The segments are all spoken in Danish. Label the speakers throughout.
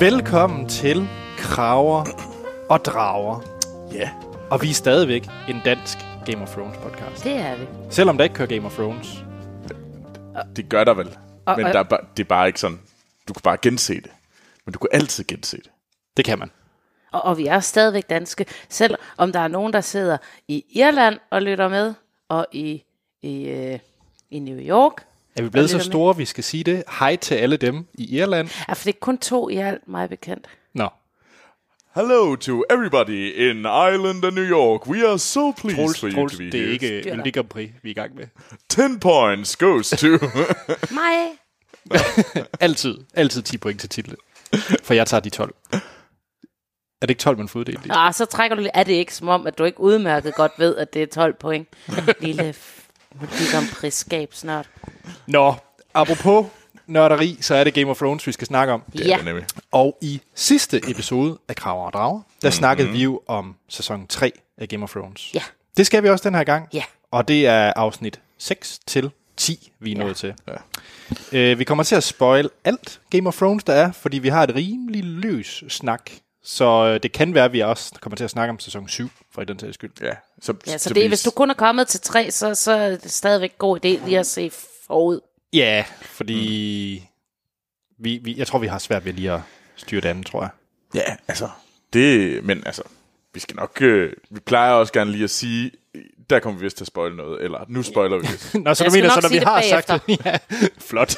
Speaker 1: Velkommen til Kraver og Drager.
Speaker 2: Ja.
Speaker 1: Og vi er stadigvæk en dansk Game of Thrones podcast.
Speaker 3: Det er vi.
Speaker 1: Selvom der ikke kører Game of Thrones.
Speaker 2: Det gør der vel.
Speaker 3: Og-
Speaker 2: men
Speaker 3: og-
Speaker 2: der er bare, det er bare ikke sådan, du kan bare gense det. Men du kan altid gense det.
Speaker 1: Det kan man.
Speaker 3: Og, og vi er stadigvæk danske, selv om der er nogen, der sidder i Irland og lytter med, og i, i, øh, i New York.
Speaker 1: Er vi blevet
Speaker 3: Og
Speaker 1: så
Speaker 3: lytter med.
Speaker 1: store, vi skal sige det? Hej til alle dem i Irland.
Speaker 3: Ja, for det er kun to i alt, mig bekendt.
Speaker 1: Nå,
Speaker 2: Hello to everybody in Ireland and New York. We are so pleased
Speaker 1: Troels,
Speaker 2: for you
Speaker 1: Troels
Speaker 2: to be
Speaker 1: det er
Speaker 2: here.
Speaker 1: ikke en
Speaker 3: dig.
Speaker 1: Ligue Prix, vi er i gang med.
Speaker 2: 10 points goes to...
Speaker 3: Mig.
Speaker 1: Altid. Altid 10 point til titlen. For jeg tager de 12. Er det ikke 12, man får uddelt? i?
Speaker 3: Nå, så trækker du lige. Er det ikke som om, at du ikke udmærket godt ved, at det er 12 point? Lille f- multikompriskab snart.
Speaker 1: Nå, apropos nørderi, så er det Game of Thrones, vi skal snakke om.
Speaker 2: Det er
Speaker 3: ja,
Speaker 2: det nemlig.
Speaker 1: Og i sidste episode af Kraver og Drager, der mm-hmm. snakkede vi jo om sæson 3 af Game of Thrones.
Speaker 3: Ja.
Speaker 1: Det skal vi også den her gang.
Speaker 3: Ja.
Speaker 1: Og det er afsnit 6 til 10, vi er
Speaker 3: Ja.
Speaker 1: nået til. Ja. Øh, vi kommer til at spoil alt Game of Thrones, der er, fordi vi har et rimelig løs snak. Så øh, det kan være, at vi også kommer til at snakke om sæson 7, for i den sags skyld.
Speaker 2: Ja, så,
Speaker 3: ja så det, er- hvis du kun er kommet til tre, så, så er det stadigvæk god idé lige at se forud.
Speaker 1: Ja, fordi vi, vi, jeg tror, vi har svært ved lige at styre det andet, tror jeg.
Speaker 2: Ja, altså... Det, men altså, vi skal nok... Øh, vi plejer også gerne lige at sige, der kommer vi vist til at spoil noget, eller nu spoiler vi vist.
Speaker 1: Nå, så
Speaker 3: Jeg
Speaker 1: du
Speaker 3: skal
Speaker 1: mener,
Speaker 3: nok
Speaker 1: så når vi
Speaker 3: sige det
Speaker 1: har sagt det.
Speaker 3: bagefter.
Speaker 1: Ja, flot.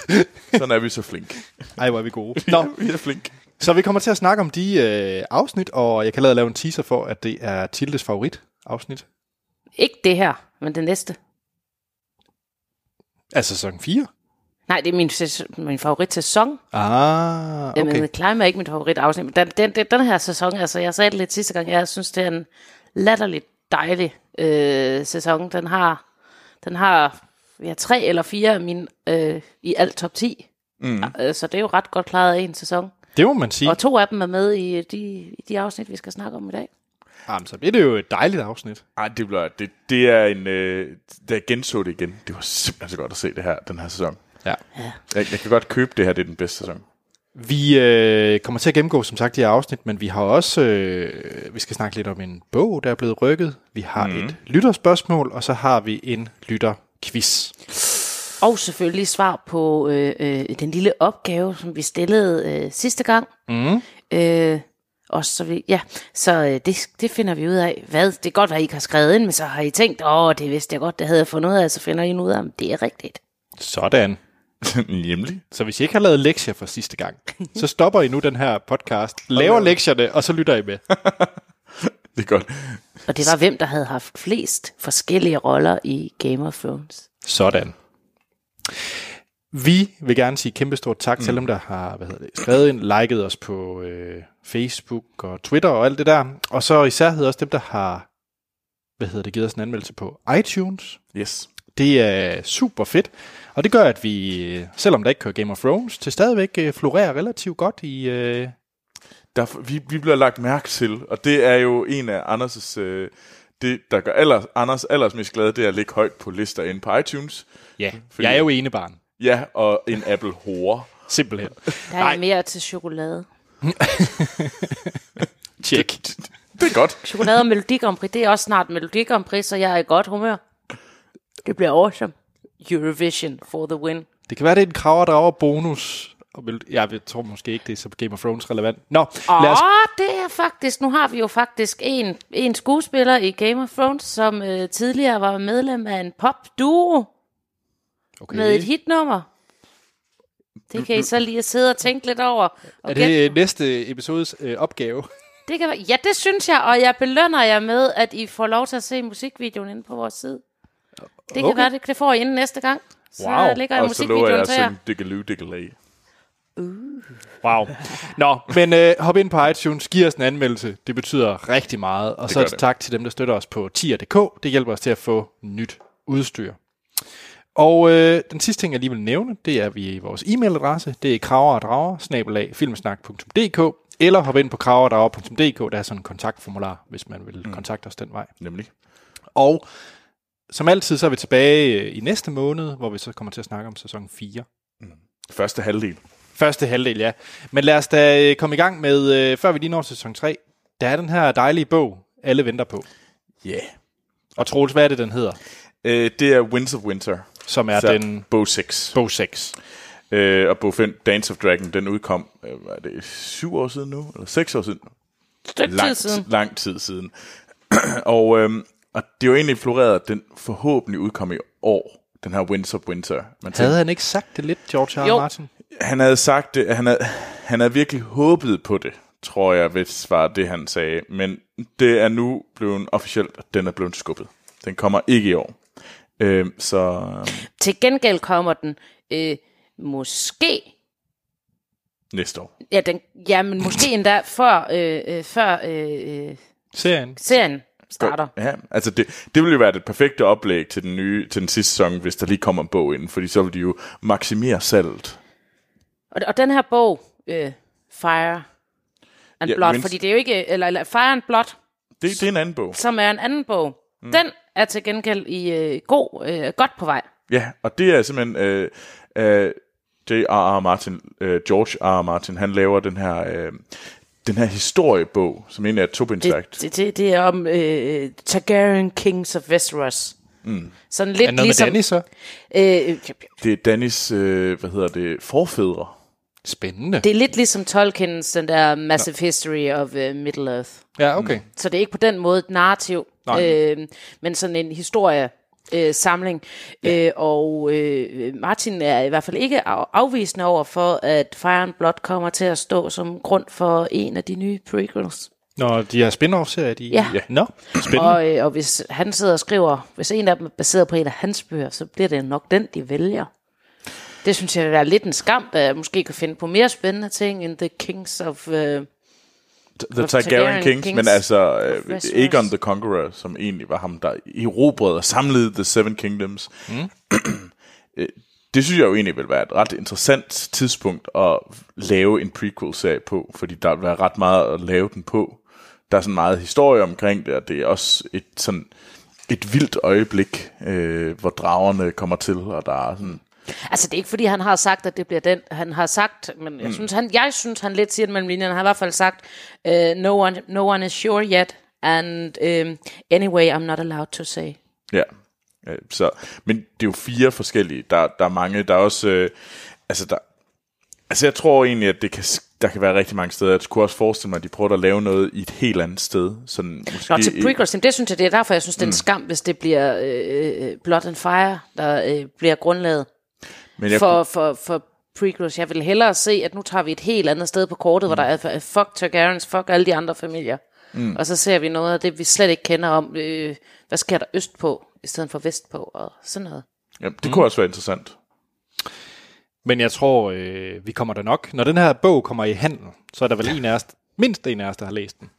Speaker 2: Sådan er vi så flink.
Speaker 1: Ej, hvor er vi gode. Nå,
Speaker 2: Vi er flink.
Speaker 1: Så vi kommer til at snakke om de øh, afsnit, og jeg kan lade lave en teaser for, at det er Tildes favorit afsnit
Speaker 3: Ikke det her, men det næste.
Speaker 1: af sæson 4.
Speaker 3: Nej, det er min, sæs- min favorit-sæson.
Speaker 1: Ah,
Speaker 3: Jamen, øh,
Speaker 1: okay.
Speaker 3: okay. Climb er ikke mit favoritafsnit, men den, den, den, den her sæson, altså jeg sagde det lidt sidste gang, jeg synes, det er en latterligt dejlig øh, sæson. Den har, den har ja, tre eller fire af mine øh, i alt top 10,
Speaker 2: Mm.
Speaker 3: øh, så det er jo ret godt klaret af en sæson.
Speaker 1: Det må man sige.
Speaker 3: Og to af dem er med i øh, de, i de afsnit, vi skal snakke om i dag.
Speaker 1: Jamen, så bliver det jo et dejligt afsnit.
Speaker 2: Ej, det, bliver, det, det er en... Øh, da jeg genså det igen, det var simpelthen så godt at se det her, den her sæson.
Speaker 1: Ja.
Speaker 2: Jeg, jeg kan godt købe det her, det er den bedste sæson.
Speaker 1: Vi øh, kommer til at gennemgå, som sagt, de her afsnit, men vi har også, øh, vi skal snakke lidt om en bog, der er blevet rykket. Vi har mm. et lytterspørgsmål, og så har vi en lytterquiz.
Speaker 3: Og selvfølgelig svar på øh, øh, den lille opgave, som vi stillede øh, sidste gang.
Speaker 1: Mm.
Speaker 3: Øh, og så, vi, ja, så øh, det, det finder vi ud af. Hvad? Det er godt, at I ikke har skrevet ind, men så har I tænkt, åh, det vidste jeg godt, det havde jeg fundet ud af, så finder I nu ud af, om det er rigtigt.
Speaker 1: Sådan.
Speaker 2: Nemlig.
Speaker 1: Så hvis I ikke har lavet lektier for sidste gang, så stopper I nu den her podcast, laver lektierne, og så lytter I med.
Speaker 2: Det er godt.
Speaker 3: Og det var hvem, der havde haft flest forskellige roller i Game of Thrones.
Speaker 1: Sådan. Vi vil gerne sige kæmpestort tak mm. til dem, der har hvad hedder det, skrevet ind, liket os på øh, Facebook og Twitter og alt det der. Og så især hedder også dem, der har hvad hedder det, givet os en anmeldelse på iTunes.
Speaker 2: Yes.
Speaker 1: Det er super fedt, og det gør, at vi, øh, selvom der ikke kører Game of Thrones, til stadigvæk øh, florerer relativt godt i... Øh,
Speaker 2: Der, vi, vi bliver lagt mærke til, og det er jo en af Anders' øh, det, der gør aller, Anders allers mest glad, det er at ligge højt på lister inde på iTunes.
Speaker 1: ja,
Speaker 2: Fordi-
Speaker 1: jeg er jo enebarn,
Speaker 2: Ja, og en Apple hore.
Speaker 1: simpelthen.
Speaker 3: Der er
Speaker 1: Nej.
Speaker 3: mere til chokolade.
Speaker 1: Tjek.
Speaker 2: Det er godt.
Speaker 3: Chokolade og Melodi Grand Prix, det er også snart Melodi Grand Prix, så jeg er i godt humør. Det bliver awesome. Eurovision for the win.
Speaker 1: Det kan være, det er en krav og drager bonus. Og vil- Jeg tror måske ikke, det er så Game of Thrones relevant. Nå, lad os
Speaker 3: Åh, det er faktisk, nu har vi jo faktisk en, en skuespiller i Game of Thrones, som øh, tidligere var medlem af en popduo
Speaker 1: Okay.
Speaker 3: okay. med et hitnummer. Det kan I så lige sidde og tænke lidt over.
Speaker 1: Er
Speaker 3: Okay. Det...
Speaker 1: det næste episodes øh, opgave?
Speaker 3: Det kan være... Ja, det synes jeg, og jeg belønner jer med, at I får lov til at se musikvideoen inde på vores side. Det kan
Speaker 1: Okay.
Speaker 3: være, det, det får I inden næste gang. Så
Speaker 1: Wow.
Speaker 3: ligger jeg
Speaker 2: og så lover jeg
Speaker 3: musikvideoen
Speaker 2: at
Speaker 3: til jer.
Speaker 2: synge Dickaloo Dickalay.
Speaker 1: Wow. Nå, men øh, hop ind på iTunes, giv os en anmeldelse. Det betyder rigtig meget. Og så
Speaker 2: gør
Speaker 1: et
Speaker 2: det.
Speaker 1: tak til dem, der støtter os på tier.dk. Det hjælper os til at få nyt udstyr. Og øh, den sidste ting, jeg lige vil nævne, det er vi vores e-mailadresse. Det er kraverdrager filmsnak.dk eller hop ind på kraverdrager.dk. Der er sådan en kontaktformular, hvis man
Speaker 2: Mm.
Speaker 1: vil kontakte os den vej.
Speaker 2: Nemlig.
Speaker 1: Og som altid, så er vi tilbage øh, i næste måned, hvor vi så kommer til at snakke om sæson 4.
Speaker 2: Første halvdel.
Speaker 1: Første halvdel, ja. Men lad os da øh, komme i gang med, øh, før vi lige når sæson 3, der er den her dejlige bog, alle venter på.
Speaker 2: Ja. Yeah.
Speaker 1: Og Troels, hvad er det, den hedder?
Speaker 2: Øh, det er Winds of Winter.
Speaker 1: Som er
Speaker 2: Så
Speaker 1: den
Speaker 2: Bog 6.
Speaker 1: bog 6.
Speaker 2: Øh, og bog 5, Dance of Dragon, den udkom, øh, var det syv år siden nu? Eller seks år siden?
Speaker 3: Stykke tid
Speaker 2: Lang,
Speaker 3: siden.
Speaker 2: lang tid siden. og, øhm, og det er jo egentlig floreret, at den forhåbentlig udkom i år, den her Winds of Winter. Man tænkte,
Speaker 1: Havde han ikke sagt det lidt, George R.
Speaker 3: Jo.
Speaker 1: Martin?
Speaker 2: han havde sagt det, han havde, han havde virkelig håbet på det, tror jeg, hvis var det, han sagde. Men det er nu blevet officielt, at den er blevet skubbet. Den kommer ikke i år. Øh, så øh,
Speaker 3: Til gengæld kommer den øh, måske
Speaker 2: næste år.
Speaker 3: Ja, den, ja, men måske endda før, øh, øh, før øh, øh,
Speaker 1: Serien.
Speaker 3: serien starter.
Speaker 2: Ja, altså det, det ville jo være det perfekte oplæg til den nye, til den sidste sæson, hvis der lige kommer en bog ind, fordi så ville de jo maksimere salget.
Speaker 3: Og, og den her bog, øh, Fire and
Speaker 2: Ja,
Speaker 3: Blood,
Speaker 2: men-
Speaker 3: fordi det er jo ikke, eller, eller Fire and Blood,
Speaker 2: Det, det er en anden bog.
Speaker 3: som er en anden bog, mm. den er til gengæld i øh, god, øh, godt på vej.
Speaker 2: Ja, og det er simpelthen øh, øh, J.R.R. Martin, øh, George R. Martin, han laver den her, øh, den her historiebog, som egentlig er tobindsværkt.
Speaker 3: Det, det, det, det er om øh, Targaryen Kings of Westeros. Mm. Sådan
Speaker 1: Er
Speaker 3: lidt
Speaker 1: noget
Speaker 3: ligesom...
Speaker 1: med Danny så?
Speaker 3: øh,
Speaker 2: Det er Dannys, øh, hvad hedder det, forfædre.
Speaker 1: Spændende.
Speaker 3: det er lidt ligesom Tolkien's, den der Massive History of øh, Middle-earth.
Speaker 1: Ja, okay.
Speaker 3: Så det er ikke på den måde et narrativ,
Speaker 1: Nej.
Speaker 3: øh, men sådan en historie. Øh, samling. Ja. Øh, og øh, Martin er i hvert fald ikke af, afvisende over for, at Fire and Blood kommer til at stå som grund for en af de nye prequels.
Speaker 1: Når de her spin-off-serier, de...
Speaker 3: Ja. Ja.
Speaker 1: Nå, spændende.
Speaker 3: Og, øh, og hvis han sidder og skriver, hvis en af dem er baseret på en af hans bøger, så bliver det nok den, de vælger. Det synes jeg vil være lidt en skam, da jeg måske kan finde på mere spændende ting end The Kings of... Øh,
Speaker 2: The
Speaker 3: Targaryen
Speaker 2: Targaryen Kings,
Speaker 3: Kings
Speaker 2: Kings, men altså øh,
Speaker 3: Westeros.
Speaker 2: Aegon the Conqueror, som egentlig var ham, der erobrede og samlede The Seven Kingdoms. Mm. det synes jeg jo egentlig vil være et ret interessant tidspunkt at lave en prequel-serie på, fordi der vil være ret meget at lave den på. Der er sådan meget historie omkring det, og det er også et sådan et vildt øjeblik, øh, hvor dragerne kommer til, og der er sådan...
Speaker 3: Altså, det er ikke, fordi han har sagt, at det bliver den. Han har sagt, men jeg, mm. synes, han, jeg synes, han lidt siger det mellem linjerne. Han har i hvert fald sagt, uh, no, one, no one is sure yet, and um, anyway, I'm not allowed to say.
Speaker 2: Ja. Øh, Så, men det er jo fire forskellige. Der, der er mange. Der er også... Øh, altså, der, altså, jeg tror egentlig, at det kan, s- der kan være rigtig mange steder. Jeg kunne også forestille mig, at de prøver at lave noget i et helt andet sted. Sådan, måske
Speaker 3: Nå, til
Speaker 2: ikke-
Speaker 3: prequels, jamen, det synes jeg, det er Mm. derfor, jeg synes, det er en skam, hvis det bliver øh, øh, Blood and Fire, der øh, bliver grundlaget
Speaker 2: men jeg,
Speaker 3: for,
Speaker 2: kunne-
Speaker 3: for, for prequels. Jeg vil hellere se, at nu tager vi et helt andet sted på kortet, mm. hvor der er øh, fuck Targaryens, fuck alle de andre familier. Mm. Og så ser vi noget af det, vi slet ikke kender om, øh, hvad sker der øst på, i stedet for vest på, og sådan noget.
Speaker 2: ja, det kunne også være interessant.
Speaker 1: Men jeg tror, øh, vi kommer der nok. Når den her bog kommer i handel, så er der vel en af os, mindst en af os, der har læst den.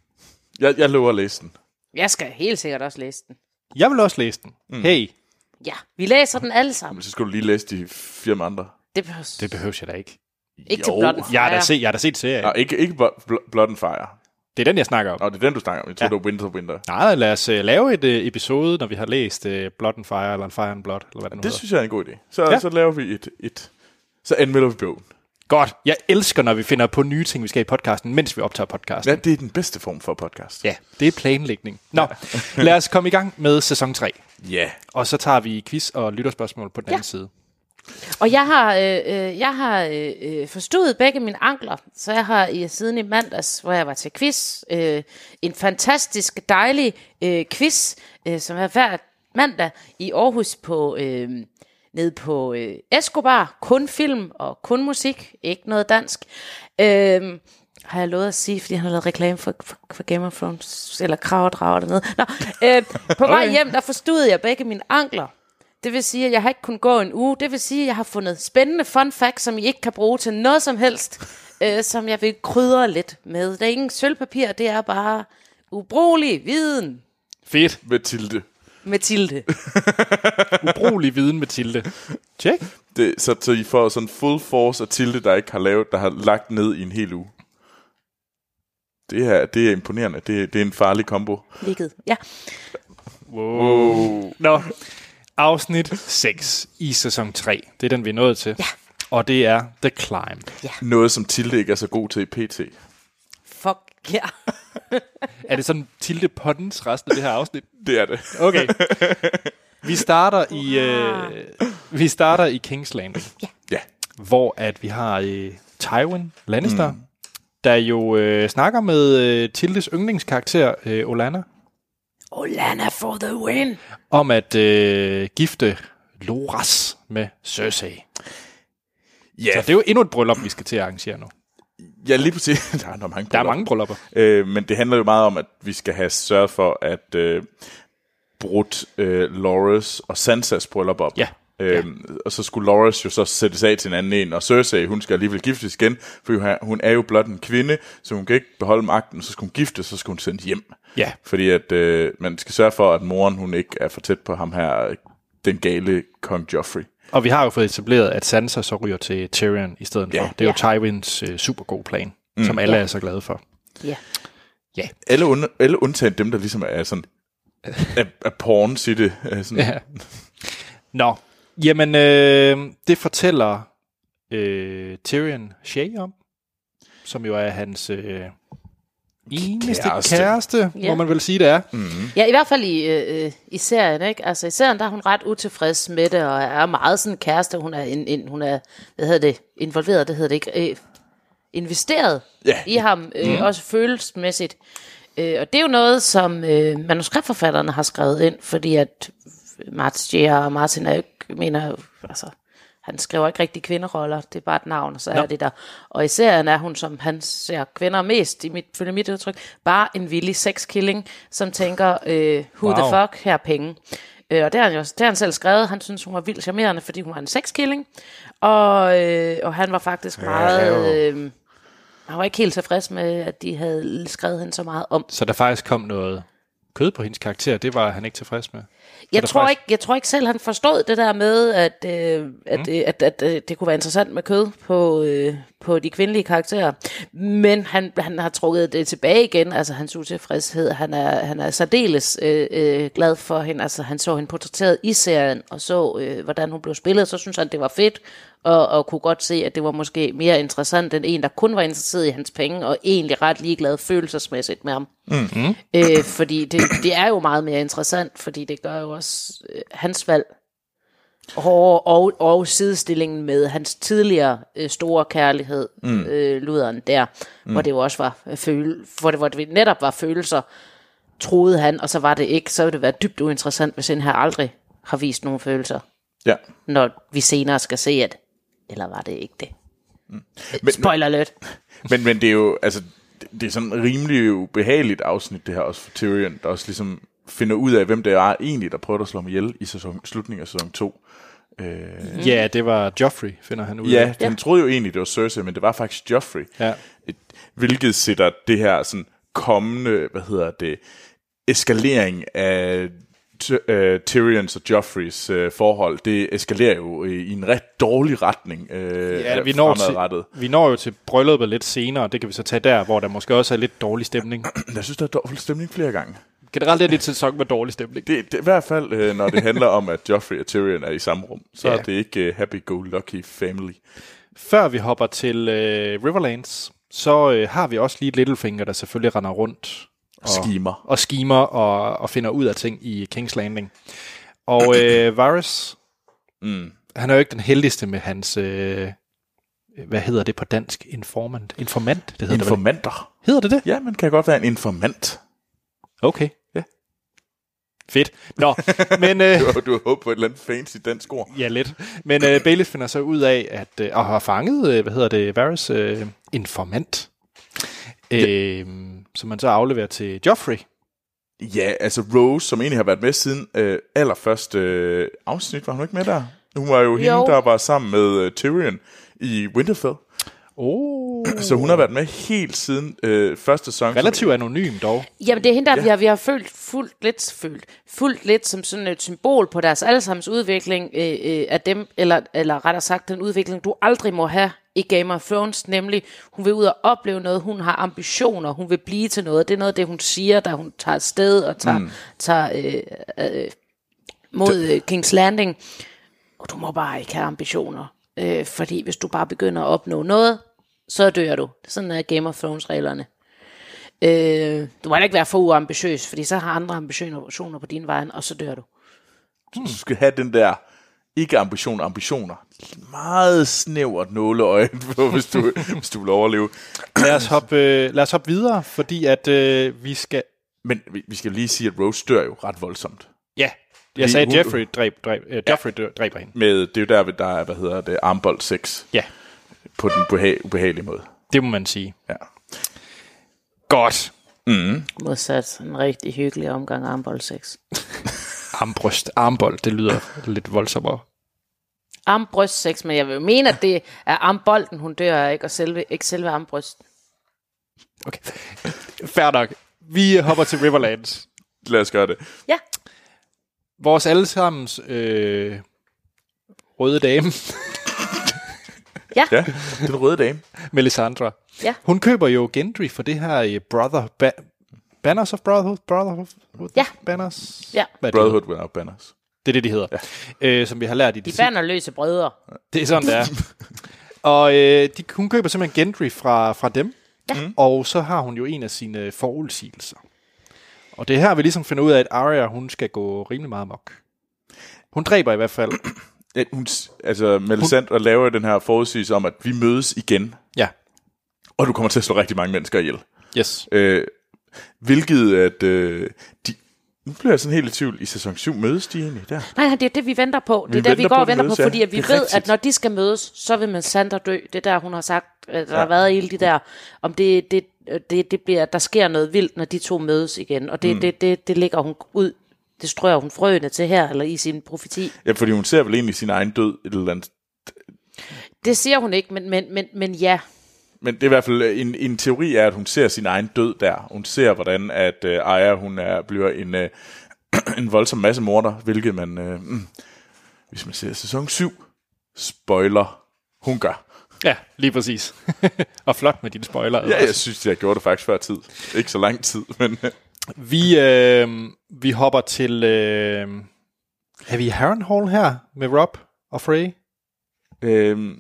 Speaker 2: Jeg, jeg lover at læse den.
Speaker 3: Jeg skal helt sikkert også læse den.
Speaker 1: Jeg vil også læse den. Mm. Hey,
Speaker 3: Ja, vi læser den alle sammen.
Speaker 2: Men så skulle du lige læse de fire andre.
Speaker 3: Det behøves
Speaker 1: det behøver jeg da ikke.
Speaker 3: ikke til
Speaker 2: Jo.
Speaker 3: blot en
Speaker 1: Jeg har da
Speaker 3: fejre.
Speaker 1: set, jeg har da set serien.
Speaker 2: Nå, ikke, ikke Blo- Blo- Blood and Fire.
Speaker 1: Det er den, jeg snakker om.
Speaker 2: Nå, det er den, du snakker om. Jeg tror, ja. det var Winter Winter.
Speaker 1: Nej, lad os øh, lave et øh, episode, når vi har læst øh, Blood and Fire, eller Fire and Blood, eller hvad det nu
Speaker 2: Det
Speaker 1: hedder.
Speaker 2: synes jeg er en god idé. Så,
Speaker 1: Ja.
Speaker 2: ja. så laver vi et... et så anmelder vi bogen.
Speaker 1: Godt. Jeg elsker, når vi finder på nye ting, vi skal i podcasten, mens vi optager podcasten.
Speaker 2: Ja, det er den bedste form for podcast.
Speaker 1: Ja, det er planlægning. Nå, lad os komme i gang med sæson 3.
Speaker 2: Ja.
Speaker 1: Og så tager vi quiz og lytterspørgsmål på den ja. anden side.
Speaker 3: Og jeg har, øh, øh, jeg har øh, øh, forstudet begge mine ankler, så jeg har i, siden i mandags, hvor jeg var til quiz, øh, en fantastisk dejlig øh, quiz, øh, som er hver mandag i Aarhus på... Øh, nede på øh, Escobar, kun film og kun musik, ikke noget dansk. Øhm, har jeg lovet at sige, fordi han har lavet reklame for, for, for Game of Thrones, eller krav og drager dernede. Nå, øh, på vej hjem, der forstod jeg begge mine ankler. Det vil sige, at jeg har ikke kunnet gå en uge. Det vil sige, at jeg har fundet spændende fun facts, som I ikke kan bruge til noget som helst, øh, som jeg vil krydre lidt med. Det er ingen sølvpapir, det er bare ubrugelig viden,
Speaker 1: Fedt.
Speaker 2: Mathilde.
Speaker 3: Mathilde.
Speaker 1: Ubrugelig viden, Mathilde. Tjek.
Speaker 2: Det, så, så I får sådan full force af Tilde, der ikke har lavet, der har lagt ned i en hel uge. Det her, det er imponerende. Det, det er en farlig kombo.
Speaker 3: Ligget. Ja.
Speaker 1: Wow. Nå, afsnit 6 i sæson 3. Det er den, vi er nået til. Ja. og det er The Climb.
Speaker 2: Noget, som Tilde ikke er så god til i PT.
Speaker 3: Fuck, ja.
Speaker 1: Er det sådan Tilde Pottens resten af det her afsnit?
Speaker 2: Det er det.
Speaker 1: Okay. Vi starter i, øh, vi starter i King's Landing.
Speaker 2: Ja.
Speaker 1: hvor at vi har øh, Tywin Lannister, mm. der jo øh, snakker med øh, Tildes yndlingskarakter, øh, Olana,
Speaker 3: Olana for the win.
Speaker 1: om at øh, gifte Loras med Cersei.
Speaker 2: Ja,
Speaker 1: Så det er jo endnu et bryllup, vi skal til at arrangere nu.
Speaker 2: ja lige præcis. Der er, der er mange
Speaker 1: Der er
Speaker 2: billeder.
Speaker 1: mange bryllupper.
Speaker 2: Øh, men det handler jo meget om, at vi skal have sørget for, at øh, brudt øh, Loras og Sansas bryllup op.
Speaker 1: Ja.
Speaker 2: Øhm, ja. Og så skulle Loras jo så sættes af til en anden en, og Cersei, hun skal alligevel giftes igen, for hun er- hun er jo blot en kvinde, så hun kan ikke beholde magten, så skal hun giftes, så skal hun sendes hjem.
Speaker 1: Ja.
Speaker 2: Fordi at øh, man skal sørge for, at moren hun ikke er for tæt på ham her, den gale kong Joffrey.
Speaker 1: Og vi har jo fået etableret, at Sansa så ryger til Tyrion i stedet
Speaker 2: Ja.
Speaker 1: for. Det er jo Tywins øh, super god plan, mm. som alle er så glade for.
Speaker 3: Ja.
Speaker 1: Ja.
Speaker 2: Alle, und, alle undtagen dem, der ligesom er sådan, er, er porn, siger det. er Sådan,
Speaker 1: Ja. Nå, jamen øh, det fortæller øh, Tyrion Shay om, som jo er hans øh, eneste
Speaker 2: Kæreste.
Speaker 1: kæreste, kæreste
Speaker 3: Ja.
Speaker 1: må man vel sige det er. Mm.
Speaker 3: ja, i hvert fald i, øh, øh, i serien, ikke? Altså i serien, der er hun ret utilfreds med det, og er meget sådan kæreste. Hun er, en, en, hun er hvad hedder det, involveret, det hedder det ikke, øh, investeret
Speaker 2: Ja.
Speaker 3: i ham, øh, mm. også følelsesmæssigt. Øh, og det er jo noget, som øh, manuskriptforfatterne har skrevet ind, fordi at Martin J.R. og Martin er jo ikke, mener, jo, altså, han skriver ikke rigtig kvinderoller, det er bare et navn, og så er det der. Og i serien er hun, som han ser kvinder mest, i mit, følge mit udtryk, bare en villig sexkilling, som tænker, øh, who wow. the
Speaker 1: Wow.
Speaker 3: fuck, her er penge. Øh, og det har, han jo, det har han selv skrevet, han synes, hun var vildt charmerende, fordi hun var en sexkilling, og, øh, og han var faktisk meget... Øh, han var ikke helt tilfreds med, at de havde skrevet hende så meget om.
Speaker 1: Så der faktisk kom noget kød på hendes karakter, det var han ikke tilfreds med.
Speaker 3: Jeg
Speaker 1: der
Speaker 3: tror,
Speaker 1: faktisk-
Speaker 3: ikke, jeg tror ikke selv, han forstod det der med, at, øh, at, mm. at, at, at øh, det kunne være interessant med kød på, øh, på de kvindelige karakterer. Men han, han har trukket det tilbage igen, altså hans utilfredshed. Han er, han er særdeles øh, øh, glad for hende. Altså, han så hende portrætteret i serien, og så, øh, hvordan hun blev spillet. Så synes han, det var fedt, og, og kunne godt se, at det var måske mere interessant end en, der kun var interesseret i hans penge, og egentlig ret ligeglad følelsesmæssigt med ham. Øh, fordi det, det er jo meget mere interessant, fordi det gør jo også øh, hans valg og, og, og sidestillingen med hans tidligere øh, store kærlighed, mm. øh, luderen der, mm. hvor det jo også var øh, føle, hvor det, hvor det netop var følelser, troede han, og så var det ikke, så ville det være dybt uinteressant, hvis han her aldrig har vist nogle følelser,
Speaker 2: Ja.
Speaker 3: når vi senere skal se, at eller var det ikke det? Mm.
Speaker 2: Men,
Speaker 3: Spoiler alert.
Speaker 2: Men, men det er jo, altså, det- det er sådan rimelig ubehageligt afsnit, det her også for Tyrion, der også ligesom finder ud af, hvem det er egentlig, der prøver at slå ham ihjel i sæson, slutningen af sæson 2.
Speaker 1: Mm. Ja, det var Joffrey, finder han ud
Speaker 2: Ja,
Speaker 1: af.
Speaker 2: han troede jo egentlig, det var Cersei, men det var faktisk Joffrey.
Speaker 1: Ja.
Speaker 2: Et- Hvilket sætter det her sådan kommende, hvad hedder det, eskalering af Ty- øh, Tyrions og Joffreys øh, forhold, det eskalerer jo i, i en ret dårlig retning øh,
Speaker 1: Ja, vi når,
Speaker 2: fremadrettet.
Speaker 1: til, vi når jo til brylluppet lidt senere, det kan vi så tage der, hvor der måske også er lidt dårlig stemning.
Speaker 2: Jeg synes, der er dårlig stemning flere gange.
Speaker 1: Generelt er det et sæson med dårlig stemning.
Speaker 2: Det, det, I hvert fald, øh, når det handler om, at Joffrey og Tyrion er i samme rum, så
Speaker 1: Ja.
Speaker 2: er det ikke øh, happy-go-lucky family.
Speaker 1: Før vi hopper til øh, Riverlands, så øh, har vi også lige Littlefinger, der selvfølgelig render rundt
Speaker 2: Og skimer.
Speaker 1: og skimer og, og finder ud af ting i King's Landing. Og øh, Varys, mm. han er jo ikke den heldigste med hans, øh, hvad hedder det på dansk, informant? Informant, det hedder det vel?
Speaker 2: Informanter.
Speaker 1: Hedder det det?
Speaker 2: Ja, man kan godt være en informant.
Speaker 1: Okay.
Speaker 2: Ja.
Speaker 1: Fedt. Nå, men... Øh,
Speaker 2: Du, du har håbet på et eller andet fancy dansk ord.
Speaker 1: Ja, lidt. Men øh, Baeliff finder så ud af, at øh, og har fanget, øh, hvad hedder det, Varys øh, informant, øh, som man så afleverer til Joffrey.
Speaker 2: Ja, altså Rose, som egentlig har været med siden øh, allerførste øh, afsnit, var hun ikke med der? Hun var jo, jo. hende,
Speaker 3: Jo.
Speaker 2: der var sammen med øh, Tyrion i Winterfell.
Speaker 1: Oh.
Speaker 2: Så hun har været med helt siden øh, første sæson. som-
Speaker 1: Relativt anonym dog.
Speaker 3: Jamen det er hende, der ja. vi har, vi har følt, fuldt lidt, følt, fuldt lidt som sådan et symbol på deres allesammens udvikling øh, øh, af dem, eller, eller rettere sagt den udvikling, du aldrig må have i Game of Thrones, nemlig hun vil ud og opleve noget, hun har ambitioner, hun vil blive til noget, det er noget af det, hun siger, da hun tager afsted og tager, mm. tager øh, øh, mod øh, King's Landing. Og du må bare ikke have ambitioner. Øh, fordi hvis du bare begynder at opnå noget, så dør du. Sådan er Game of Thrones-reglerne. Øh, du må heller ikke være for uambitiøs, fordi så har andre ambitioner på din vej, og så dør du.
Speaker 2: Du skal have den der ikke ambition, ambitioner. Meget snævert nåleøje på, hvis du, hvis du vil overleve.
Speaker 1: Lad os hoppe, øh, lad os hoppe videre, fordi at øh, vi skal...
Speaker 2: Men vi- vi skal lige sige, at Rose dør jo ret voldsomt.
Speaker 1: Ja,
Speaker 2: Lige
Speaker 1: jeg sagde, at
Speaker 2: hun-
Speaker 1: Jeffrey, dræb, dræb, øh, Jeffrey dør, dræber hende.
Speaker 2: Med, det er jo der, der er, hvad hedder det, armbold 6
Speaker 1: Ja,
Speaker 2: på den beha- ubehagelige måde.
Speaker 1: det må man sige.
Speaker 2: Ja.
Speaker 1: Godt.
Speaker 3: Modsat en rigtig hyggelig omgang armboldsex.
Speaker 1: Armbryst, armbold, det lyder lidt voldsommere.
Speaker 3: Armbrystsex, men jeg vil jo mene, at det er armbolden, hun dør af, ikke, og selve, ikke selve armbrysten.
Speaker 1: Okay. Fair nok. Vi hopper til Riverlands.
Speaker 2: Lad os gøre det.
Speaker 3: Ja,
Speaker 1: Vores allesammens øh, røde dame,
Speaker 2: Ja, den røde dame.
Speaker 1: Melisandre,
Speaker 3: Ja.
Speaker 1: hun køber jo Gendry for det her øh, Brother... Ba- Banners of Brotherhood? Brotherhood?
Speaker 3: Ja.
Speaker 1: Banners?
Speaker 3: Ja.
Speaker 1: Hvad er det?
Speaker 2: Brotherhood without banners.
Speaker 1: Det er det, de hedder. Ja. Øh, som vi har lært i
Speaker 3: de
Speaker 1: de
Speaker 3: bander løse brødre.
Speaker 1: Det er sådan, det er. og øh, de, hun køber simpelthen Gendry fra, fra dem. Ja. Og så har hun jo en af sine forudsigelser. Og det er her, vi ligesom finder ud af, at Arya, hun skal gå rimelig meget mok. Hun dræber i hvert fald.
Speaker 2: Ja, hun, s- altså, Melisandre hun... laver den her forudsigelse om, at vi mødes igen,
Speaker 1: ja.
Speaker 2: og du kommer til at slå rigtig mange mennesker ihjel.
Speaker 1: Yes.
Speaker 2: Øh, hvilket at... Øh, de, nu bliver jeg sådan helt i tvivl. I sæson 7 mødes de egentlig der?
Speaker 3: Nej, nej, det er det, vi venter på. Det
Speaker 2: Vi
Speaker 3: er det, vi
Speaker 2: venter
Speaker 3: går
Speaker 2: på,
Speaker 3: og
Speaker 2: de
Speaker 3: venter på,
Speaker 2: mødes, ja.
Speaker 3: fordi at vi
Speaker 2: Det er
Speaker 3: ved,
Speaker 2: rigtigt.
Speaker 3: at når de skal mødes, så vil Melisandre dø. Det er der, hun har sagt, at der ja. har
Speaker 2: Ja.
Speaker 3: været ild i der, om det, det, det, det bliver, at der sker noget vildt, når de to mødes igen. Og det, mm. det, det, det ligger hun ud, det strøger hun frøene til her, eller i sin profeti.
Speaker 2: Ja, fordi hun ser vel egentlig sin egen død et eller andet.
Speaker 3: Det siger hun ikke, men, men, men, men ja.
Speaker 2: Men det er i hvert fald øh, en, en teori er, at hun ser sin egen død der. Hun ser, hvordan at øh, Aya, hun er, bliver en, øh, en voldsom masse morder, hvilket man, øh, mm, hvis man ser sæson 7, spoiler, hun gør.
Speaker 1: Ja, lige præcis. og flot med dine spoiler.
Speaker 2: Ja, jeg synes, jeg gjorde det faktisk før tid. Ikke så lang tid, men øh,
Speaker 1: Vi, øh, vi hopper til... Øh, er vi i Harrenhal her med Rob og Frey?
Speaker 2: øh,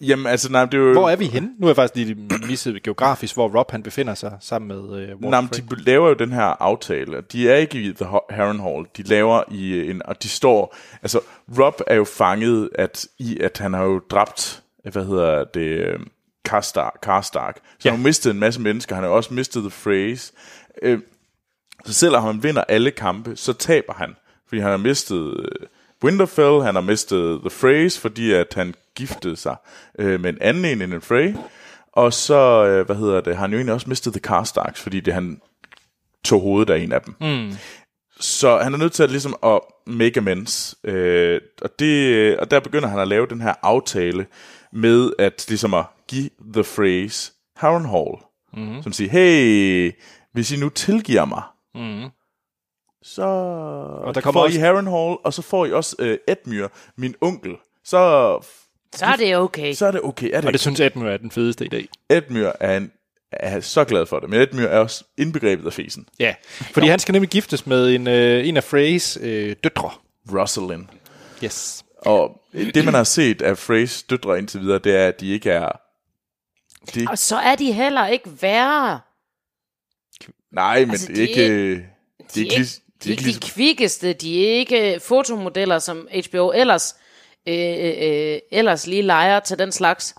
Speaker 2: jamen altså, nej, det er jo...
Speaker 1: Hvor er vi henne? Nu er jeg faktisk lige misset geografisk, hvor Rob han befinder sig sammen med øh, Walter
Speaker 2: Nej, men
Speaker 1: Frey.
Speaker 2: de laver jo den her aftale. De er ikke i The Ho- Harrenhal. De laver i øh, en... Og de står... Altså, Rob er jo fanget at, i, at han har jo dræbt... Hvad hedder det? øh, Karstark. Karstark. Så ja. han har mistet en masse mennesker. Han har jo også mistet The Phrase. Øh, så selvom han vinder alle kampe, så taber han. Fordi han har mistet øh, Winterfell, han har mistet The Phrase, fordi at han giftede sig øh, med en anden en end en Frey. Og så, øh, hvad hedder det, har han jo egentlig også mistet The Carstarks, fordi det han tog hovedet af en af dem. Mm. Så han er nødt til at, ligesom at make amends. Øh, og, det, og der begynder han at lave den her aftale med at, ligesom at give The Phrase Harrenhal,
Speaker 1: Mm-hmm.
Speaker 2: mm. som siger, hey, hvis I nu tilgiver mig, så og
Speaker 1: Mm-hmm. der
Speaker 2: der
Speaker 1: kommer
Speaker 2: kommer får
Speaker 1: også-
Speaker 2: I Harrenhal, og så får I også øh, Edmure, min onkel. Så,
Speaker 3: Så er det okay.
Speaker 2: så er det okay. Er det,
Speaker 1: Og det
Speaker 2: det...
Speaker 1: synes Edmund er den fedeste idé.
Speaker 2: Edmure er, en, er så glad for det, men Edmure er også indbegrebet af fesen.
Speaker 1: Ja, fordi jo. han skal nemlig giftes med en, øh, en af Freys øh, døtre.
Speaker 2: Rosalind.
Speaker 1: Yes.
Speaker 2: Og øh, det, man har set af Freys døtre indtil videre, det er, at de ikke er... De er ikke...
Speaker 3: Og så er de heller ikke værre.
Speaker 2: Nej, men
Speaker 3: Altså,
Speaker 2: det
Speaker 3: de er
Speaker 2: er ikke... øh,
Speaker 3: De
Speaker 2: De er
Speaker 3: er
Speaker 2: ikke
Speaker 3: ikke,
Speaker 2: lige- de
Speaker 3: de er
Speaker 2: er ikke
Speaker 3: ikke
Speaker 2: lige-
Speaker 3: de kvikkeste, de er ikke fotomodeller, som HBO ellers, øh, øh, øh, ellers lige leger til den slags.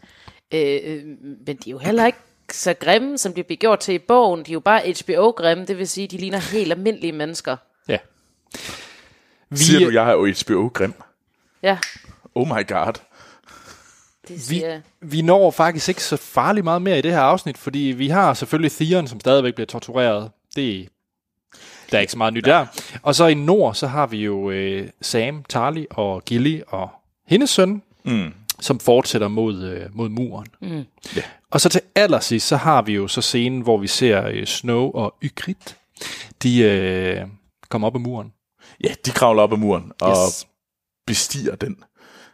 Speaker 3: Øh, øh, men de er jo heller ikke så grimme, som de bliver gjort til i bogen. De er jo bare HBO-grimme, det vil sige, de ligner helt almindelige mennesker.
Speaker 1: Ja. Vi,
Speaker 2: Siger du, jeg er jo HBO-grim?
Speaker 3: Ja,
Speaker 2: Oh my god.
Speaker 3: det
Speaker 1: vi,
Speaker 3: siger jeg.
Speaker 1: vi når faktisk ikke så farligt meget mere i det her afsnit, fordi vi har selvfølgelig Theon, som stadigvæk bliver tortureret. Det der er ikke så meget nyt der. Og så i nord, så har vi jo øh, Sam, Tarly og Gilly og hendes søn,
Speaker 2: Mm.
Speaker 1: som fortsætter mod, øh, mod muren. Mm. Yeah. Og så til allersidst, så har vi jo så scenen, hvor vi ser øh, Snow og Ygritte. De øh, kommer op ad muren.
Speaker 2: Ja, de kravler op ad muren og
Speaker 1: Yes.
Speaker 2: bestiger den.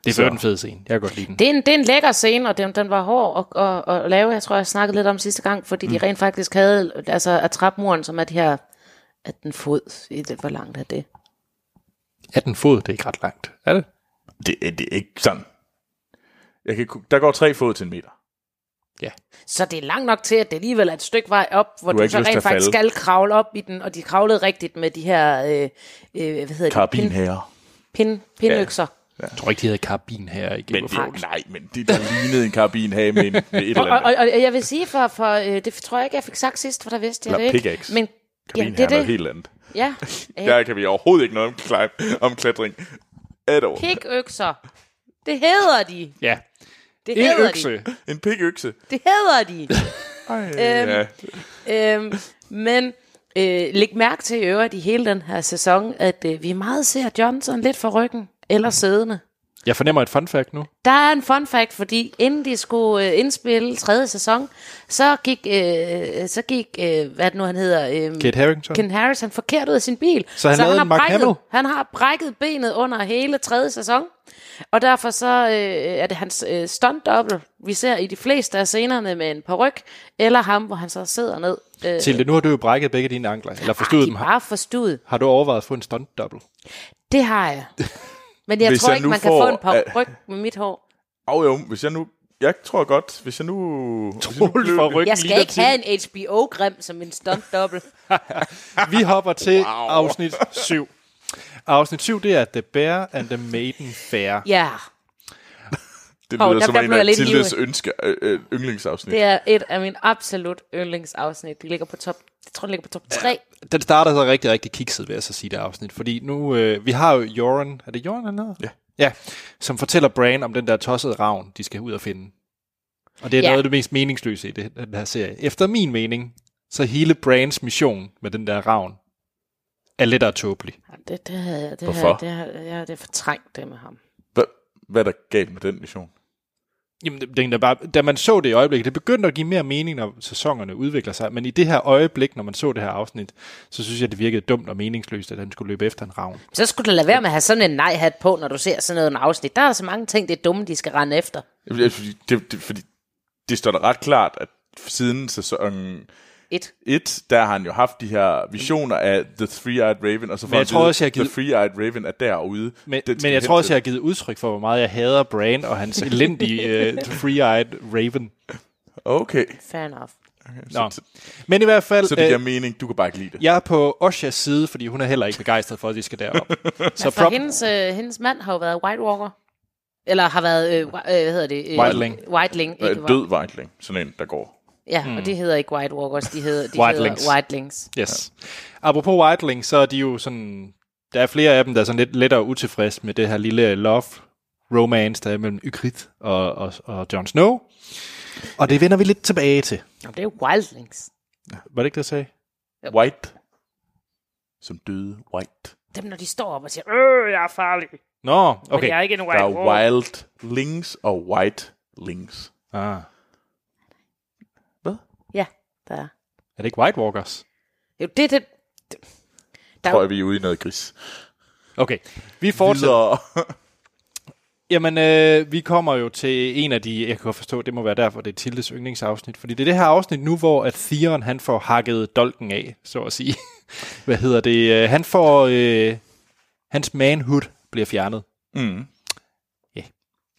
Speaker 1: Det er
Speaker 2: Så-
Speaker 1: før den fede scene. Jeg kan godt lide den.
Speaker 3: Det er, en, det er en lækker scene, og den, den var hård at, at, at lave. Jeg tror, jeg snakkede lidt om sidste gang, fordi mm. de rent faktisk havde altså, attrapmuren, som er de her 18 fod. Hvor langt er det?
Speaker 1: 18 fod, det er ikke ret langt. Er det?
Speaker 2: Det, er- det er ikke sådan. Jeg kan, ku- der går tre fod til en meter.
Speaker 3: Så det er langt nok til, at det alligevel er et stykke vej op, hvor du,
Speaker 2: Du har
Speaker 3: du
Speaker 2: ikke
Speaker 3: så
Speaker 2: lyst til at
Speaker 3: rent faktisk
Speaker 2: falde.
Speaker 3: skal kravle op i den, og de kravlede rigtigt med de her, øh, øh, hvad hedder
Speaker 2: Karabin
Speaker 3: de,
Speaker 2: her.
Speaker 3: pin, pindøkser.
Speaker 1: Jeg tror ikke, de hedder karabin her i Game
Speaker 2: Men
Speaker 1: of
Speaker 2: det, er jo-
Speaker 1: Thrones.
Speaker 2: nej, men det der lignede en karabinhage med, en, med et eller
Speaker 3: Og, og,
Speaker 2: andet.
Speaker 3: og, og jeg vil sige, for, for øh, det tror jeg ikke, jeg fik sagt sidst, for der vidste jeg
Speaker 2: Eller
Speaker 3: det ikke.
Speaker 2: pickaxe.
Speaker 3: Men ja,
Speaker 2: Karabinhage
Speaker 3: det er det.
Speaker 2: helt andet.
Speaker 3: Ja. Øh,
Speaker 2: Der kan vi overhovedet ikke noget om, climb, om klatring. At all.
Speaker 3: pikøkser. Det hedder de.
Speaker 1: Ja.
Speaker 3: Det
Speaker 1: En
Speaker 3: hedder de.
Speaker 1: økse.
Speaker 2: En pikøkse.
Speaker 3: Det hedder de.
Speaker 2: Ej, ja.
Speaker 3: øhm, men øh, læg mærke til i øvrigt i hele den her sæson, at øh, vi meget ser Johnson lidt for ryggen eller siddende.
Speaker 1: Jeg fornemmer et fun fact nu.
Speaker 3: Der er en fun fact, fordi inden de skulle øh, indspille tredje sæson, så gik, øh, så gik øh, hvad er det nu han hedder, øh,
Speaker 1: Kate Harrington.
Speaker 3: Ken Harris, han forkert ud af sin bil.
Speaker 1: Så han lavede
Speaker 3: har
Speaker 1: en Mark
Speaker 3: brækket,
Speaker 1: Hamill?
Speaker 3: Han har brækket benet under hele tredje sæson, og derfor så øh, er det hans øh, stunt double, vi ser i de fleste af scenerne med en paryk eller ham, hvor han så sidder ned. Øh,
Speaker 1: Til det, nu har du jo brækket begge dine ankler, eller forstået
Speaker 3: de
Speaker 1: dem.
Speaker 3: er bare forstudet.
Speaker 1: Har du overvejet at få en stunt double?
Speaker 3: Det har jeg. Men jeg
Speaker 2: Hvis
Speaker 3: tror
Speaker 2: jeg
Speaker 3: ikke,
Speaker 2: nu
Speaker 3: man kan
Speaker 2: får-
Speaker 3: få en paryk med mit hår.
Speaker 2: Og jo, hvis jeg nu... Jeg tror godt, hvis jeg nu... Hvis jeg nu
Speaker 1: Troels fra ryggen
Speaker 3: Jeg
Speaker 1: ligner
Speaker 3: skal ikke have en HBO-grim som en stunt double.
Speaker 1: Vi hopper til wow. afsnit 7. Afsnit 7, det er The Bear and the Maiden Fair.
Speaker 3: Ja,
Speaker 2: det
Speaker 3: Hov,
Speaker 2: lyder
Speaker 3: der-
Speaker 2: som
Speaker 3: der
Speaker 2: en
Speaker 3: blev jeg
Speaker 2: af
Speaker 3: lidt
Speaker 2: Tildes
Speaker 3: ivrig.
Speaker 2: ønske, øh, øh, yndlingsafsnit.
Speaker 3: det er et af mine absolut yndlingsafsnit. Det ligger på top, jeg tror, det ligger på top 3.
Speaker 1: Den starter så rigtig, rigtig kikset, vil jeg så sige, det afsnit. Fordi nu, øh, vi har jo Joran, er det Joran han hedder?
Speaker 2: Ja.
Speaker 1: Ja, som fortæller Bran om den der tossede ravn, de skal ud og finde. Og det er ja.
Speaker 3: Ja.
Speaker 1: noget af det mest meningsløse i det, den her serie. Efter min mening, så hele Brans mission med den der ravn er lidt af tåbelig.
Speaker 3: Jamen, Det, det, havde jeg, det,
Speaker 2: Hvorfor?
Speaker 3: Havde, det, havde, jeg, det er fortrængt det med ham.
Speaker 2: Hva, hvad er der galt med den mission?
Speaker 1: Jamen, det- den er bare, da man så det i øjeblikket, det begyndte at give mere mening, når sæsonerne udvikler sig, men i det her øjeblik, når man så det her afsnit, så synes jeg, det virkede dumt og meningsløst, at han skulle løbe efter en ravn.
Speaker 3: Så skulle du lade være med at have sådan en nej-hat på, når du ser sådan noget en afsnit. Der er så mange ting, det er dumme, de skal rende efter.
Speaker 2: Jamen, det er fordi- Det, det, fordi det står da ret klart, at siden sæsonen
Speaker 3: Et.
Speaker 2: 1, der har han jo haft de her visioner af The Three-Eyed Raven, og så får
Speaker 1: jeg
Speaker 2: han
Speaker 1: tror
Speaker 2: vide,
Speaker 1: også, jeg har givet-
Speaker 2: The Three-Eyed Raven er derude.
Speaker 1: Men,
Speaker 2: Den skal
Speaker 1: men jeg
Speaker 2: hen
Speaker 1: tror også,
Speaker 2: til.
Speaker 1: jeg har givet udtryk for, hvor meget jeg hader Bran og hans elendige uh, free-eyed raven.
Speaker 2: Okay,
Speaker 3: Fair enough.
Speaker 1: Nå. Men i hvert fald,
Speaker 2: så det giver
Speaker 1: øh,
Speaker 2: mening. Du kan bare ikke lide det.
Speaker 1: jeg er på Oshas side, fordi hun er heller ikke begejstret for, at de skal derop.
Speaker 2: Altså,
Speaker 1: Så
Speaker 3: For
Speaker 1: prop,
Speaker 3: hendes, øh, hendes mand har jo været White Walker. Eller har været, øh, hva- øh, hvad hedder det? Øh,
Speaker 1: Whiteling.
Speaker 3: Whiteling,
Speaker 2: Ja,
Speaker 3: ikke
Speaker 2: en Øh, død vejtling, sådan en, der går.
Speaker 3: Ja, mm. og de hedder ikke White Walkers, de hedder, de
Speaker 1: Whitelings.
Speaker 3: hedder Whitelings.
Speaker 1: Yes. Ja. Apropos Whiteling, så er de jo sådan... Der er flere af dem, der er sådan lidt lettere utilfredse med det her lille love romance, der er mellem Ygritte og, og, og Jon Snow. Og det vender vi lidt tilbage til.
Speaker 3: Jamen, det er jo Wildlings.
Speaker 1: Var det ikke det, jeg sagde?
Speaker 2: White. Som døde white.
Speaker 3: Dem, når de står op og siger, øh, jeg er farlig,
Speaker 1: Nå,
Speaker 3: men jeg er
Speaker 1: okay.
Speaker 3: ikke en
Speaker 2: Der
Speaker 3: White
Speaker 2: er
Speaker 3: Walker. Wild.
Speaker 2: wild links og white links.
Speaker 1: Ah.
Speaker 2: Hvad?
Speaker 3: Ja, der er.
Speaker 1: Er det ikke White Walkers?
Speaker 3: Jo, det er det. Der
Speaker 2: Jeg
Speaker 3: er
Speaker 2: tror,
Speaker 3: jo,
Speaker 2: at vi er ude i noget gris.
Speaker 1: Okay, vi fortsætter.
Speaker 2: Videre.
Speaker 1: Jamen, øh, vi kommer jo til en af de, jeg kan godt forstå, det må være derfor, det er Tildes yndlingsafsnit, fordi det er det her afsnit nu, hvor at Theon, han får hakket dolken af, så at sige. Hvad hedder det? Øh, Han får, øh, hans manhood bliver fjernet.
Speaker 2: Mm.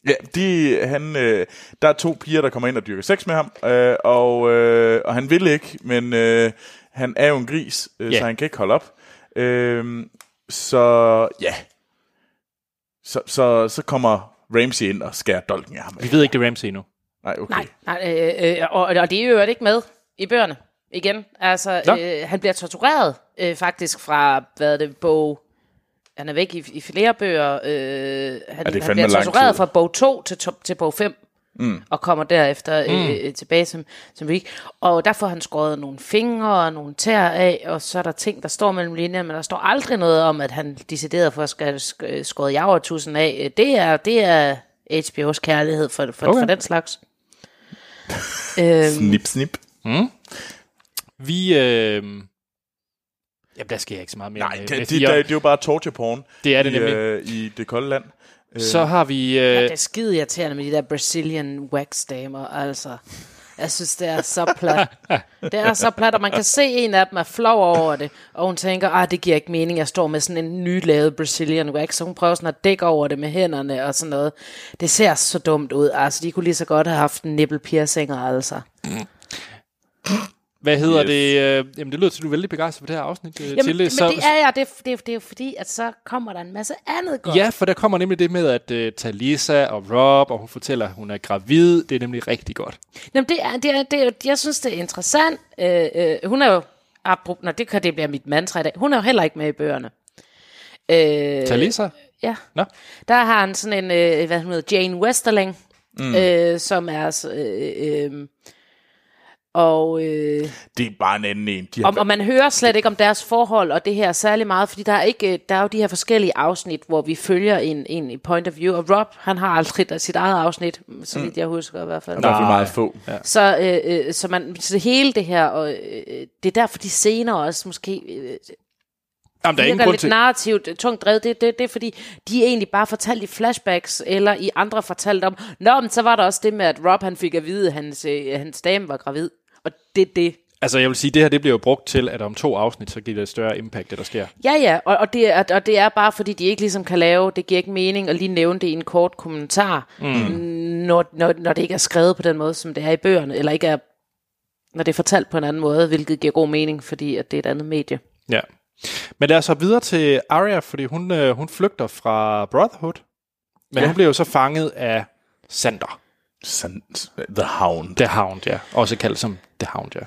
Speaker 2: ja, de, han, øh, der er to piger, der kommer ind og dyrker sex med ham, øh, og, øh, og han vil ikke, men øh, han er jo en gris, øh,
Speaker 1: Ja.
Speaker 2: så han kan ikke holde op. Øh, så ja, så, så, så kommer Ramsey ind og skærer dolken af ham.
Speaker 1: Vi ved ikke, det er Ramsey endnu.
Speaker 2: Nej, okay.
Speaker 3: nej, nej øh, øh, og, og det er jo ikke med i bøgerne igen. Altså,
Speaker 1: Nå.
Speaker 3: øh, han bliver tortureret øh, faktisk fra, hvad er det, bog... Han er væk i, i flere bøger. Øh, han,
Speaker 2: det er
Speaker 3: han
Speaker 2: fandme
Speaker 3: bliver
Speaker 2: lang
Speaker 3: tortureret
Speaker 2: tid.
Speaker 3: fra bog 2 til, to, til bog 5. Mm. Og kommer derefter mm. øh, øh, tilbage som, som vi Og der får han skåret nogle fingre og nogle tæer af, og så er der ting, der står mellem linjerne, men der står aldrig noget om, at han decideret for at skal sk- øh, skåret javertusen af. Øh, Det er, det er HBO's kærlighed for, for,
Speaker 1: Okay.
Speaker 3: okay. for den slags. øhm,
Speaker 2: Snip, snip.
Speaker 1: Vi, øh, jamen, der sker ikke så meget mere.
Speaker 2: Nej,
Speaker 1: med-
Speaker 2: det,
Speaker 1: med
Speaker 2: det, det,
Speaker 1: Theon.
Speaker 2: er jo bare torture porn.
Speaker 1: Det er det
Speaker 2: i,
Speaker 1: nemlig.
Speaker 2: Øh, I det kolde land.
Speaker 1: Så har vi,
Speaker 3: Ja,
Speaker 1: øh,
Speaker 3: det er skide irriterende med de der Brazilian wax damer, altså. Jeg synes, det er så plat. Det er så plat, og man kan se, at en af dem er flov over det, og hun tænker, ah, det giver ikke mening, jeg står med sådan en nylavet Brazilian wax, så hun prøver sådan at dække over det med hænderne og sådan noget. Det ser så dumt ud, altså de kunne lige så godt have haft en nipple piercinger, altså.
Speaker 1: Hvad hedder
Speaker 2: Yes.
Speaker 1: yes. det? Øh, jamen, det lyder til, at du er vældig begejstret for det her afsnit, øh,
Speaker 3: Jamen,
Speaker 1: Tilde.
Speaker 3: men det er jeg, det, er- det, er- det er jo fordi, at så kommer der en masse andet godt.
Speaker 1: Ja, for der kommer nemlig det med, at uh, Talisa og Rob, og hun fortæller, at hun er gravid. Det er nemlig rigtig godt.
Speaker 3: Jamen, det er, det er, det er, jeg synes, det er interessant. Øh, øh, hun er jo, apro, nå, det kan det bliver mit mantra i dag, hun er jo heller ikke med i bøgerne. Øh,
Speaker 1: Talisa?
Speaker 3: ja.
Speaker 1: Nå,
Speaker 3: Der har han sådan en, øh, hvad hun hedder, Jane Westerling, mm. øh, som er... så, Øh, øh, og, øh,
Speaker 2: Det er bare en anden en. De har
Speaker 3: og, og man hører slet ikke om deres forhold og det her særlig meget, fordi der er, ikke, øh, der er jo de her forskellige afsnit, hvor vi følger en, en i point of view, og Rob, han har aldrig der- sit eget afsnit, så vidt jeg husker i hvert fald.
Speaker 2: været meget få. Ja.
Speaker 3: Så, øh, øh, så, man, så hele det her, og øh, det er derfor de scener også måske øh,
Speaker 1: Jamen, der er ingen
Speaker 3: virker
Speaker 1: grund
Speaker 3: lidt
Speaker 1: til...
Speaker 3: narrativt øh, tungt drevet. Det, det, det er fordi, de er egentlig bare fortalt i flashbacks, eller i andre fortalt om, nå, men så var der også det med, at Rob han fik at vide, at hans, øh, hans dame var gravid. Og det er det.
Speaker 1: Altså, jeg vil sige, det her det bliver jo brugt til, at om to afsnit, så giver det et større impact, det der sker.
Speaker 3: Ja, ja, og, og, det, er, og det er bare, fordi de ikke ligesom kan lave, det giver ikke mening at lige nævne det i en kort kommentar, mm. når, når, når det ikke er skrevet på den måde, som det er i bøgerne, eller ikke er, når det er fortalt på en anden måde, hvilket giver god mening, fordi at det er et andet medie.
Speaker 1: Ja. Men lad os så videre til Arya, fordi hun, øh, hun flygter fra Brotherhood. Men ja. hun bliver jo så fanget af Sander.
Speaker 2: Sandt. The Hound.
Speaker 1: The Hound, ja. Også kaldt som The Hound, ja.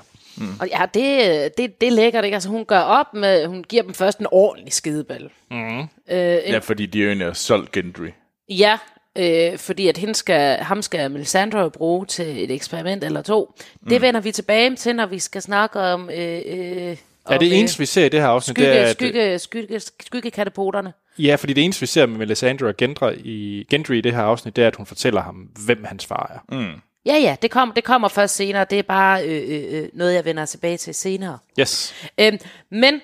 Speaker 3: Og ja, det, det, det er lækkert, ikke? Altså, hun gør op med, hun giver dem først en ordentlig skideball. Mm. Øh, en,
Speaker 2: Ja, fordi de er jo egentlig har solgt Gendry.
Speaker 3: ja, øh, fordi at hende skal, ham skal Melisandre jo bruge til et eksperiment eller to. Det vender vi tilbage til, når vi skal snakke om... Øh, øh,
Speaker 1: Ja,
Speaker 3: om,
Speaker 1: det
Speaker 3: øh,
Speaker 1: eneste, vi ser i det her afsnit,
Speaker 3: skygge,
Speaker 1: det er... at-
Speaker 3: skygge, skygge, skyggekatapoterne.
Speaker 1: Ja, fordi det eneste, vi ser med Melisandre og Gendry i, Gendry i det her afsnit, det er, at hun fortæller ham, hvem hans far er. Mm.
Speaker 3: Ja, ja, det, kom, det kommer først senere. Det er bare øh, øh, øh, noget, jeg vender tilbage til senere.
Speaker 1: Yes.
Speaker 3: Øhm, men,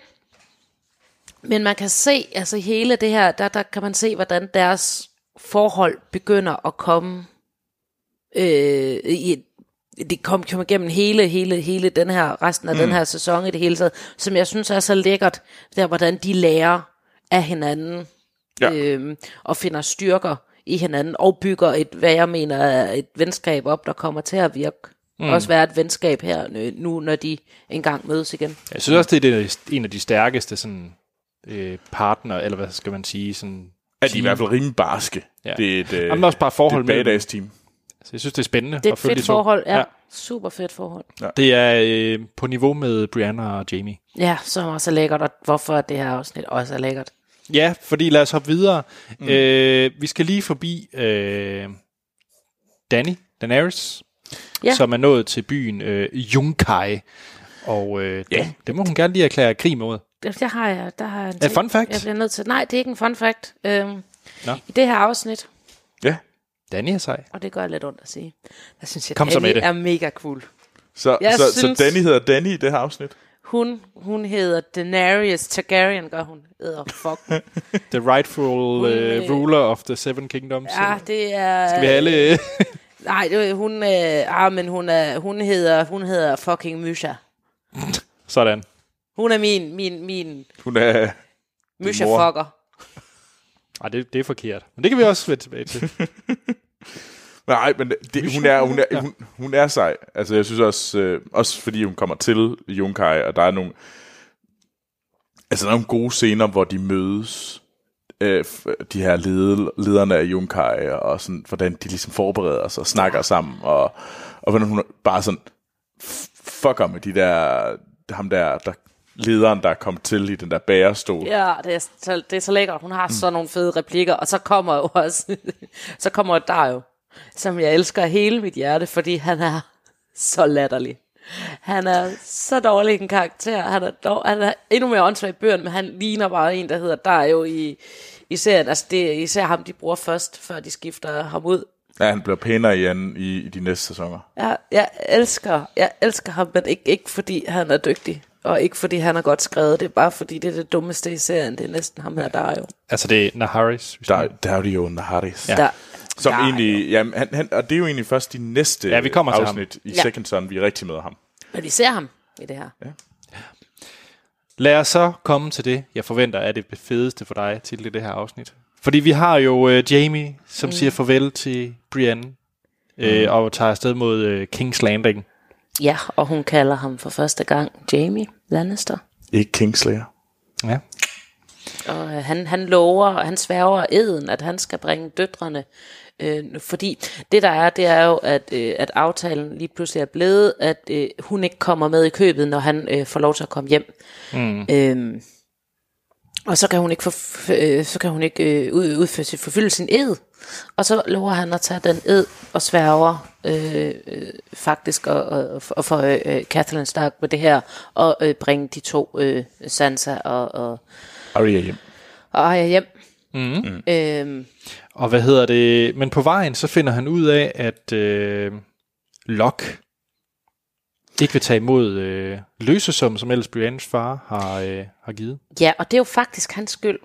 Speaker 3: men man kan se, altså hele det her, der, der kan man se, hvordan deres forhold begynder at komme. Øh, i, det kom, kom igennem hele, hele, hele den her, resten af mm. den her sæson i det hele taget, som jeg synes er så lækkert, der hvordan de lærer af hinanden
Speaker 2: Ja.
Speaker 3: øhm, og finder styrker i hinanden og bygger et, hvad jeg mener, er et venskab op, der kommer til at virke. Mm. Også være et venskab her øh, nu, når de engang mødes igen.
Speaker 1: Jeg synes også, det er det, en af de stærkeste sådan, øh, partner, eller hvad skal man sige, sådan...
Speaker 2: Er de i hvert fald rimelig barske.
Speaker 1: Ja.
Speaker 2: Det er et, øh,
Speaker 1: Jamen, der er også bare forhold
Speaker 2: det er et
Speaker 1: mellem-
Speaker 2: badass team.
Speaker 1: Så jeg synes, det er spændende
Speaker 3: Det er
Speaker 1: at
Speaker 3: et
Speaker 1: følge de
Speaker 3: fedt
Speaker 1: to.
Speaker 3: forhold, ja. ja. Super fedt forhold.
Speaker 1: Det er øh, på niveau med Brianna og Jamie.
Speaker 3: Ja, som også er lækkert, og hvorfor det her afsnit også er lækkert.
Speaker 1: Ja, fordi lad os hoppe videre. Mm. Øh, vi skal lige forbi øh, Danny Daenerys,
Speaker 3: Ja.
Speaker 1: ja. som er nået til byen øh, Junkai. Og øh,
Speaker 2: Ja.
Speaker 1: yeah. det, det må hun gerne lige erklære krig mod.
Speaker 3: Det det har jeg, der har jeg en
Speaker 1: Er det
Speaker 3: ting.
Speaker 1: fun fact?
Speaker 3: Jeg bliver nødt til, nej, det er ikke en fun fact. Øhm,
Speaker 1: Nå.
Speaker 3: I det her afsnit,
Speaker 2: Ja.
Speaker 1: Danny er sej.
Speaker 3: og det gør jeg lidt ondt at sige, der synes jeg,
Speaker 1: Kom så
Speaker 3: Danny
Speaker 1: med det.
Speaker 3: er mega cool.
Speaker 2: Så,
Speaker 3: Jeg
Speaker 2: så,
Speaker 3: synes-
Speaker 2: så Danny hedder Danny i det her afsnit.
Speaker 3: Hun, hun hedder Daenerys Targaryen, gør hun. Æder, fuck.
Speaker 1: The rightful øh, ruler of the seven kingdoms.
Speaker 3: Ja, Ah, det er...
Speaker 1: Vi har alle... øh?
Speaker 3: Nej, det, er- hun, øh, ah, men hun, er, hun, hedder, hun hedder fucking Mysha.
Speaker 1: Sådan.
Speaker 3: Hun er min, min, min
Speaker 2: Hun er... mor.
Speaker 3: Mysha-fucker.
Speaker 1: Ej, det, det er forkert. Men det kan vi også vende tilbage til.
Speaker 2: Nej, men det, hun, er, hun,
Speaker 1: Ja.
Speaker 2: er, hun, hun er sej. Altså, jeg synes også, øh, også fordi hun kommer til Junkai, og der er nogle... Altså, der er nogle gode scener, hvor de mødes, øh, f- de her lede, lederne af Junkai, og sådan, hvordan de ligesom forbereder sig og snakker sammen, og, og hvordan hun bare sådan f- fucker med de der, ham der, der lederen, der er kommet til i den der bærestol.
Speaker 3: Ja, det er, så, det er så lækkert. Hun har så nogle fede replikker, og så kommer jo også, så kommer der jo, som jeg elsker af hele mit hjerte, fordi han er så latterlig. Han er så dårlig en karakter. Han er, dog, han er endnu mere åndssvag i bøgerne, men han ligner bare en, der hedder der er jo i, i serien. Altså det er især ham, de bruger først, før de skifter ham ud.
Speaker 2: Ja, han bliver pænere igen i, i de næste sæsoner.
Speaker 3: Jeg, jeg, elsker, jeg elsker ham, men ikke, ikke fordi han er dygtig, og ikke fordi han er godt skrevet. Det er bare fordi, det er det dummeste i serien. Det er næsten ham her, der er jo.
Speaker 1: altså, det er Naharis. vi
Speaker 2: Der,
Speaker 1: snakker
Speaker 2: der er jo de jo Naharis.
Speaker 1: Ja.
Speaker 3: Der,
Speaker 2: Som
Speaker 3: Nej.
Speaker 2: Nej, egentlig, jamen, han, han, og det er jo egentlig først de næste
Speaker 1: Ja, vi kommer til
Speaker 2: afsnit i
Speaker 3: Ja.
Speaker 2: Second Son, vi rigtig møder ham.
Speaker 3: Men vi ser ham i det her.
Speaker 1: Lad os så komme til det, jeg forventer er det fedeste for dig til det her afsnit. Fordi vi har jo øh, Jamie, som mm. siger farvel til Brienne,
Speaker 2: Mm.
Speaker 1: øh, og tager afsted mod øh, King's Landing.
Speaker 3: Ja, og hun kalder ham for første gang Jamie Lannister.
Speaker 2: Ikke Kingslayer.
Speaker 1: Ja.
Speaker 3: Og øh, han, han lover, og han sværger eden, at han skal bringe døtrene. Øh, fordi det der er, det er jo, at, øh, at aftalen lige pludselig er blevet, at øh, hun ikke kommer med i købet, når han øh, får lov til at komme hjem. Mm. Øh, og så kan hun ikke, forf- øh, så kan hun ikke øh, ud- udføre sit, forfylde sin ed. Og så lover han at tage den ed og sværger øh, øh, faktisk og, og, og få øh, Kathleen Stark med det her og øh, bringe de to, øh, Sansa og, og,
Speaker 2: Arya hjem.
Speaker 3: og Arya hjem. Mm. Øhm,
Speaker 1: Og hvad hedder det? Men på vejen, så finder han ud af, at øh, Locke ikke vil tage imod øh, løsesum, som ellers Briennes far har, øh, har givet.
Speaker 3: ja, og det er jo faktisk hans skyld.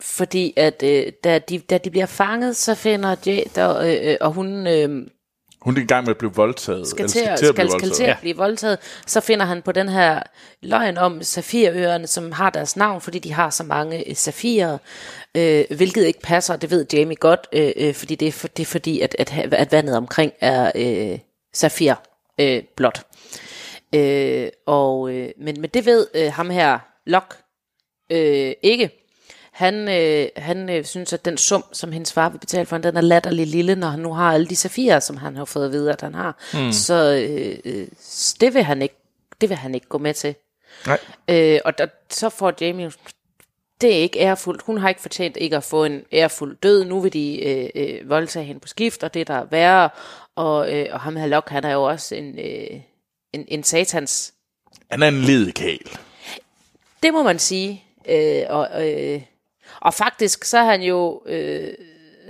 Speaker 3: Fordi at øh, da, de, da de bliver fanget, så finder Jade, og, øh, øh, og hun øh,
Speaker 2: Hun er i gang med at blive voldtaget.
Speaker 3: skal
Speaker 2: eller
Speaker 3: til at,
Speaker 2: blive
Speaker 3: skal, skal
Speaker 2: voldtaget.
Speaker 3: til at
Speaker 1: Ja.
Speaker 3: blive voldtaget, så finder han på den her løgn om safirøerne, som har deres navn, fordi de har så mange øh, safirer, øh, hvilket ikke passer, og det ved Jamie godt, øh, øh, fordi det er, for, det er fordi, at, at, ha- at vandet omkring er øh, safir øh, blåt. Øh, og, øh, men, men det ved øh, ham her, Locke, øh, ikke. Han, øh, han øh, synes, at den sum, som hendes far vil betale for, hende, den er latterlig lille, når han nu har alle de safirer, som han har fået at vide, at han har. Mm. Så øh, øh, s- det, vil han ikke, det vil han ikke gå med til.
Speaker 2: Nej.
Speaker 3: Øh, og der, så får Jamie jo- det er ikke ærefuldt. Hun har ikke fortjent ikke at få en ærefuld død. Nu vil de øh, øh, voldtage hende på skift, og det er der er værre. Og, øh, og ham her Locke, han er jo også en, øh, en, en satans
Speaker 2: Han er en ledekæl.
Speaker 3: det må man sige. Øh, og, øh, og faktisk, så er han jo øh,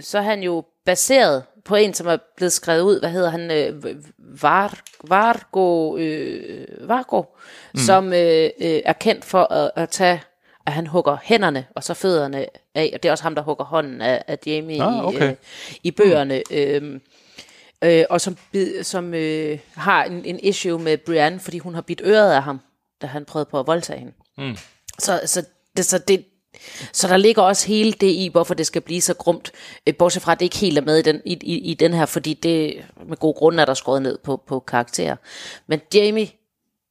Speaker 3: så er han jo baseret på en, som er blevet skrevet ud, hvad hedder han, øh, Var, Vargo, øh, Vargo mm. som øh, øh, er kendt for at, at tage, at han hugger hænderne og så fødderne af, og det er også ham, der hugger hånden af, af Jamie
Speaker 1: Ah,
Speaker 3: i,
Speaker 1: okay.
Speaker 3: øh, i bøgerne. Mm. Øh, øh, og som, bid- som øh, har en, en issue med Brienne, fordi hun har bidt øret af ham, da han prøvede på at voldtage hende. Mm. Så, så, det, så, det, så der ligger også hele det i, hvorfor det skal blive så grumt, øh, bortset fra, at det ikke helt er med i den, i, i, i den her, fordi det med god grund er der skåret ned på, på karakterer. Men Jamie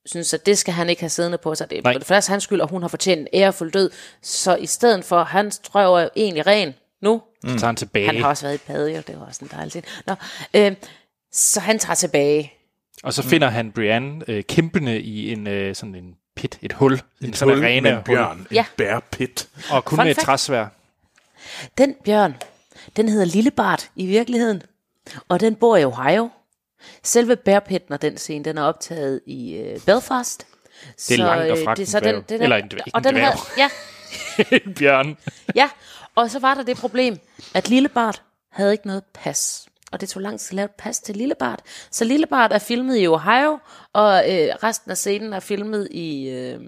Speaker 3: synes, at det skal han ikke have siddende på sig. Det
Speaker 1: Nej.
Speaker 3: er for det første hans skyld, og hun har fortjent en ærefuld død. Så i stedet for, han strøver jo egentlig ren nu,
Speaker 1: Så
Speaker 2: Mm.
Speaker 1: tager han tilbage,
Speaker 3: han har også været i bad, jo. Det var også en dejlig ting. Nå, øh, så han tager tilbage.
Speaker 1: og
Speaker 3: Mm.
Speaker 1: så finder han Brienne øh, kæmpende i en øh, sådan en pit, et hul, en sådan
Speaker 2: Hul
Speaker 1: arena,
Speaker 2: med en bjørn. En
Speaker 3: Ja.
Speaker 2: bærpit.
Speaker 1: og kun
Speaker 3: Fun
Speaker 1: med et
Speaker 3: fact.
Speaker 1: træsvær.
Speaker 3: Den bjørn, den hedder Lillebart i virkeligheden. Og den bor i Ohio. Selve bærpitten og den scene, den er optaget i øh, Belfast. øh, Det
Speaker 1: er langt at fragte en dværg. Eller en dværg- ikke en
Speaker 3: og den
Speaker 1: dværg.
Speaker 3: havde, ja,
Speaker 1: en bjørn.
Speaker 3: ja, og så var der det problem, at Lillebart havde ikke noget pas. Og det tog lang tid at lave et pas til Lillebart. Så Lillebart er filmet i Ohio, og øh, resten af scenen er filmet i, øh,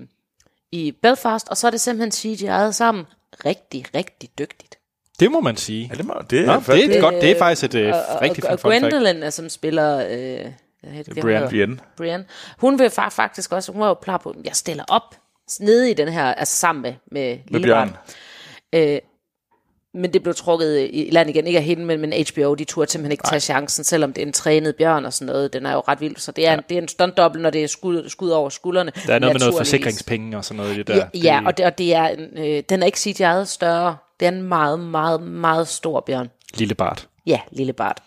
Speaker 3: i Belfast. Og så er det simpelthen CGI'et sammen. Rigtig, rigtig dygtigt.
Speaker 1: Det må man sige.
Speaker 2: Ja, det, må, det,
Speaker 1: Nå,
Speaker 2: er,
Speaker 1: det er et
Speaker 2: det,
Speaker 1: godt, det er faktisk et øh,
Speaker 3: Og,
Speaker 1: rigtig
Speaker 3: og,
Speaker 1: fun
Speaker 3: og
Speaker 1: fun fact.
Speaker 3: Gwendolyn, er, som spiller... Øh, jeg ved ikke, hvad hun
Speaker 1: Brienne.
Speaker 3: hedder.
Speaker 2: Brienne.
Speaker 3: Brienne. Hun vil fa- faktisk også, hun var jo klar på, at jeg stiller op nede i den her, altså sammen med, med,
Speaker 2: med
Speaker 3: Lillebart.
Speaker 2: bjørn.
Speaker 3: men det blev trukket i land igen, ikke af hende, men, men HBO, de turde simpelthen ikke tage chancen, selvom det er en trænet bjørn og sådan noget, den er jo ret vild, så det er, ja. en, det er en stuntdobbel, når det er skud, skud over skuldrene.
Speaker 1: Der er noget med noget
Speaker 3: naturligvis.
Speaker 1: forsikringspenge og sådan noget i det der.
Speaker 3: Ja, ja
Speaker 1: det,
Speaker 3: og, det, og det er en, øh, den er ikke sit eget større, det er en meget, meget, meget stor bjørn.
Speaker 1: Lille Bart.
Speaker 3: Ja, lille Bart.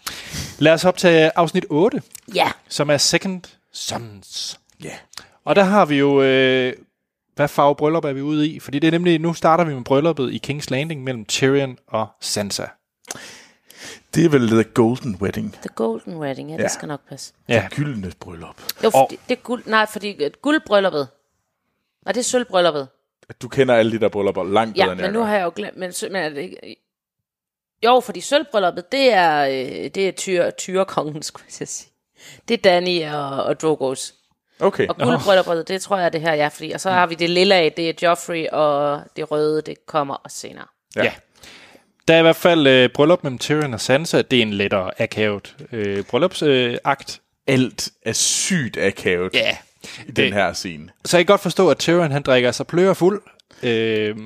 Speaker 1: Lad os op til afsnit 8,
Speaker 3: Ja,
Speaker 1: som er Second Sons.
Speaker 2: Ja.
Speaker 1: Og der har vi jo, øh, hvad farve bryllup er vi ude i? Fordi det er nemlig, nu starter vi med brylluppet i King's Landing mellem Tyrion og Sansa.
Speaker 2: Det er vel The Golden Wedding.
Speaker 3: The Golden Wedding, ja, ja.
Speaker 2: Ja.
Speaker 3: det skal nok passe.
Speaker 1: Ja.
Speaker 2: Det gyldne bryllup.
Speaker 3: Jo,
Speaker 1: Og-
Speaker 3: fordi, det er guld, nej, fordi øh, guldbrylluppet. Nej, det er sølvbrylluppet.
Speaker 2: Du kender alle de der bryllupper langt bedre
Speaker 3: Ja,
Speaker 2: end jeg
Speaker 3: men nu
Speaker 2: gør.
Speaker 3: har jeg jo glemt, men, sø- men er det ikke... Jo, fordi sølvbrylluppet, det er, øh, det er tyr, tyrekongen, skulle jeg til at sige. Det er Danny og, og Drogos.
Speaker 2: Okay.
Speaker 3: Og guldbrylluppet, det tror jeg er det her, ja, fordi. Og så har vi det lille af, det er Joffrey, og det røde, det kommer også senere.
Speaker 1: Ja. ja. Der er i hvert fald øh, bryllup mellem Tyrion og Sansa. Det er en lettere akavet øh, bryllupsakt. Øh, akt.
Speaker 2: Alt er sygt akavet
Speaker 1: Ja.
Speaker 2: i den
Speaker 1: det-
Speaker 2: her scene.
Speaker 1: så jeg kan godt forstå, at Tyrion han drikker sig pløre fuld øh,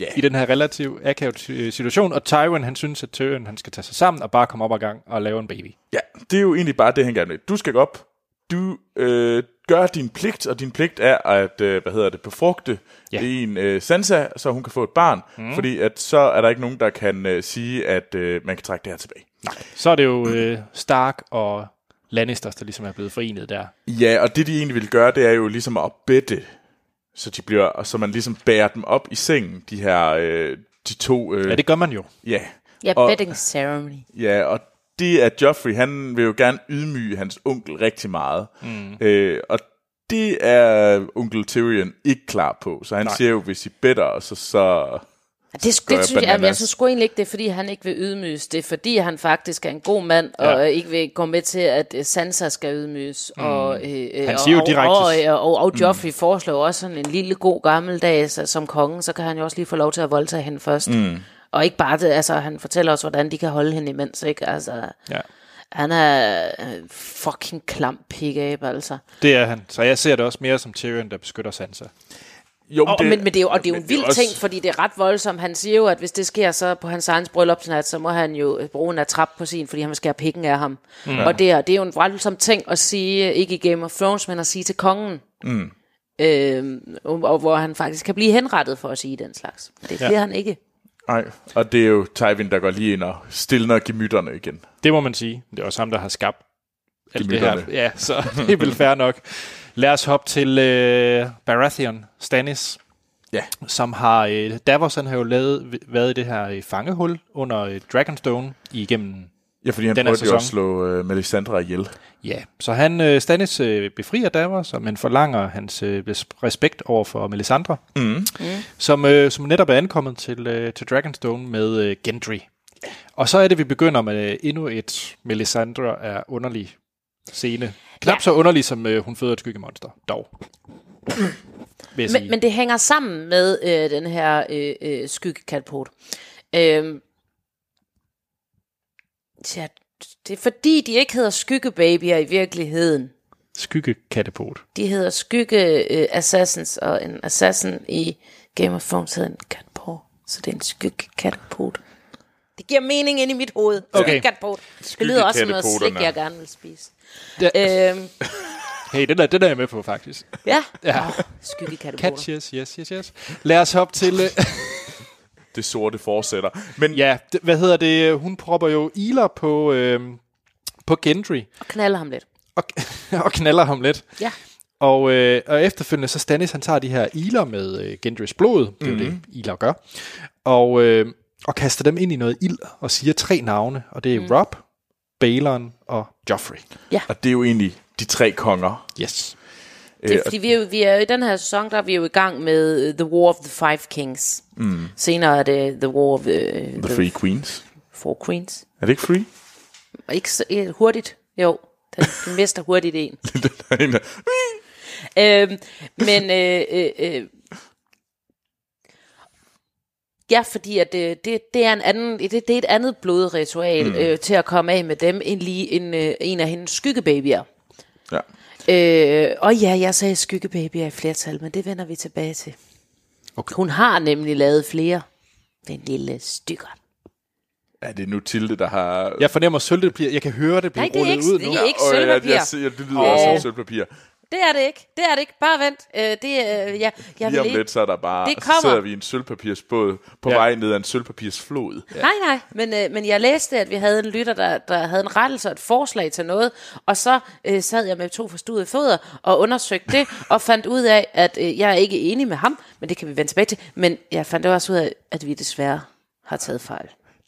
Speaker 2: Ja.
Speaker 1: i den her relativt akavet øh, situation. Og Tyrion han synes, at Tyrion han skal tage sig sammen og bare komme op ad gang og lave en baby.
Speaker 2: Ja, det er jo egentlig bare det, han gerne vil. Du skal gå op, du øh, gør din pligt, og din pligt er at, øh, hvad hedder det, befrugte
Speaker 1: Ja.
Speaker 2: ja. en øh, Sansa, så hun kan få et barn, mm. fordi at så er der ikke nogen, der kan øh, sige, at øh, man kan trække det her tilbage.
Speaker 1: Så er det jo øh, Stark og Lannisters, der ligesom er blevet forenet der.
Speaker 2: Ja, og det de egentlig vil gøre, det er jo ligesom at bette, så de bliver, og så man ligesom bærer dem op i sengen, de her, øh, de to, øh,
Speaker 1: Ja, det gør man jo.
Speaker 2: ja.
Speaker 3: Ja,
Speaker 2: Og-
Speaker 3: betting ceremony.
Speaker 2: Ja, og det er Joffrey, han vil jo gerne ydmyge hans onkel rigtig meget. Mm. Øh, og det er onkel Tyrion ikke klar på, så han Nej. siger jo, hvis I bedder os, så, så...
Speaker 3: Ja, Det, det,
Speaker 2: går jeg
Speaker 3: det synes jeg, jamen, jeg
Speaker 2: bananas.
Speaker 3: synes sgu egentlig ikke, det er fordi, han ikke vil ydmyges. Det er fordi, han faktisk er en god mand, og
Speaker 1: Ja.
Speaker 3: ja. ikke vil gå med til, at øh, Sansa skal ydmyges. Mm. Og, øh, øh,
Speaker 1: Han siger jo
Speaker 3: og,
Speaker 1: direkte-
Speaker 3: Og, og, og, og Joffrey mm. foreslår jo også sådan en lille god gammeldags øh, som konge, så kan han jo også lige få lov til at voldtage hende først. Mm. Og ikke bare det, altså han fortæller os, hvordan de kan holde hende imens, ikke? Altså,
Speaker 1: Ja.
Speaker 3: han er øh, fucking klam pigabe, altså.
Speaker 1: Det er han. Så jeg ser det også mere som Tyrion, der beskytter Sansa.
Speaker 2: Jo,
Speaker 3: Og, det, men, men det er jo, og det er jo
Speaker 2: men
Speaker 3: en vild
Speaker 2: også-
Speaker 3: ting, fordi det er ret voldsomt. Han siger jo, at hvis det sker så på hans egen bryllupsnat, så må han jo øh, bruge en attrap på sin, fordi han vil skære pikken af ham. Mm. Og det er, det er jo en voldsom ting at sige, ikke i Game of Thrones, men at sige til kongen. Mm. Øh, og, og hvor han faktisk kan blive henrettet for at sige den slags. Men Det bliver han ikke.
Speaker 2: Nej, og det er jo Tywin, der går lige ind og stiller gemytterne igen.
Speaker 1: Det må man sige. Det er også ham, der har skabt alt det her.
Speaker 2: Gemytterne.
Speaker 1: Ja, så det er vel fair nok. Lad os hoppe til øh, Baratheon, Stannis,
Speaker 2: Ja.
Speaker 1: som har... Øh, Davos, han har jo lavet, været i det her øh, fangehul under øh, Dragonstone igennem...
Speaker 2: Ja, fordi han
Speaker 1: Den her
Speaker 2: prøvede jo
Speaker 1: sæson.
Speaker 2: at slå øh, Melisandre ihjel.
Speaker 1: Ja, så han, øh, Stannis øh, befrier Davos, og man forlanger hans øh, res- respekt over for Melisandre, mm. Mm. Som, øh, som netop er ankommet til, øh, til Dragonstone med øh, Gendry. Og så er det, vi begynder med øh, endnu et Melisandre er underlig scene. Knap ja.
Speaker 3: Ja.
Speaker 1: så underlig, som øh, hun føder et skyggemonster, dog. Vil jeg
Speaker 3: Men,
Speaker 1: sige.
Speaker 3: men det hænger sammen med øh, den her øh, øh, skyggekatapult. Øh, ja, det er fordi, de ikke hedder skyggebabyer i virkeligheden.
Speaker 1: Skyggekatapult.
Speaker 3: De hedder Skygge øh, Assassins, og en assassin i Game of Thrones hedder en katapult. Så det er en skygge katapult. Det giver mening ind i mit hoved.
Speaker 1: Okay.
Speaker 3: Katapult. Det lyder også som noget slik,
Speaker 2: Skyggekatapulterne.
Speaker 3: jeg gerne vil spise.
Speaker 1: Ja.
Speaker 3: Øhm,
Speaker 1: Hey, den er, den er jeg med på, faktisk.
Speaker 3: ja.
Speaker 1: Ja.
Speaker 3: ja. Oh, skygge
Speaker 1: Catch, yes, yes, yes, yes. Lad os hoppe til... Øh,
Speaker 2: Det sorte fortsætter. Men
Speaker 1: Ja, det, hvad hedder det? Hun propper jo iler på, øh, på Gendry
Speaker 3: Og knalder ham lidt.
Speaker 1: og, og knaller ham lidt.
Speaker 3: Ja.
Speaker 1: Og, øh, og efterfølgende så Stannis, han tager de her iler med øh, Gendrys blod, det er mm-hmm. jo det, iler gør, og, øh, og kaster dem ind i noget ild og siger tre navne, og
Speaker 3: Mhm.
Speaker 1: det er mm. Rob, Balon og Joffrey.
Speaker 2: og det er jo egentlig de tre konger. øh,
Speaker 1: Yes.
Speaker 3: Det er, fordi vi er, jo, vi er jo i den her sæson, der er vi jo i gang med øh, The War of the Five Kings. Mm. Senere er det The War of uh, the,
Speaker 2: The Free Queens.
Speaker 3: Four Queens.
Speaker 2: Er det ikke free?
Speaker 3: Og ikke så, eh, hurtigt. Jo, den, den mister hurtigt en.
Speaker 2: Der er en, der-
Speaker 3: øhm, men øh, øh, øh, ja, fordi at øh, det, det, det er en anden det, det er et andet blodritual mm. øh, til at komme af med dem end lige en, øh, en af hendes skyggebabyer.
Speaker 2: ja.
Speaker 3: Øh, og ja, jeg sagde skyggebabyer i flertal, men det vender vi tilbage til.
Speaker 1: Okay.
Speaker 3: Hun har nemlig lavet flere. Den lille stykker.
Speaker 2: Er det nu Tilde, der har
Speaker 1: Jeg fornemmer, at søltet bliver, jeg kan høre det
Speaker 3: Nej,
Speaker 1: blive
Speaker 3: det er
Speaker 1: rullet
Speaker 3: ikke-
Speaker 1: ud
Speaker 3: det
Speaker 1: nu.
Speaker 3: er ikke
Speaker 2: Åh,
Speaker 3: sølvpapir.
Speaker 2: Ja, jeg, siger, det lyder også som
Speaker 3: Åh.
Speaker 2: sølvpapir.
Speaker 3: Det er det ikke. Det er det ikke. Bare vent. Øh, det, øh, ja, jeg
Speaker 2: Lige
Speaker 3: vil
Speaker 2: om
Speaker 3: ikke.
Speaker 2: lidt, så er der bare,
Speaker 3: Det
Speaker 2: så
Speaker 3: kommer.
Speaker 2: sidder vi i en sølvpapirsbåd på
Speaker 1: Ja.
Speaker 2: ja. vej ned ad en sølvpapirsflod.
Speaker 3: Ja. Nej, nej, men, øh, men jeg læste, at vi havde en lytter, der, der havde en rettelse og et forslag til noget, og så øh, sad jeg med to forstuede fødder og undersøgte det, og fandt ud af, at øh, jeg er ikke enig med ham, men det kan vi vende tilbage til, men jeg fandt også ud af, at vi desværre har taget fejl.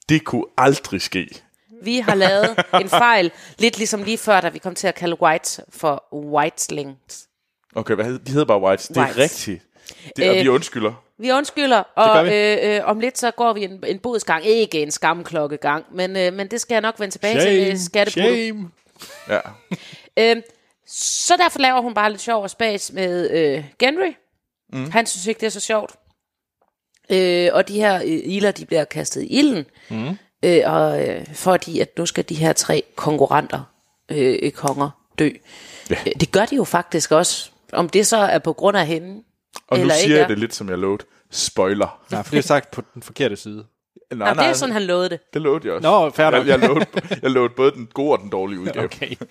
Speaker 2: Det kunne aldrig ske.
Speaker 3: Vi har lavet en fejl, lidt ligesom lige før, da vi kom til at kalde whites for whitelings.
Speaker 2: Okay, hvad hed, de hedder bare Whites. Det er
Speaker 3: Whites.
Speaker 2: rigtigt. Det, og
Speaker 3: Øh,
Speaker 2: vi undskylder.
Speaker 3: Vi undskylder,
Speaker 1: gør
Speaker 3: og
Speaker 1: vi.
Speaker 3: Øh, øh, om lidt så går vi en, en bodsgang, ikke en skamklokkegang, men, øh, men det skal jeg nok vende tilbage til øh,
Speaker 1: Shame,
Speaker 3: skattebruddet.
Speaker 1: shame.
Speaker 2: Ja.
Speaker 3: Øhm, så derfor laver hun bare lidt sjov og spas med øh, Genry. Mm. Han synes ikke, det er så sjovt. Øh, og de her øh, iler, de bliver kastet i ilden, mm. øh, og øh, fordi at nu skal de her tre konkurrenter, øh, øh, konger, dø. Ja. Øh, det gør de jo faktisk også, om det så er på grund af hende.
Speaker 2: Og nu
Speaker 3: eller
Speaker 2: siger
Speaker 3: ikke
Speaker 2: jeg
Speaker 3: er.
Speaker 2: det lidt, som jeg lovede. Spoiler.
Speaker 1: Nej, for det er sagt på den forkerte side.
Speaker 2: Nej,
Speaker 3: Nå, det er sådan, han lovede det.
Speaker 2: det lovede jeg også.
Speaker 1: Nå, fair nok.
Speaker 2: jeg, jeg, lovede, jeg lovede både den gode og den dårlige udgave. Okay.
Speaker 1: Okay.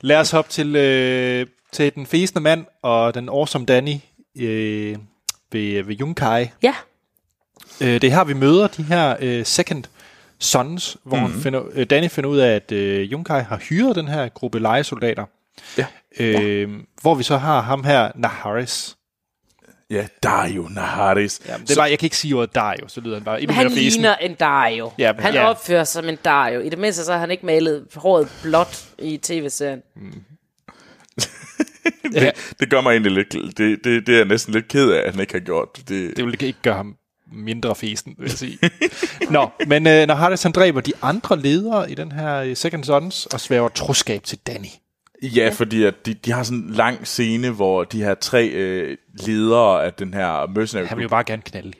Speaker 1: Lad os hoppe til, øh, til den fæsende mand og den awesome Danny øh, ved, ved Junkai.
Speaker 3: Ja,
Speaker 1: Øh, det er her, vi møder de her øh, second sons, hvor mm. finder, øh, Danny finder ud af, at øh, Junkai har hyret den her gruppe lejesoldater.
Speaker 2: Ja.
Speaker 1: Øh, ja. Hvor vi så har ham her, Naharis.
Speaker 2: Ja, Dario Naharis.
Speaker 1: Jamen, det var, jeg kan ikke sige ordet Dario, så lyder han bare endnu
Speaker 3: han
Speaker 1: mere fesen.
Speaker 3: ligner en Dario.
Speaker 1: Ja,
Speaker 3: han
Speaker 1: ja.
Speaker 3: opfører sig som en Dario. I det mindste så har han ikke malet håret blåt i tv-serien.
Speaker 1: Ja.
Speaker 2: Det, det gør mig egentlig lidt... gl- Det, det, det er jeg næsten lidt ked af, at han ikke har gjort. Det, det
Speaker 1: Det vil ikke gøre ham mindre fesen, vil jeg sige. Nå, men øh, Naharis han dræber de andre ledere i den her øh, second sons og sværger troskab til Danny.
Speaker 2: ja, fordi at de, de har sådan en lang scene, hvor de her tre øh, ledere af den her mercenary
Speaker 1: Han
Speaker 2: group
Speaker 1: vil jo bare gerne knalde.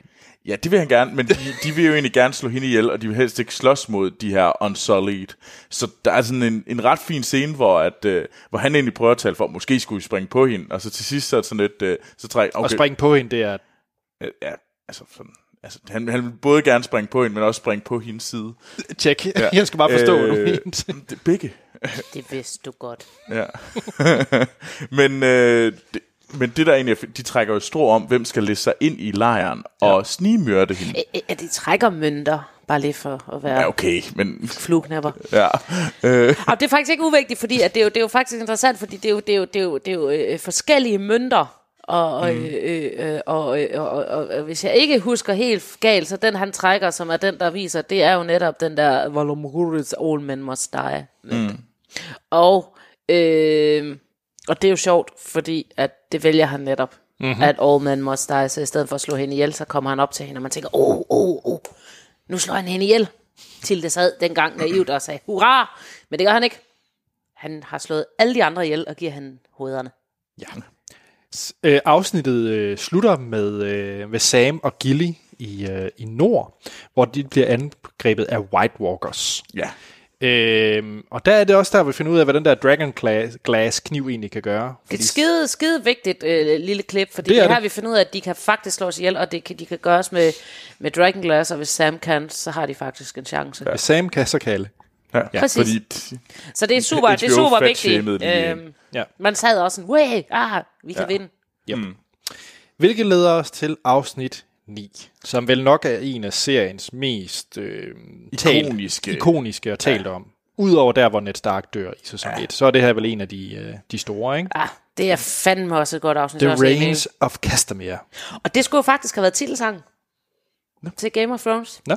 Speaker 2: Ja, det vil han gerne, men de, de vil jo egentlig gerne slå hende ihjel, og de vil helst ikke slås mod de her Unsullied. Så der er sådan en, en ret fin scene, hvor, at, øh, hvor han egentlig prøver at tale for, at måske skulle vi springe på hende, og så til sidst så er det sådan lidt, øh, så trækker
Speaker 1: Og
Speaker 2: okay,
Speaker 1: springe på hende, det er...
Speaker 2: øh, ja, altså, sådan, altså han, han vil både gerne springe på hende, men også springe på hendes side.
Speaker 1: Tjek. Ja. Jeg skal bare forstå, øh, hvad du
Speaker 2: Øh,
Speaker 1: mente.
Speaker 2: Det, begge.
Speaker 3: Det vidste du godt.
Speaker 2: Ja. men, øh, det, men det der egentlig, er fedt, de trækker jo strå om, hvem skal læse sig ind i lejren og ja. snigmyrde hende.
Speaker 3: Æ, æ, at de trækker mønter, bare lige for at være
Speaker 2: Ja,
Speaker 3: ja, okay.
Speaker 2: okay, men
Speaker 3: flueknapper.
Speaker 2: ja. Øh,
Speaker 3: Og det er faktisk ikke uvigtigt, fordi at det, er jo, det er jo faktisk interessant, fordi det er jo, det er jo, det er jo, det er jo øh, forskellige mønter. Og, og, øh, øh, og, øh, og, og, og, og hvis jeg ikke husker helt galt, så den han trækker, som er den, der viser, det er jo netop den der Volumurus All Men Must Die. Mm. Og, øh, og det er jo sjovt, fordi at det vælger han netop, mm-hmm. at All Men Must Die, så i stedet for at slå hende ihjel, så kommer han op til hende, og man tænker, åh, åh, åh, nu slår han hende ihjel. Til det sad dengang naivt og sagde, hurra! Men det gør han ikke. Han har slået alle de andre ihjel og giver han hovederne.
Speaker 1: Øh, afsnittet øh, slutter med, øh, med Sam og Gilly i, øh, i nord, hvor de bliver angrebet af White Walkers.
Speaker 2: ja.
Speaker 1: Øh, og der er det også der, vi finder ud af, hvad den der Dragon Glass, glass kniv egentlig kan gøre.
Speaker 3: Det er et skide, skide vigtigt øh, lille klip, fordi det
Speaker 1: Det er
Speaker 3: er her
Speaker 1: det.
Speaker 3: vi finder ud af, at de kan faktisk slås ihjel, og det kan, de kan gøres med, med Dragon Glass, og hvis Sam kan, så har de faktisk en chance. Ja.
Speaker 1: Hvis Sam kan, så kalde.
Speaker 2: Ja, ja
Speaker 3: Præcis.
Speaker 2: fordi t-
Speaker 3: Så det er super, det er
Speaker 2: HBO
Speaker 3: super
Speaker 2: fatshamede
Speaker 3: vigtigt.
Speaker 2: lige.
Speaker 3: Øhm,
Speaker 1: Ja.
Speaker 3: man sad også sådan, way, ah, vi kan ja. vinde.
Speaker 1: Yep. Mm. Hvilket leder os til afsnit 9, som vel nok er en af seriens mest øh,
Speaker 2: Ikoniske.
Speaker 1: Talt, ikoniske og talt ja. om. Udover der, hvor Ned Stark dør i sæson ja. 1, så er det her vel en af de, øh, de store, ikke?
Speaker 3: Ah, det er fandme også et godt afsnit.
Speaker 1: The
Speaker 3: også enig i.
Speaker 1: Reigns of Castamere.
Speaker 3: Og det skulle jo faktisk have været titelsangen no. til Game of Thrones.
Speaker 1: Nå?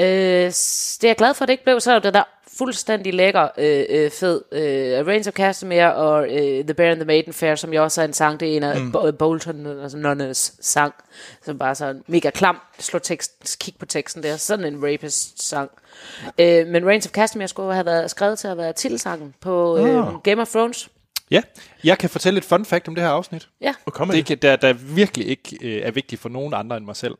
Speaker 3: Øh, s- det er jeg glad for, at det ikke blev. Så er der, der fuldstændig lækker, øh, øh, fed øh, Reigns of Castamere og øh, The Bear and the Maiden Fair, som jo også er en sang. Det er en af mm. Bolton altså Nonnes sang, som bare er sådan mega klam. Slå teksten, kig på teksten der. Sådan en rapist-sang. Øh, men Reigns of Castamere skulle have været skrevet til at være titelsangen på øh, Game of Thrones.
Speaker 1: Ja, jeg kan fortælle et fun fact om det her afsnit.
Speaker 3: Ja.
Speaker 2: Og kom med
Speaker 1: Det, kan- der, der virkelig ikke øh, er vigtigt for nogen andre end mig selv.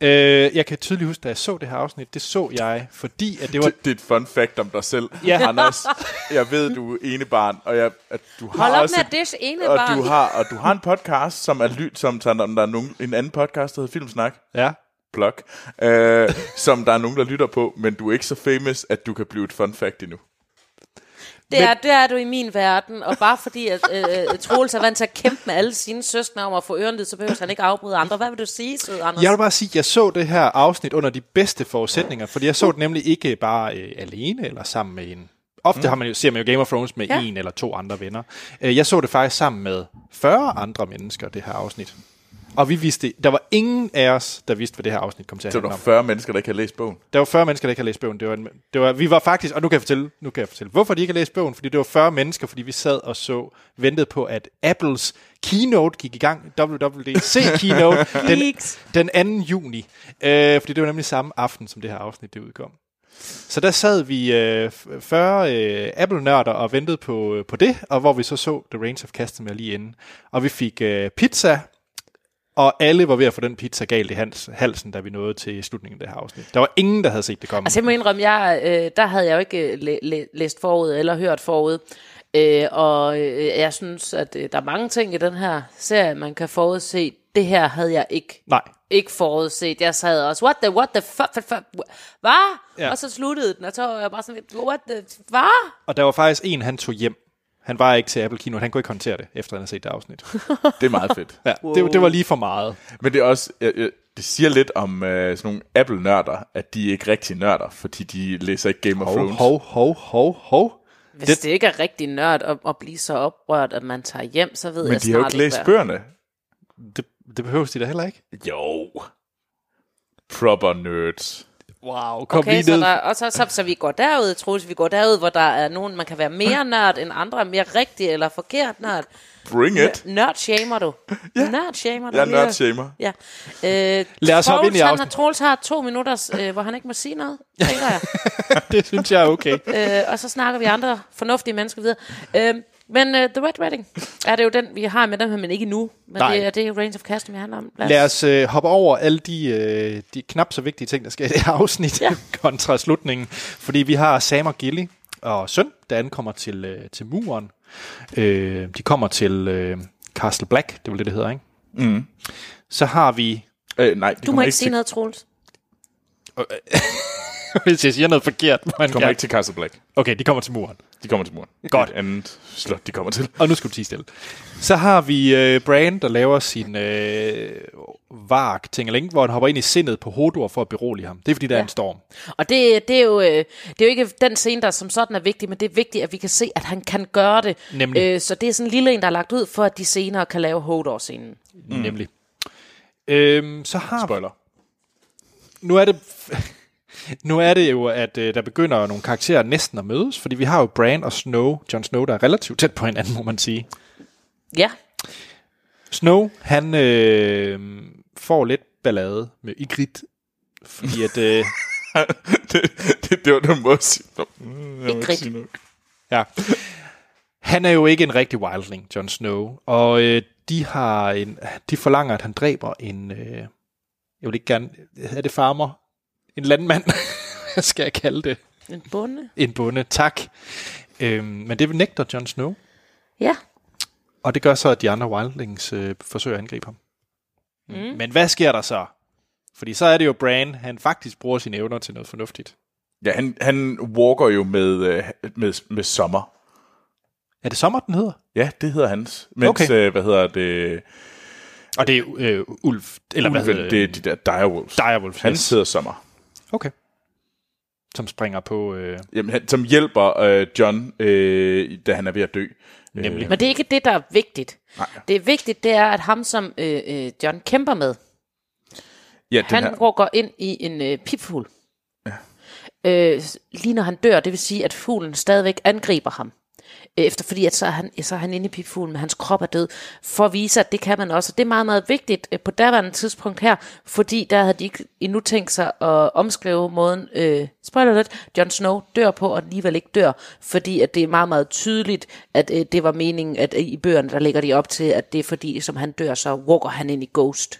Speaker 1: Øh, jeg kan tydeligt huske, da jeg så det her afsnit, det så jeg, fordi at det var...
Speaker 2: det, det er et fun fact om dig selv,
Speaker 1: Ja.
Speaker 2: ja. Anders. Jeg ved, du er ene barn, og jeg, at du har
Speaker 3: Hold op
Speaker 2: også
Speaker 3: med at dish ene
Speaker 2: og
Speaker 3: barn.
Speaker 2: du har og du har en podcast, som er lyt, som tager, om der er nogen, en anden podcast, der hedder Filmsnak,
Speaker 1: Ja,
Speaker 2: blog, øh, som der er nogen, der lytter på, men du er ikke så famous, at du kan blive et fun fact endnu.
Speaker 3: Det er, det er du i min verden, og bare fordi at, øh, øh, Troels er vant til at kæmpe med alle sine søskende om at få ørenlyd, så behøver han ikke afbryde andre. Hvad vil du sige, søde Anders?
Speaker 1: Jeg vil bare sige, at jeg så det her afsnit under de bedste forudsætninger, fordi jeg så det nemlig ikke bare øh, alene eller sammen med en. Ofte har man jo, ser man jo Game of Thrones med
Speaker 3: Ja.
Speaker 1: en eller to andre venner. Øh, Jeg så det faktisk sammen med 40 andre mennesker, det her afsnit. Og vi vidste, der var ingen af os, der vidste, hvad det her afsnit kom til at
Speaker 2: Så er
Speaker 1: handle
Speaker 2: der
Speaker 1: om.
Speaker 2: 40 mennesker, der ikke har læst bogen.
Speaker 1: Der var 40 mennesker, der ikke havde læst bogen. Det var, en, det var, vi var faktisk, og nu kan jeg fortælle, nu kan jeg fortælle hvorfor de ikke har læst bogen. Fordi det var 40 mennesker, fordi vi sad og så, ventede på, at Apples keynote gik i gang. WWDC keynote den,
Speaker 3: Geeks.
Speaker 1: den 2. juni. Øh, fordi det var nemlig samme aften, som det her afsnit det udkom. Så der sad vi øh, f- 40 øh, Apple-nørder og ventede på, øh, på det, og hvor vi så så The Range of Customer lige inden. Og vi fik øh, pizza, Og alle var ved at få den pizza galt i hans, halsen, da vi nåede til slutningen af det her afsnit. Der var ingen, der havde set det komme.
Speaker 3: Altså jeg må indrømme, jeg, øh, der havde jeg jo ikke øh, læ- læ- læst forud eller hørt forud. Øh, og øh, jeg synes, at øh, der er mange ting i den her serie, man kan forudse. Det her havde jeg ikke
Speaker 1: Nej.
Speaker 3: ikke forudset. Jeg sad også, what the, what the fuck, fuck, fuck hvad?
Speaker 1: Ja.
Speaker 3: Ja. Og så sluttede den, og så var jeg bare sådan lidt, what the, hvad?
Speaker 1: Og der var faktisk en, han tog hjem. Han var ikke til Apple Kino, han kunne ikke håndtere det, efter han havde set det afsnit.
Speaker 2: Det er meget fedt.
Speaker 1: Ja, wow. det, det var lige for meget.
Speaker 2: Men det er også, jeg, jeg, det siger lidt om øh, sådan nogle Apple-nørder, at de er ikke rigtig nørder, fordi de læser ikke Game of
Speaker 1: Hov,
Speaker 2: Thrones.
Speaker 1: hov, hov, hov, hov.
Speaker 3: Hvis
Speaker 1: Det-
Speaker 3: det, det ikke er rigtig nørd at, at blive så oprørt, at man tager hjem, så ved
Speaker 2: Men
Speaker 3: jeg
Speaker 2: de har jo
Speaker 3: snart
Speaker 2: ikke læst
Speaker 3: hvad-
Speaker 2: bøgerne.
Speaker 1: Det, det behøver de da heller ikke.
Speaker 2: Jo. Proper nerds.
Speaker 1: Wow, kom
Speaker 3: Okay,
Speaker 1: lige
Speaker 3: så,
Speaker 1: ned.
Speaker 3: der, og så, så, så vi går derud, Troels, vi går derud, hvor der er nogen, man kan være mere nørd end andre, mere rigtig eller forkert nørd.
Speaker 2: Bring it.
Speaker 3: Nørd shamer du. Ja. Nørd shamer du.
Speaker 2: Jeg er nerdshamer.
Speaker 3: Ja. Øh,
Speaker 1: Lad os hoppe ind i
Speaker 3: Troels, han
Speaker 1: afsnit.
Speaker 3: har- Troels har to minutter, øh, hvor han ikke må sige noget, tænker jeg.
Speaker 1: det synes jeg er okay.
Speaker 3: øh, og så snakker vi andre fornuftige mennesker videre. Øh, men uh, The Red Wedding er det jo den, vi har med dem her, men ikke nu. Men
Speaker 1: Nej.
Speaker 3: det, er, det er Range of Casting, vi handler om.
Speaker 1: Lad os øh, hoppe over alle de, øh, de knap så vigtige ting, der sker i det her afsnit, ja.
Speaker 3: Ja.
Speaker 1: kontra slutningen. Fordi vi har Sam og Gilly og søn, der ankommer til, øh, til muren. Øh, de kommer til øh, Castle Black, det er vel det, det hedder, ikke? Mm. Så har vi...
Speaker 2: Øh, nej, de
Speaker 3: Du må
Speaker 2: kommer
Speaker 3: ikke sige
Speaker 2: til,
Speaker 3: noget, Troels.
Speaker 1: Hvis jeg siger noget forkert, man
Speaker 2: De kommer
Speaker 1: kan.
Speaker 2: ikke til Castle Black.
Speaker 1: Okay, de kommer til muren.
Speaker 2: De kommer til muren.
Speaker 1: Godt.
Speaker 2: Et andet slot, de kommer til.
Speaker 1: Og nu skal du tige stille. Så har vi øh, Bran, der laver sin øh, vark tingeling, hvor han hopper ind i sindet på Hodor for at berolige ham. Det er fordi, der ja. er en storm.
Speaker 3: Og det, det, er jo, øh, det er jo ikke den scene, der som sådan er vigtig, men det er vigtigt, at vi kan se, at han kan gøre det.
Speaker 1: Nemlig.
Speaker 3: Øh, så det er sådan en lille en, der er lagt ud, for at de senere kan lave Hodor-scenen.
Speaker 1: Mm. Nemlig. Øhm, så har
Speaker 2: Spoiler.
Speaker 1: nu er det nu er det jo, at øh, der begynder nogle karakterer næsten at mødes, fordi vi har jo Bran og Snow, Jon Snow, der er relativt tæt på hinanden, må man sige.
Speaker 3: Ja,
Speaker 1: Snow, han øh, får lidt ballade med Ygritte, fordi at, øh,
Speaker 2: det, det, det var den måde at sige. Nå, mm, jeg må
Speaker 3: Ikke
Speaker 2: ikke sige noget.
Speaker 1: ja, han er jo ikke en rigtig wildling, Jon Snow, og øh, de har en, de forlanger, at han dræber en, øh, jeg vil ikke gerne, er det farmer? En landmand, hvad skal jeg kalde det?
Speaker 3: en bonde.
Speaker 1: En bonde, tak. Øhm, men det nægter Jon Snow.
Speaker 3: Ja,
Speaker 1: Og det gør så, at de andre Wildlings øh, forsøger at angribe ham. Mm. Men hvad sker der så? Fordi så er det jo Bran, han faktisk bruger sine evner til noget fornuftigt.
Speaker 2: Ja, han, han walker jo med, øh, med, med sommer.
Speaker 1: Er det sommer, den hedder?
Speaker 2: Ja, det hedder hans. Mens,
Speaker 1: Okay.
Speaker 2: øh, hvad hedder det?
Speaker 1: Og det er øh, Ulf, eller hvad
Speaker 2: Ulven,
Speaker 1: hedder
Speaker 2: det er de der direwolves.
Speaker 1: Direwolves.
Speaker 2: Hans
Speaker 1: Hans.
Speaker 2: hedder sommer.
Speaker 1: Okay. Som springer på... Øh,
Speaker 2: Jamen, han, som hjælper øh, John, øh, da han er ved at dø.
Speaker 1: Nemlig.
Speaker 2: Øh,
Speaker 3: men det er ikke det, der er vigtigt.
Speaker 2: Nej.
Speaker 3: Det vigtige, det er, at ham, som øh, øh, John kæmper med,
Speaker 2: ja, den
Speaker 3: Han
Speaker 2: her-
Speaker 3: rukker ind i en øh, pipfugl. Ja. Øh, s- lige når han dør, det vil sige, at fuglen stadigvæk angriber ham. Øh, Efter fordi, at så er, han, så er han inde i pipfuglen, men hans krop er død, for at vise, at det kan man også. Og det er meget, meget vigtigt øh, på daværende tidspunkt her, fordi der havde de ikke endnu tænkt sig at omskrive måden, øh, spoiler lidt, Jon Snow dør på, og alligevel ikke dør, fordi at det er meget, meget tydeligt, at øh, det var meningen, at øh, i bøgerne, der lægger de op til, at det er fordi, som han dør, så walker han ind i Ghost.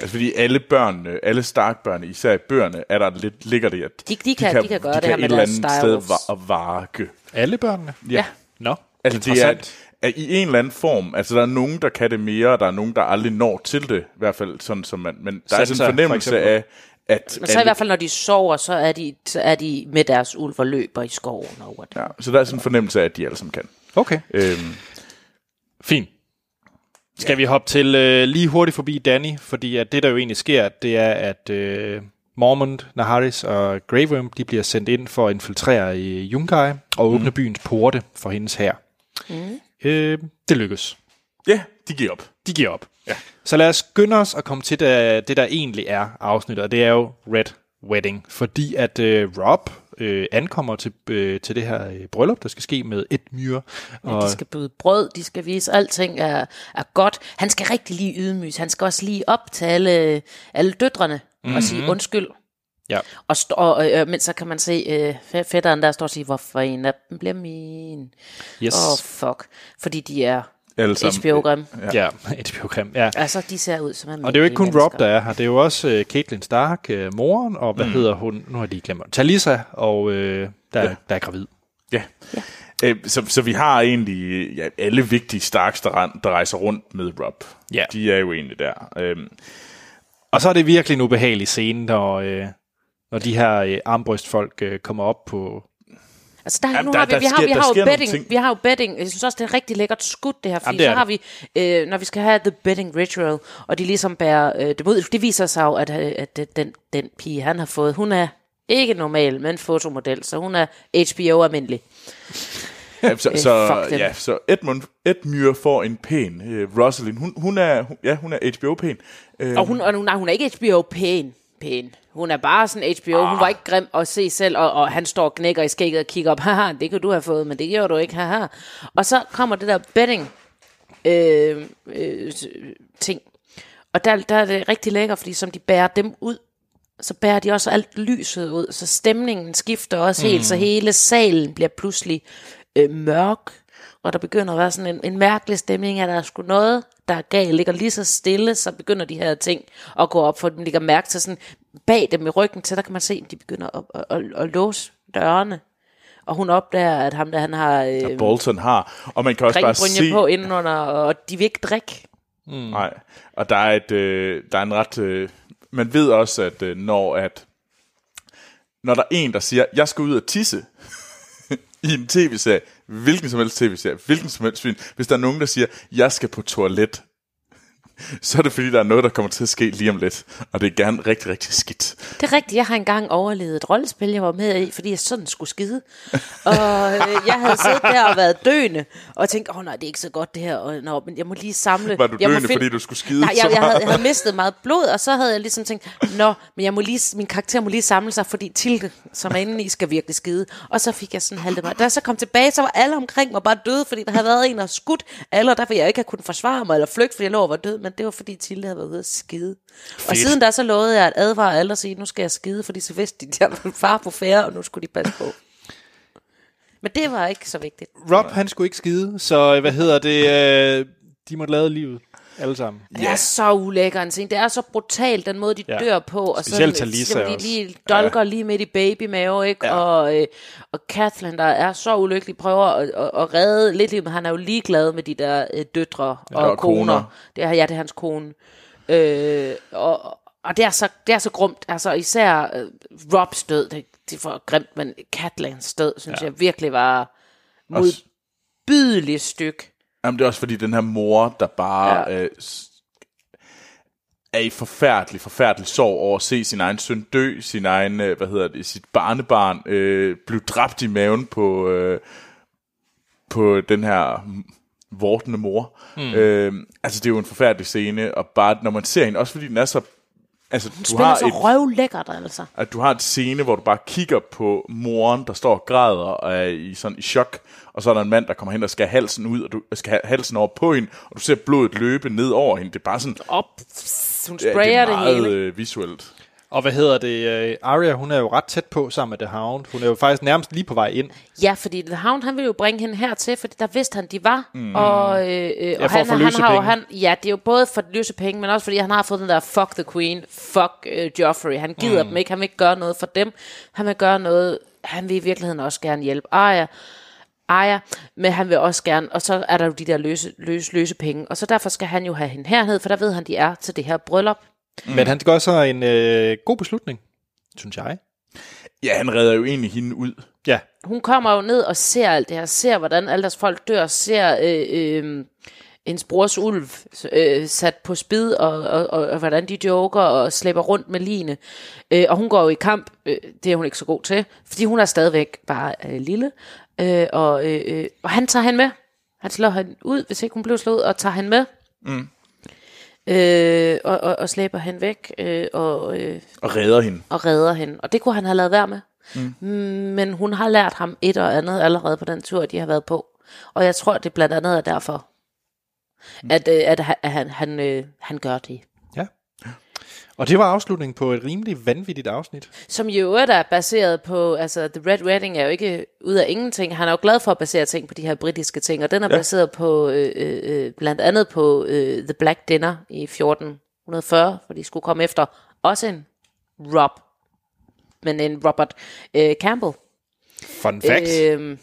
Speaker 2: Altså fordi alle børnene, alle Stark-børnene, især i bøgerne, er der lidt, ligger det, at
Speaker 3: De- de kan- de kan gøre det her
Speaker 2: et
Speaker 3: med
Speaker 2: eller
Speaker 3: deres
Speaker 2: andet
Speaker 3: Dire
Speaker 2: sted
Speaker 3: Wolves.
Speaker 2: var, varke.
Speaker 1: alle børnene?
Speaker 3: Ja.
Speaker 1: Nå,
Speaker 2: Altså det er,
Speaker 1: interessant.
Speaker 2: er i en eller anden form. Altså der er nogen, der kan det mere, og der er nogen, der aldrig når til det. I hvert fald sådan som man... Men der er
Speaker 1: Sansa,
Speaker 2: sådan
Speaker 1: for
Speaker 2: en fornemmelse
Speaker 1: eksempel.
Speaker 2: af, at...
Speaker 3: Men så i hvert fald, når de sover, så er de, så er de med deres ulv og løber i skoven over det.
Speaker 2: ja, så der er sådan en fornemmelse af, at de alle sammen kan.
Speaker 1: Okay,
Speaker 2: Øhm,
Speaker 1: fint. Skal vi hoppe til øh, lige hurtigt forbi Danny, fordi at det, der jo egentlig sker, det er, at øh, Mormont, Naharis og Grey Worm, de bliver sendt ind for at infiltrere i Yunkai og åbne mm. byens porte for hendes hær. Mm. Øh, det lykkes.
Speaker 2: ja, de giver op.
Speaker 1: De giver op. Ja. Så lad os skynde os at komme til det, det der egentlig er afsnittet, og det er jo Red Wedding, fordi at øh, Rob øh, ankommer til, øh, til det her øh, bryllup, der skal ske med Edmure. Og,
Speaker 3: De skal byde brød, de skal vise, at alting er, er godt. Han skal rigtig lige ydmyges. Han skal også lige op til alle, alle døtrene mm-hmm. og
Speaker 1: Mhm.
Speaker 3: sige undskyld.
Speaker 1: ja.
Speaker 3: Og, st- og øh, men så kan man se øh, fæ- fætteren der står og siger, hvorfor en af dem bliver min.
Speaker 1: Yes.
Speaker 3: Åh, oh, fuck. Fordi de er
Speaker 2: Alle sammen.
Speaker 3: HBO-grim.
Speaker 2: Ja.
Speaker 1: Ja, HBO-grim. Ja.
Speaker 3: Altså, de ser ud som
Speaker 1: Og det er jo ikke kun Rob, der er her. Det er jo også uh, Caitlin Stark, uh, moren, og hvad mm. hedder hun? Nu har jeg lige glemt. Talisa, og uh, der, ja. der er gravid.
Speaker 2: Ja. Øh, Så, så vi har egentlig ja, alle vigtige Starks, der, ren- der rejser rundt med Rob.
Speaker 1: Ja.
Speaker 2: De er jo egentlig der. Øhm,
Speaker 1: Og så er det virkelig en ubehagelig scene, når, øh, når de her øh, armbrystfolk øh, kommer op på...
Speaker 3: Altså, der,
Speaker 2: Jamen,
Speaker 3: nu
Speaker 2: der-
Speaker 3: har vi,
Speaker 2: der
Speaker 3: vi, har,
Speaker 2: sker-
Speaker 3: vi,
Speaker 2: der
Speaker 3: har
Speaker 2: sker
Speaker 3: jo
Speaker 2: nogle
Speaker 3: betting,
Speaker 2: ting.
Speaker 3: vi har jo betting. Jeg synes også, det er rigtig lækkert skudt, det her. Fordi
Speaker 1: det er
Speaker 3: så har vi, øh, når vi skal have The Betting Ritual, og de ligesom bærer øh, det ud. Det viser sig jo, at, øh, at det- den, den pige, han har fået, hun er ikke normal, men fotomodel, så hun er HBO-almindelig.
Speaker 2: ja, så,
Speaker 3: Øh,
Speaker 2: så,
Speaker 3: fuck dem.
Speaker 2: ja, så Edmund, Edmure får en pæn. Øh, Rosalind, hun, hun er, hun, ja, hun er HBO-pæn. Øh,
Speaker 3: Og hun, og hun, nej, hun er ikke HBO-pæn. Pæn. Hun er bare sådan HBO. Hun
Speaker 2: Ah.
Speaker 3: var ikke grim at se selv, og, og han står og knækker i skægget og kigger op. Haha, det kan du have fået, men det gjorde du ikke. Haha. Og så kommer det der betting øh, øh, ting. Og der, der er det rigtig lækkert, fordi som de bærer dem ud, så bærer de også alt lyset ud, så stemningen skifter også helt,
Speaker 2: Mm.
Speaker 3: så hele salen bliver pludselig øh, mørk, og der begynder at være sådan en, en mærkelig stemning, at der er sgu noget, der er galt, ligger lige så stille, så begynder de her ting at gå op, for dem ligger mærke til sådan, bag dem i ryggen til, der kan man se, at de begynder at, at, at, at låse dørene, og hun opdager, at ham der, han har øh,
Speaker 2: Bolton har. Og man kan også bare se...
Speaker 3: ringbrynje på indenunder, og de vil ikke drikke.
Speaker 2: Nej, og der er, et, øh, der er en ret... Øh, man ved også, at øh, når at når der er en, der siger, jeg skal ud og tisse i en tv-serie, hvilken som helst tv-serie, hvilken som helst film, hvis der er nogen, der siger, jeg skal på toilet, så er det fordi, der er noget, der kommer til at ske lige om lidt, og det er gerne rigtig, rigtig skidt.
Speaker 3: Det er rigtigt, jeg har engang overlevet et rollespil, jeg var med i, fordi jeg sådan skulle skide. Og øh, jeg havde siddet der og været døende, og tænkt, åh oh, nej, det er ikke så godt det her, og, nå, men jeg må lige samle...
Speaker 2: Var du
Speaker 3: jeg må
Speaker 2: døende, fordi du skulle skide
Speaker 3: Nej,
Speaker 2: så
Speaker 3: jeg, jeg, havde,
Speaker 2: meget?
Speaker 3: jeg havde mistet meget blod, og så havde jeg ligesom tænkt, nå, men jeg må lige, min karakter må lige samle sig, fordi Tilke, som er inde i, skal virkelig skide. Og så fik jeg sådan haltet mig. Da jeg så kom tilbage, så var alle omkring mig bare døde, fordi der havde været en, der havde skudt alle, og derfor jeg ikke havde kunnet forsvare mig eller flygte, fordi jeg lå og var død, men det var fordi Tilde havde været ude at skide. Fedt. Og siden da, så lovede jeg at advare alle og sige, nu skal jeg skide, fordi så vidste de, at jeg var far på færre, og nu skulle de passe på. Men det var ikke så vigtigt.
Speaker 1: Rob, han skulle ikke skide, så øh, hvad hedder det? Øh, de måtte lade livet, alle sammen.
Speaker 3: Det er så ulækker en scene. Det er så brutalt, den måde, de
Speaker 1: Ja.
Speaker 3: ja. dør på. Og
Speaker 1: Specielt
Speaker 3: sådan,
Speaker 1: Talisa
Speaker 3: jamen, de
Speaker 1: også.
Speaker 3: lige dolker ja. lige midt i babymave, ikke? Ja. Og, øh, og Kathleen, der er så ulykkelig, prøver at, at, at redde lidt liv, men han er jo ligeglad med de der øh, døtre og,
Speaker 2: og
Speaker 3: og koner.
Speaker 2: koner.
Speaker 3: Det er, ja, det er hans kone. Øh, og, og det er så, det er så grumt. Altså, især øh, Robs død, det, det er for grimt, men Kathleen's død, synes ja. jeg virkelig var
Speaker 2: Også-
Speaker 3: modbydeligt stykke.
Speaker 2: Jamen, det er også fordi, den her mor, der bare ja.
Speaker 3: Ja.
Speaker 2: øh, s- er i forfærdelig, forfærdelig sorg over at se sin egen søn dø, sin egen, øh, hvad hedder det, sit barnebarn øh, blive dræbt i maven på, øh, på den her m- vortende mor. Mm. Øh, altså, det er jo en forfærdelig scene, og bare, når man ser hende, også fordi den er så... Altså, du
Speaker 3: Spiller
Speaker 2: har
Speaker 3: så
Speaker 2: et,
Speaker 3: røvlækkert, altså.
Speaker 2: at du har et scene, hvor du bare kigger på moren, der står og græder og er i, sådan, i chok, og så er der en mand, der kommer hen og skal have halsen ud, og du skal have halsen over på hende, og du ser blodet løbe ned over hende. Det er bare sådan,
Speaker 3: op. Hun
Speaker 2: ja,
Speaker 3: sprayer
Speaker 2: det er
Speaker 3: det,
Speaker 2: meget
Speaker 3: hele.
Speaker 2: øh, visuelt.
Speaker 1: Og hvad hedder det? Øh, Arya, hun er jo ret tæt på sammen med The Hound. Hun er jo faktisk nærmest lige på vej ind.
Speaker 3: Ja, fordi The Hound, han ville jo bringe hende hertil, fordi der vidste han, de var. Mm. Og, øh, øh, og
Speaker 1: for at
Speaker 3: han,
Speaker 1: få
Speaker 3: han har jo,
Speaker 1: løsepenge.
Speaker 3: han, ja, det er jo både for at løse penge, men også fordi han har fået den der fuck the queen, fuck øh, Joffrey. Han gider mm. dem ikke, han vil ikke gøre noget for dem. Han vil gøre noget, han vil i virkeligheden også gerne hjælpe Arya. Arya, men han vil også gerne, og så er der jo de der løse, løse, løse penge, og så derfor skal han jo have hende herned, for der ved han, de er til det her bryllup.
Speaker 1: Mm. Men han gør så en øh, god beslutning, synes jeg.
Speaker 2: Ja, han redder jo egentlig hende ud.
Speaker 1: Ja,
Speaker 3: hun kommer jo ned og ser alt det her, ser hvordan alle deres folk dør, ser øh, øh, ens brors ulv øh, sat på spid, og, og, og, og hvordan de joker og slæber rundt med line. Øh, og hun går jo i kamp, øh, det er hun ikke så god til, fordi hun er stadigvæk bare øh, lille. Øh, og, øh, øh, og han tager hende med. Han slår hende ud, hvis ikke hun blev slået, og tager hende med. Mm. Øh, og, og, og slæber hende væk, øh, og... Øh,
Speaker 2: Og redder hende.
Speaker 3: og redder hende. Og det kunne han have lavet være med. Mm. Men hun har lært ham et og andet allerede på den tur, de har været på. Og jeg tror, det blandt andet er Mm. derfor, at, øh, at, han- at han, han, øh, han gør det.
Speaker 1: ja. Og det var afslutningen på et rimelig vanvittigt afsnit.
Speaker 3: Som i øvrigt er baseret på, altså The Red Wedding er jo ikke ud af ingenting. Han er jo glad for at basere ting på de her britiske ting, og den er ja. baseret på, øh, øh, øh, blandt andet på øh, The Black Dinner i 1440, hvor de skulle komme efter også en Rob, men en Robert øh, Campbell.
Speaker 1: Fun fact. Øh,
Speaker 3: Øhm,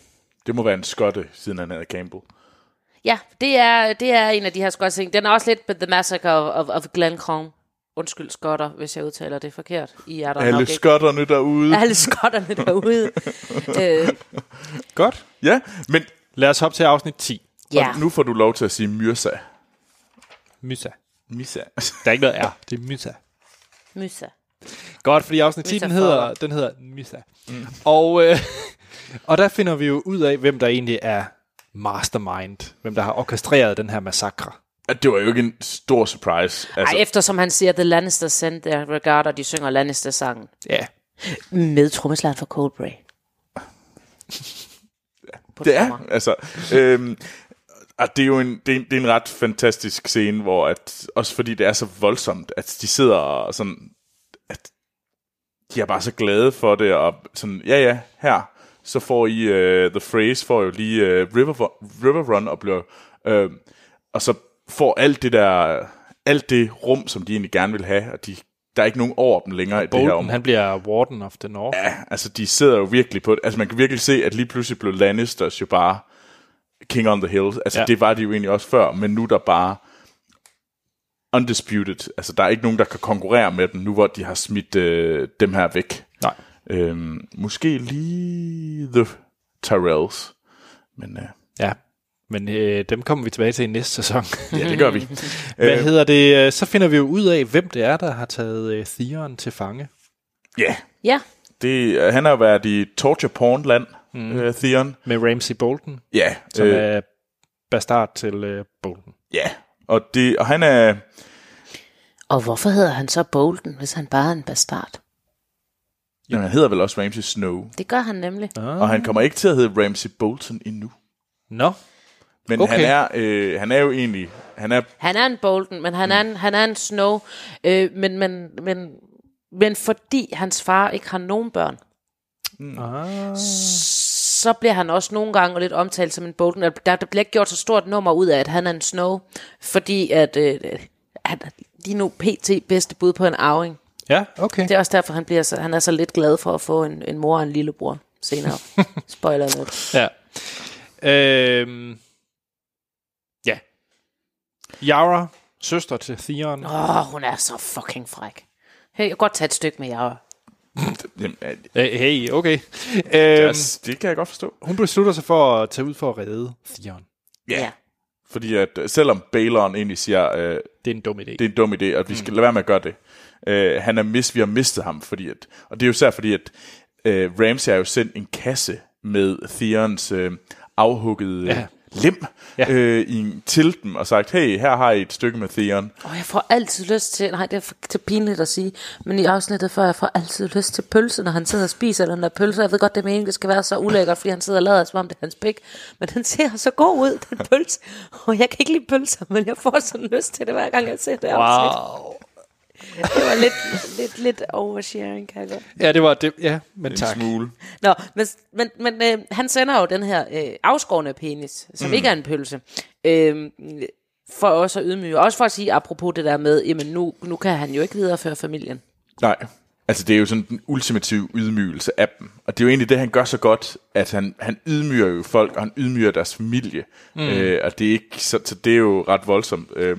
Speaker 2: Det må være en skotte, siden han hedder Campbell.
Speaker 3: ja, det er, det er en af de her skotske ting. Den er også lidt på The Massacre of, of, of Glencrone. Undskyld skotter, hvis jeg udtaler det forkert. I er der nok
Speaker 2: Alle
Speaker 3: ikke.
Speaker 2: skotterne derude.
Speaker 3: alle skotterne derude. øh,
Speaker 1: Godt.
Speaker 2: Ja, men
Speaker 1: Lad os hoppe til afsnit 10.
Speaker 3: ja.
Speaker 2: nu får du lov til at sige Myrsa.
Speaker 1: Mysa.
Speaker 2: Misa.
Speaker 1: Der er ikke noget R. Det er Mysa.
Speaker 3: Mysa.
Speaker 1: Godt, fordi afsnit 10, den
Speaker 3: Mysa
Speaker 1: hedder,
Speaker 3: Forward.
Speaker 1: den hedder Mysa. Mm. Og, øh, og der finder vi jo ud af, hvem der egentlig er mastermind. Hvem der har orkestreret den her massakre.
Speaker 2: det var jo ikke en stor surprise.
Speaker 3: Ej,
Speaker 2: Altså,
Speaker 3: eftersom han siger, The Lannisters sent their regard, og de synger Lannister-sangen.
Speaker 1: Ja,
Speaker 3: Med trommeslageren for Coldplay. På
Speaker 2: det er,
Speaker 3: trommer.
Speaker 2: altså, øhm, og det er jo en, det er en, det er en ret fantastisk scene, hvor at, også fordi det er så voldsomt, at de sidder og sådan, at de er bare så glade for det, og sådan, ja ja, her, så får I, uh, The Phrase får jo lige uh, River, River Run, og bliver, uh, og så får alt det der, alt det rum, som de egentlig gerne vil have, og de, der er ikke nogen over dem længere i det her
Speaker 1: Bolton,
Speaker 2: område.
Speaker 1: han bliver Warden of the North.
Speaker 2: Ja, altså de sidder jo virkelig på det. Altså man kan virkelig se, at lige pludselig blev Lannisters jo bare king on the hill. Altså
Speaker 1: Ja.
Speaker 2: ja. det var de jo egentlig også før, men nu er der bare undisputed. Altså der er ikke nogen, der kan konkurrere med dem, nu hvor de har smidt øh, dem her væk.
Speaker 1: Nej.
Speaker 2: Øhm, måske lige The Tyrells. Men øh,
Speaker 1: Ja, men øh, dem kommer vi tilbage til i næste sæson.
Speaker 2: ja, det gør vi.
Speaker 1: Hvad
Speaker 2: Øh,
Speaker 1: hedder det? øh, Så finder vi jo ud af, hvem det er, der har taget øh, Theon til fange.
Speaker 2: Ja,
Speaker 3: Ja,
Speaker 2: det, han har jo været i Torture Porn land, mm. øh, Theon.
Speaker 1: Med Ramsey Bolton,
Speaker 2: Ja,
Speaker 1: som øh. er bastard til øh, Bolton.
Speaker 2: ja. Og, det, og han er...
Speaker 3: og hvorfor hedder han så Bolton, hvis han bare er en bastard?
Speaker 2: Jamen, han hedder vel også Ramsay Snow.
Speaker 3: Det gør han nemlig.
Speaker 2: Og han kommer ikke til at hedde Ramsey Bolton endnu.
Speaker 1: Nå,
Speaker 2: Men
Speaker 1: Okay.
Speaker 2: okay. han, er, øh, han er jo egentlig... Han er,
Speaker 3: Han er en Bolton, men han, er, en, han er en Snow. Øh, men, men, men, men fordi hans far ikke har nogen børn,
Speaker 1: ah.
Speaker 3: så bliver han også nogle gange lidt omtalt som en Bolton. Der, der bliver ikke gjort så stort nummer ud af, at han er en Snow, fordi at, øh, han er lige nu pt. bedste bud på en arving.
Speaker 1: ja, okay.
Speaker 3: Det er også derfor, han, bliver så, han er så lidt glad for at få en, en mor og en lillebror senere. Spoiler alert.
Speaker 1: Ja. Øhm. Ja. Yara, søster til Theon.
Speaker 3: Åh, oh, hun er så fucking fræk. Hey, jeg kan godt tage et stykke med jer.
Speaker 2: jamen, øh,
Speaker 1: Øh, Hey, okay. Øhm,
Speaker 2: altså, det kan jeg godt forstå.
Speaker 1: hun beslutter sig for at tage ud for at redde Theon.
Speaker 2: Ja. Yeah. Fordi at, øh, selvom Balon egentlig siger, øh,
Speaker 1: Det er en dum idé.
Speaker 2: det er en dum idé, og vi skal lade være med at gøre det. Øh, han er mist, vi har mistet ham. Fordi at, og det er jo især fordi, at øh, Ramsey har jo sendt en kasse med Theons øh, afhuggede
Speaker 1: Ja.
Speaker 2: ja. lem
Speaker 1: Ja.
Speaker 2: ja. Øh, i, en- til dem og sagt, hey, her har I et stykke med Theon.
Speaker 3: Og jeg får altid lyst til, nej, det er for, til pinligt at sige, men i afsnittet før, jeg får altid lyst til pølse, når han sidder og spiser den der pølse. Jeg ved godt, det er meningen, det skal være så ulækkert, fordi han sidder og lader, som om det er hans pik. Men den ser så god ud, den pølse. Og jeg kan ikke lide pølser, men jeg får sådan lyst til det, hver gang jeg ser det afsnit. Det var lidt, lidt, lidt oversharing, kan jeg godt.
Speaker 1: Ja, det var det. Ja, men
Speaker 2: En
Speaker 1: tak.
Speaker 2: smule.
Speaker 3: Nå, men, men, men øh, han sender jo den her øh, afskårende penis, som mm. ikke er en pølse, øh, for også at ydmyge. Også for at sige, apropos det der med, jamen nu, nu kan han jo ikke videreføre familien.
Speaker 2: Nej. Altså, det er jo sådan den ultimative ydmygelse af dem. Og det er jo egentlig det, han gør så godt, at han, han ydmyger jo folk, og han ydmyger deres familie. Mm. Øh, og det er ikke, så, så det er jo ret voldsomt. Øh,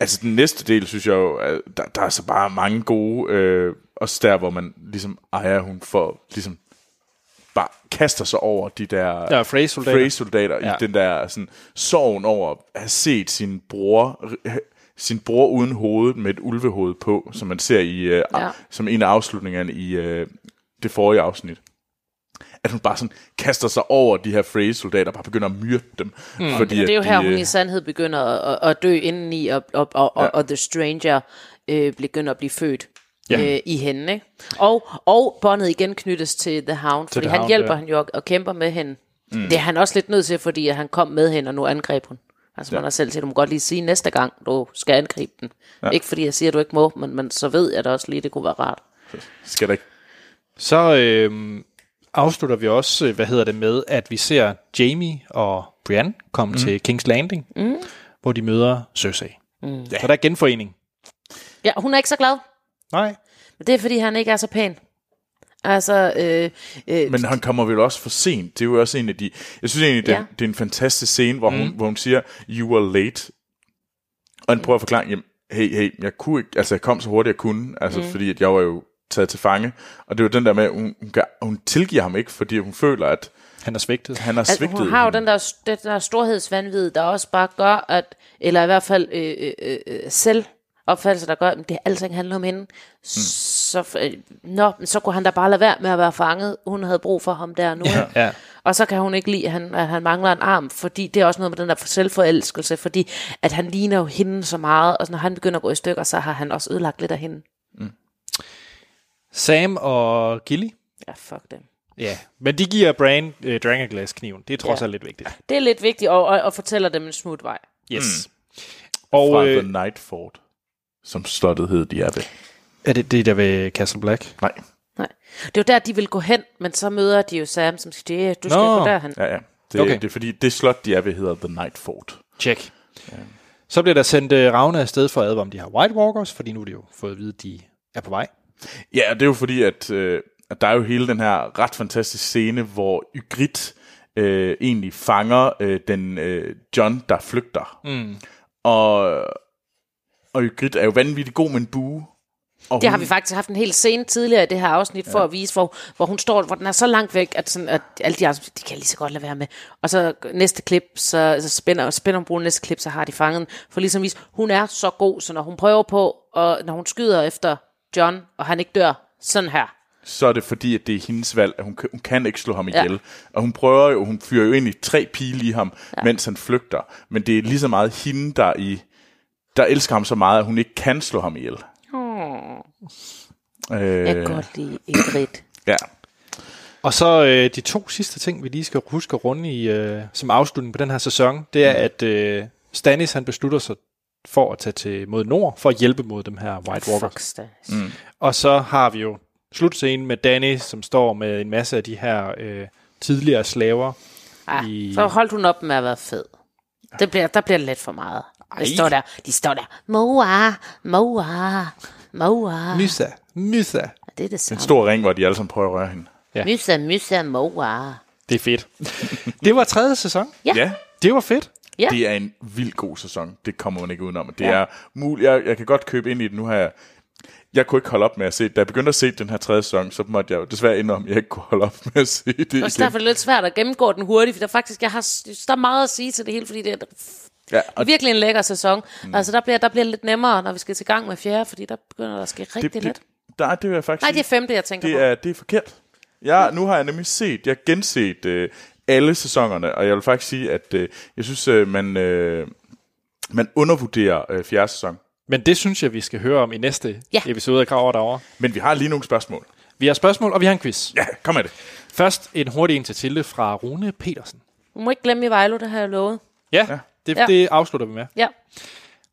Speaker 2: altså, den næste del, synes jeg jo, at der, der er så bare mange gode, øh, også der, hvor man ligesom ejer, hun for ligesom bare kaster sig over de der...
Speaker 1: Der er Frey-soldater.
Speaker 2: Frey-soldater
Speaker 1: Ja.
Speaker 2: i den der sådan, sorgen over at have set sin bror, sin bror uden hoved med et ulvehoved på, som man ser i øh,
Speaker 3: Ja.
Speaker 2: ja. som en af afslutningerne i øh, det forrige afsnit. At hun bare sådan kaster sig over de her Frey-soldater og bare begynder at myrde dem. Mm. Fordi,
Speaker 3: Det er jo
Speaker 2: at
Speaker 3: her,
Speaker 2: de,
Speaker 3: hun
Speaker 2: øh,
Speaker 3: i sandhed begynder at, at, at dø indeni, og, og, og, og, og The Stranger øh, begynder at blive født.
Speaker 1: Ja.
Speaker 3: Ja. Øh, i hende, ikke? Og, og båndet igen knyttes til The Hound, fordi
Speaker 1: The
Speaker 3: han
Speaker 1: Hound,
Speaker 3: hjælper
Speaker 1: ja.
Speaker 3: ja. hende jo og, og kæmper med hende. Mm. Det er han også lidt nødt til, fordi at han kom med hende, og nu angreb hun Altså, ja. man har selv set, du må godt lige sige næste gang, du skal angribe den. Ja. Ikke fordi jeg siger, at du ikke må, men, men så ved jeg da også lige, det kunne være rart.
Speaker 2: Skal der ikke?
Speaker 1: Så øh, afslutter vi også, øh, hvad hedder det med, at vi ser Jamie og Brienne komme mm. til King's Landing, mm. hvor de møder Cersei. Mm. Så der er genforening.
Speaker 3: Ja, hun er ikke så glad.
Speaker 1: Nej.
Speaker 3: Men det er, fordi han ikke er så pæn. Altså, øh, øh,
Speaker 2: Men han kommer vel også for sent. Det er jo også en af de... Jeg synes egentlig, det, ja.
Speaker 3: Ja.
Speaker 2: det er en fantastisk scene, hvor, mm. hun, hvor hun siger, you are late. Og han prøver at forklare, jamen, hey, hey, jeg kunne ikke... Altså, jeg kom så hurtigt, jeg kunne. Altså, mm. fordi at jeg var jo taget til fange. Og det var den der med, at hun, hun, gør- hun tilgiver ham ikke, fordi hun føler, at
Speaker 1: Han er svigtet.
Speaker 2: han har
Speaker 3: altså,
Speaker 2: svigtet
Speaker 3: hun har jo
Speaker 2: hende.
Speaker 3: den der, den der storhedsvandvid, der også bare gør, at, eller i hvert fald øh, øh, øh, øh, selv opfattelse, der gør, at det alt ikke handler om hende. Mm. Så, øh, nå, men så kunne han da bare lade være med at være fanget. Hun havde brug for ham der nu. Ja.
Speaker 1: Ja.
Speaker 3: Og så kan hun ikke lide, at han, at han mangler en arm, fordi det er også noget med den der selvforelskelse, fordi at han ligner jo hende så meget, og når han begynder at gå i stykker, så har han også ødelagt lidt af hende.
Speaker 1: Sam og Gilly.
Speaker 3: Ja, fuck det.
Speaker 1: Ja, men de giver Bran øh, Dragonglass-kniven. Det er trods
Speaker 3: Ja.
Speaker 1: alt lidt vigtigt.
Speaker 3: Det er lidt vigtigt, og, og, og fortæller dem en smut vej.
Speaker 1: Yes. Mm.
Speaker 2: fra
Speaker 1: Og
Speaker 2: øh, The
Speaker 1: øh,
Speaker 2: Night Fort, som slottet hed, de er ved.
Speaker 1: er det det, der ved Castle Black?
Speaker 2: Nej,
Speaker 3: Nej. Det er jo der, de vil gå hen, men så møder de jo Sam, som siger, "Ja, du skal
Speaker 1: Nå.
Speaker 3: gå derhen.
Speaker 2: ja, ja. Det,
Speaker 1: Okay.
Speaker 2: okay. det er fordi, det slot, de er ved, hedder The Night Fort.
Speaker 1: Check. Så bliver der sendt øh, Ravne afsted for at advare om de har White Walkers, fordi nu er det jo fået at vide, at de er på vej.
Speaker 2: Ja, og det er jo fordi, at, øh, at der er jo hele den her ret fantastiske scene, hvor Ygritte øh, egentlig fanger øh, den øh, John, der flygter. Mm. Og, og Ygritte er jo vanvittigt god med en bue. Og
Speaker 3: Det har
Speaker 2: hun-
Speaker 3: vi faktisk haft en hel scene tidligere i det her afsnit, for at vise, hvor, hvor hun står, hvor den er så langt væk, at, sådan, at alle de andre, de kan lige så godt lade være med. Og så næste klip, så, så spænder, spænder hun brugen næste klip, så har de fanget den, for ligesom at vise, hun er så god, så når hun prøver på, og når hun skyder efter John, og han ikke dør, sådan her.
Speaker 2: så er det fordi, at det er hendes valg, at hun, kan- hun kan ikke slå ham
Speaker 3: Ja.
Speaker 2: ihjel. Ja. Og hun prøver jo, hun fyrer jo egentlig tre pile i ham, ja. mens han flygter. Men det er lige så meget hende, der, i, der elsker ham så meget, at hun ikke kan slå ham ihjel. Hmm. Øh,
Speaker 3: Jeg kan godt lide Ingrid.
Speaker 2: ja.
Speaker 1: Og så øh, de to sidste ting, vi lige skal huske at runde i, øh, som afslutning på den her sæson, det er, at øh, Stannis han beslutter sig for at tage til mod nord, for at hjælpe mod dem her White Walkers.
Speaker 3: Fuck, Stas. Mm.
Speaker 1: Og så har vi jo slutscenen med Danny, som står med en masse af de her øh, tidligere slaver.
Speaker 3: Ah,
Speaker 1: I-
Speaker 3: så holdt hun op med at være fed. Det bliver, der bliver lidt for meget. De står der, de står der, moa, moa, moa.
Speaker 1: Mysa, Mysa.
Speaker 3: det er det samme.
Speaker 2: En stor ring, hvor de alle sammen prøver at røre hende.
Speaker 1: Ja.
Speaker 3: Mysa, mysa, moa.
Speaker 1: Det er fedt. det var tredje sæson.
Speaker 3: Ja.
Speaker 2: Ja.
Speaker 1: Det var fedt.
Speaker 3: Ja.
Speaker 2: Det er en vild god sæson. Det kommer man ikke udenom. Det ja. er muligt. Jeg, jeg kan godt købe ind i det nu her. Jeg kunne ikke holde op med at se det. Da jeg begyndte at se den her tredje sæson, så måtte jeg jo desværre indrømme, at jeg ikke kunne holde op med at se det
Speaker 3: Også derfor
Speaker 2: igen.
Speaker 3: er det lidt svært at gennemgå den hurtigt, for der faktisk, jeg har s- der er meget at sige til det hele, fordi det er
Speaker 2: Ja,
Speaker 3: og
Speaker 2: og
Speaker 3: virkelig en lækker sæson. Mm. Altså, der bliver, der bliver lidt nemmere, når vi skal til gang med fjerde, fordi der begynder der at ske rigtig
Speaker 2: det, det,
Speaker 3: lidt.
Speaker 2: der, det vil jeg faktisk
Speaker 3: Nej, det
Speaker 2: sige.
Speaker 3: er femte, jeg tænker
Speaker 2: det
Speaker 3: på.
Speaker 2: er, det er forkert. Ja, nu har jeg nemlig set, jeg har genset øh, alle sæsonerne, og jeg vil faktisk sige, at øh, jeg synes, øh, man, øh, man undervurderer øh, fjerde sæson.
Speaker 1: Men det synes jeg, vi skal høre om i næste
Speaker 3: Ja.
Speaker 1: episode af Krav derovre.
Speaker 2: Men vi har lige nogle spørgsmål.
Speaker 1: Vi har spørgsmål, og vi har en quiz.
Speaker 2: Ja, kom med det.
Speaker 1: Først en hurtig en til Tilde fra Rune Petersen.
Speaker 3: Du må ikke glemme i Vejlo, det har jeg lovet.
Speaker 1: Ja, ja. Det,
Speaker 3: Ja.
Speaker 1: det afslutter vi med.
Speaker 3: Ja.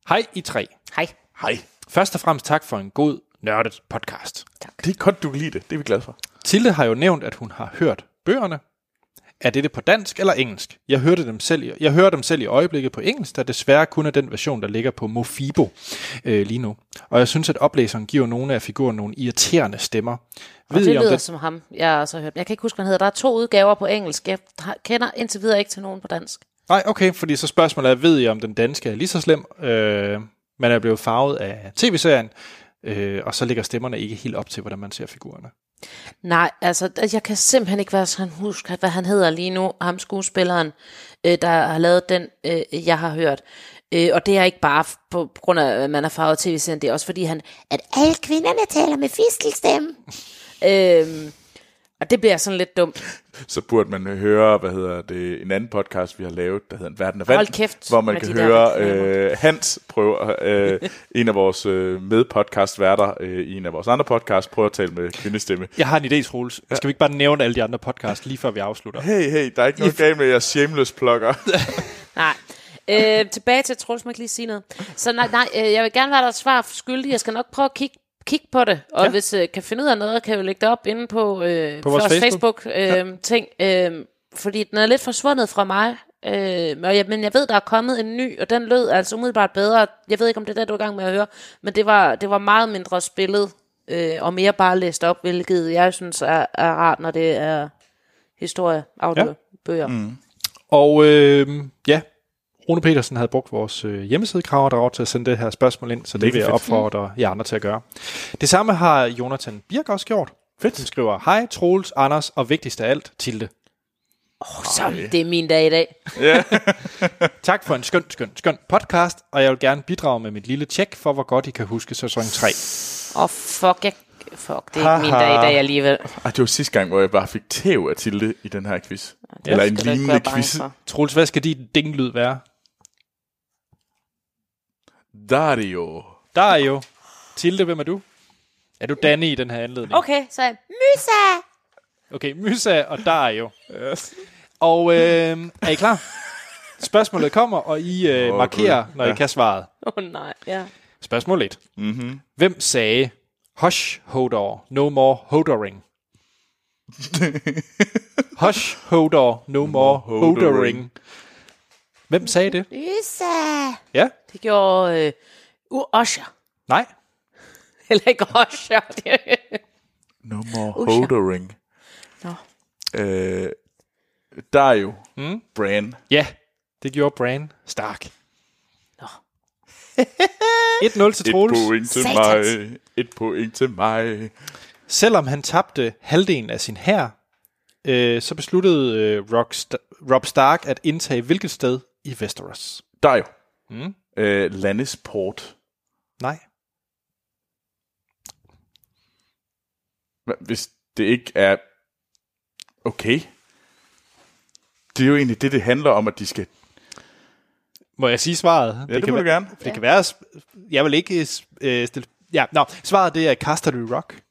Speaker 1: Hej I tre.
Speaker 3: Hej.
Speaker 2: Hej.
Speaker 1: Først og fremmest tak for en god, nørdet podcast.
Speaker 2: Det er godt, du kan lide det. Det er vi glade for.
Speaker 1: Tilde har jo nævnt, at hun har hørt bøgerne. Er dette på dansk eller engelsk? Jeg hørte dem selv i, jeg hører dem selv i øjeblikket på engelsk, der desværre kun er den version, der ligger på Mofibo øh, lige nu. Og jeg synes, at oplæseren giver nogle af figurerne nogle irriterende stemmer.
Speaker 3: Og det
Speaker 1: I, om
Speaker 3: lyder
Speaker 1: den-
Speaker 3: som ham, jeg også har hørt. Jeg kan ikke huske, hvad han hedder. Der er to udgaver på engelsk. Jeg har- kender indtil videre ikke til nogen på dansk.
Speaker 1: Nej, okay, fordi så spørgsmålet er, ved I, om den danske er lige så slem? Øh, man er blevet farvet af tv-serien, øh, og så ligger stemmerne ikke helt op til, hvordan man ser figurerne.
Speaker 3: Nej, altså, altså, jeg kan simpelthen ikke være sådan huske, hvad han hedder lige nu, ham skuespilleren, øh, der har lavet den, øh, jeg har hørt. Øh, og det er ikke bare f- på, på grund af, at man er farvet tv-serien, det er også fordi, han, at alle kvinderne taler med fiskelstemme. øh, og det bliver sådan lidt dumt.
Speaker 2: Så burde man høre, hvad hedder det, en anden podcast, vi har lavet, der hedder En Verden af Vand,
Speaker 3: Hold kæft
Speaker 2: hvor man
Speaker 3: med
Speaker 2: kan
Speaker 3: de der
Speaker 2: høre
Speaker 3: reklamer.
Speaker 2: øh, Hans prøve, øh, en af vores øh, medpodcastværter øh, i en af vores andre podcasts, prøve at tale med kvindestemme.
Speaker 1: Jeg har en idé, Troels. Skal vi ikke bare nævne alle de andre podcasts, lige før vi afslutter?
Speaker 2: Hey, hey, der er ikke noget galt med jeres shameless plugger.
Speaker 3: Nej. øh, tilbage til Troels, må jeg ikke lige sige noget. Så nej, nej øh, jeg vil gerne være der svar skyldig. Jeg skal nok prøve at kigge kig på det, og
Speaker 1: Ja.
Speaker 3: ja. hvis jeg øh, kan finde ud af noget, kan jeg jo lægge det op inde på, øh,
Speaker 1: På vores
Speaker 3: Facebook-ting, øh, ting, øh, fordi den er lidt forsvundet fra mig, øh, og jeg, men jeg ved, der er kommet en ny, og den lød altså umiddelbart bedre. Jeg ved ikke, om det er den, du er i gang med at høre, men det var, det var meget mindre spillet, øh, og mere bare læst op, hvilket jeg synes er, er rart, når det er historie, audio, bøger. Mm.
Speaker 1: Og øh, ja, Rune Petersen havde brugt vores øh, hjemmeside Kraverdrag til at sende det her spørgsmål ind, så det Mm.
Speaker 2: Mega
Speaker 1: vil jeg
Speaker 2: fedt.
Speaker 1: opfordre jer andre til at gøre. Det samme har Jonathan Birk også gjort. Fedt. Han skriver, hej Troels, Anders og vigtigst af alt, Tilde.
Speaker 3: Oh, så det er min dag i dag.
Speaker 1: Tak for en skøn, skøn, skøn podcast, og jeg vil gerne bidrage med mit lille tjek for, hvor godt I kan huske sæson 3.
Speaker 3: Åh, oh, fuck, jeg, fuck, det er ikke min dag i dag alligevel.
Speaker 2: Ej, det var sidste gang, hvor jeg bare fik tæv af Tilde i den her quiz. Ja, Eller en
Speaker 3: skal du ikke altså.
Speaker 2: lignende
Speaker 3: være bange
Speaker 2: quiz.
Speaker 3: for.
Speaker 1: Troels, hvad skal din dinglyd være?
Speaker 2: Der er det jo.
Speaker 1: Der er jo. Tilde, hvem er du? Er du Danny i den her anledning?
Speaker 3: Okay, så Mysa!
Speaker 1: Okay, Mysa og Dario. Yes. Og øh, er I klar? Spørgsmålet kommer, og I øh,
Speaker 2: Åh,
Speaker 1: markerer,
Speaker 2: Gud.
Speaker 1: når ja. I
Speaker 2: Ja.
Speaker 1: kan svaret.
Speaker 3: Åh oh, nej, ja.
Speaker 1: Spørgsmål 1. Mm-hmm. Hvem sagde, hush, Hodor, no more hodering? hush, Hodor, no more hodering.
Speaker 2: hodering.
Speaker 1: Hvem sagde det?
Speaker 3: Mysa!
Speaker 1: Ja?
Speaker 3: Det gjorde øh, Usher.
Speaker 1: Nej?
Speaker 3: Eller ikke Usher. det-
Speaker 2: No more
Speaker 3: Usha.
Speaker 2: holdering.
Speaker 3: Nå.
Speaker 2: Øh, der er jo. Mm. Bran.
Speaker 1: Ja, det gjorde Bran Stark.
Speaker 3: Nå.
Speaker 1: 1-0 til
Speaker 2: Et
Speaker 1: Troels.
Speaker 2: point til
Speaker 3: Satans.
Speaker 2: mig. Et point til mig.
Speaker 1: Selvom han tabte halvdelen af sin hær, øh, så besluttede øh, Rock St- Rob Stark at indtage hvilket sted i Westeros?
Speaker 2: Der er jo. Mm. Øh, Landesport.
Speaker 1: Nej.
Speaker 2: Hva- Hvis det ikke er okay. Det er jo egentlig det, det handler om, at de skal...
Speaker 1: Må jeg sige svaret?
Speaker 2: Ja, det, det må
Speaker 1: kan
Speaker 2: du
Speaker 1: være,
Speaker 2: gerne.
Speaker 1: Det kan være... sp- Jeg vil ikke øh, stille... Ja, nå. Svaret det er Casterly Rock.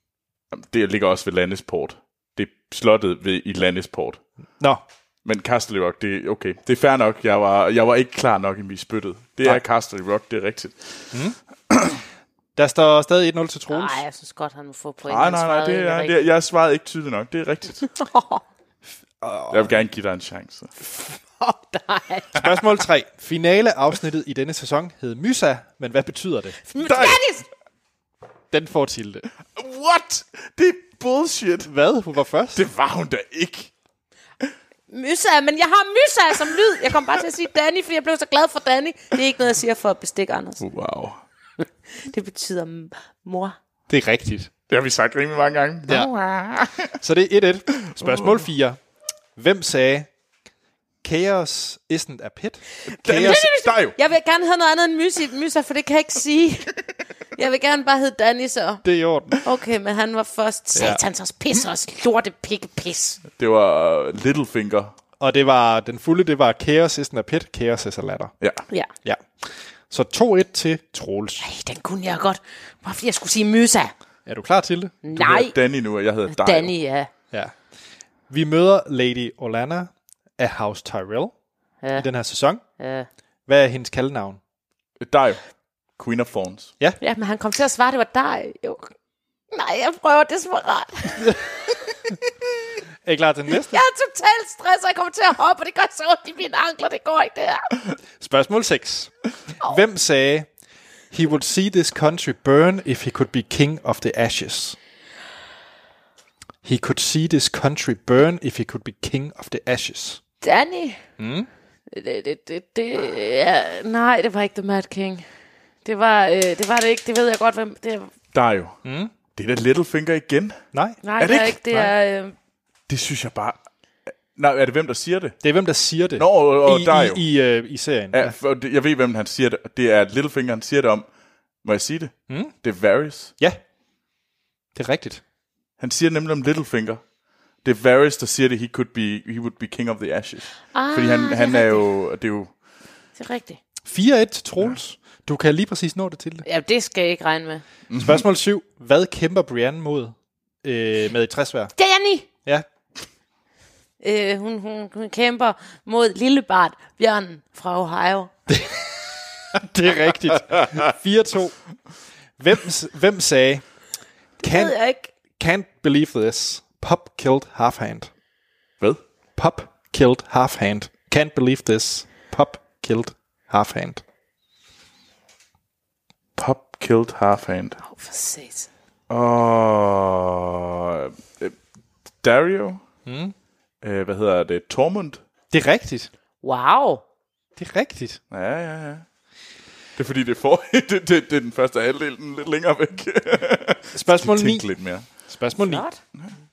Speaker 2: Jamen, Det ligger også ved Landesport. Det er slottet ved, i Landesport.
Speaker 1: Nå,
Speaker 2: Men Castle Rock, det er okay. Det er fair nok. Jeg var, jeg var ikke klar nok i min spyttet. Det
Speaker 1: Nej.
Speaker 2: er Castle Rock, det er rigtigt.
Speaker 1: der står stadig 1-0 til Troels.
Speaker 3: Nej, jeg synes godt, han må få point.
Speaker 2: Nej,
Speaker 3: Han
Speaker 2: nej, nej.
Speaker 3: svarede
Speaker 2: Det
Speaker 3: egentlig
Speaker 2: er,
Speaker 3: rigtigt.
Speaker 2: det er, jeg svarede ikke tydeligt nok. Det er rigtigt. jeg vil gerne give dig en chance.
Speaker 1: Spørgsmål 3. Finale afsnittet i denne sæson hed Mysa, men hvad betyder det?
Speaker 3: Dennis!
Speaker 1: Den får til det.
Speaker 2: What? Det er bullshit.
Speaker 1: Hvad? Hun var først?
Speaker 2: Det var hun da ikke.
Speaker 3: Mysa, men jeg har Mysa som lyd. Jeg kom bare til at sige Danny, fordi jeg blev så glad for Danny. Det er ikke noget, jeg siger for at bestikke Anders.
Speaker 2: Wow.
Speaker 3: Det betyder m- mor.
Speaker 1: det er rigtigt.
Speaker 2: Det har vi sagt rimelig mange gange.
Speaker 1: Ja. Så det er 1-1. Spørgsmål 4. Hvem sagde, Chaos isn't a pit? Chaos,
Speaker 2: Der er jo.
Speaker 3: Jeg vil gerne have noget andet end Mysa, Mysa for det kan jeg ikke sige. Jeg vil gerne bare hedde Danny så.
Speaker 1: det er i orden.
Speaker 3: Okay, men han var først. Satans også pis også. Lorte pikke pis.
Speaker 2: Det var øh, Littlefinger.
Speaker 1: Og det var, den fulde, det var Chaos isn't a pit, Chaos is a ladder.
Speaker 2: Ja.
Speaker 3: Ja.
Speaker 1: Ja. Så 2-1 til Troels.
Speaker 3: Ej, den kunne jeg godt. Bare fordi jeg skulle sige Mysa.
Speaker 1: Er du klar til det?
Speaker 3: Nej,
Speaker 2: hedder Danny nu, og jeg hedder Dio.
Speaker 3: Danny, ja.
Speaker 1: Ja. Vi møder Lady Olana af House Tyrell ja. i den her sæson.
Speaker 3: Ja.
Speaker 1: Hvad er hendes kaldnavn?
Speaker 2: Dio. Queen of Thorns.
Speaker 3: Ja, men han kom til at svare, det var dig. Jo. Nej, jeg prøver desperat.
Speaker 1: Er I klar til den næste?
Speaker 3: Jeg er totalt stresset, jeg kommer til at hoppe, og det gør så ondt i mine ankler, det går ikke det her.
Speaker 1: Spørgsmål 6. Hvem sagde, He would see this country burn if he could be king of the ashes. He could see this country burn if he could be king of the ashes.
Speaker 3: Danny. Mm? Det, det, det, det, ja, nej, det var ikke The Mad King. Det var, øh, det var det ikke, det ved jeg godt, hvem det er.
Speaker 2: Dio. Mm? Det er da Littlefinger igen.
Speaker 1: Nej,
Speaker 3: Nej,
Speaker 2: Er det
Speaker 3: det er
Speaker 2: ikke?
Speaker 3: ikke, det er... Øh,
Speaker 2: Det synes jeg bare... Nej, er det hvem, der siger det?
Speaker 1: det er hvem, der siger det
Speaker 2: Nå, og, og
Speaker 1: i,
Speaker 2: der er jo.
Speaker 1: i, i, øh, i serien.
Speaker 2: Ja, for det- jeg ved, hvem han siger det. Det er Littlefinger, han siger det om. Må jeg sige det? Mm? Det er Varys.
Speaker 1: ja, det er rigtigt.
Speaker 2: Han siger nemlig om Littlefinger. Det er Varys, der siger det, he, could be, he would be king of the ashes.
Speaker 3: ah,
Speaker 2: Fordi han,
Speaker 3: det er
Speaker 2: han er
Speaker 3: rigtigt.
Speaker 2: jo... Det er jo
Speaker 3: Det er rigtigt.
Speaker 1: 4-1 til Troels. Du kan lige præcis nå det til det.
Speaker 3: Ja, det skal jeg ikke regne med.
Speaker 2: Mhm.
Speaker 1: Spørgsmål 7. Hvad kæmper Brienne mod øh, med et træsvær?
Speaker 3: Danny!
Speaker 1: Ja,
Speaker 3: Øh, hun, hun, hun kæmper mod lillebart bjørnen fra Ohio.
Speaker 1: Det er rigtigt. 4-2. Hvem, hvem sagde,
Speaker 3: Det ved
Speaker 1: can't,
Speaker 3: jeg ikke.
Speaker 1: can't believe this, Pop killed half hand.
Speaker 2: Hvad?
Speaker 1: Pop killed half hand. Can't believe this, Pop killed half hand.
Speaker 2: Pop killed half-hand.
Speaker 3: Åh, for satan.
Speaker 2: Og... øh, Dario? Mm. Øh, hvad hedder det? Tormund?
Speaker 1: Det er rigtigt.
Speaker 3: Wow.
Speaker 1: Det er rigtigt.
Speaker 2: Ja, ja, ja. Det er fordi, det er, for, det, det, det er den første halvdel, den er lidt længere væk.
Speaker 1: Spørgsmål 9.
Speaker 2: Tænk lidt mere.
Speaker 1: Spørgsmål 9.
Speaker 3: Flot.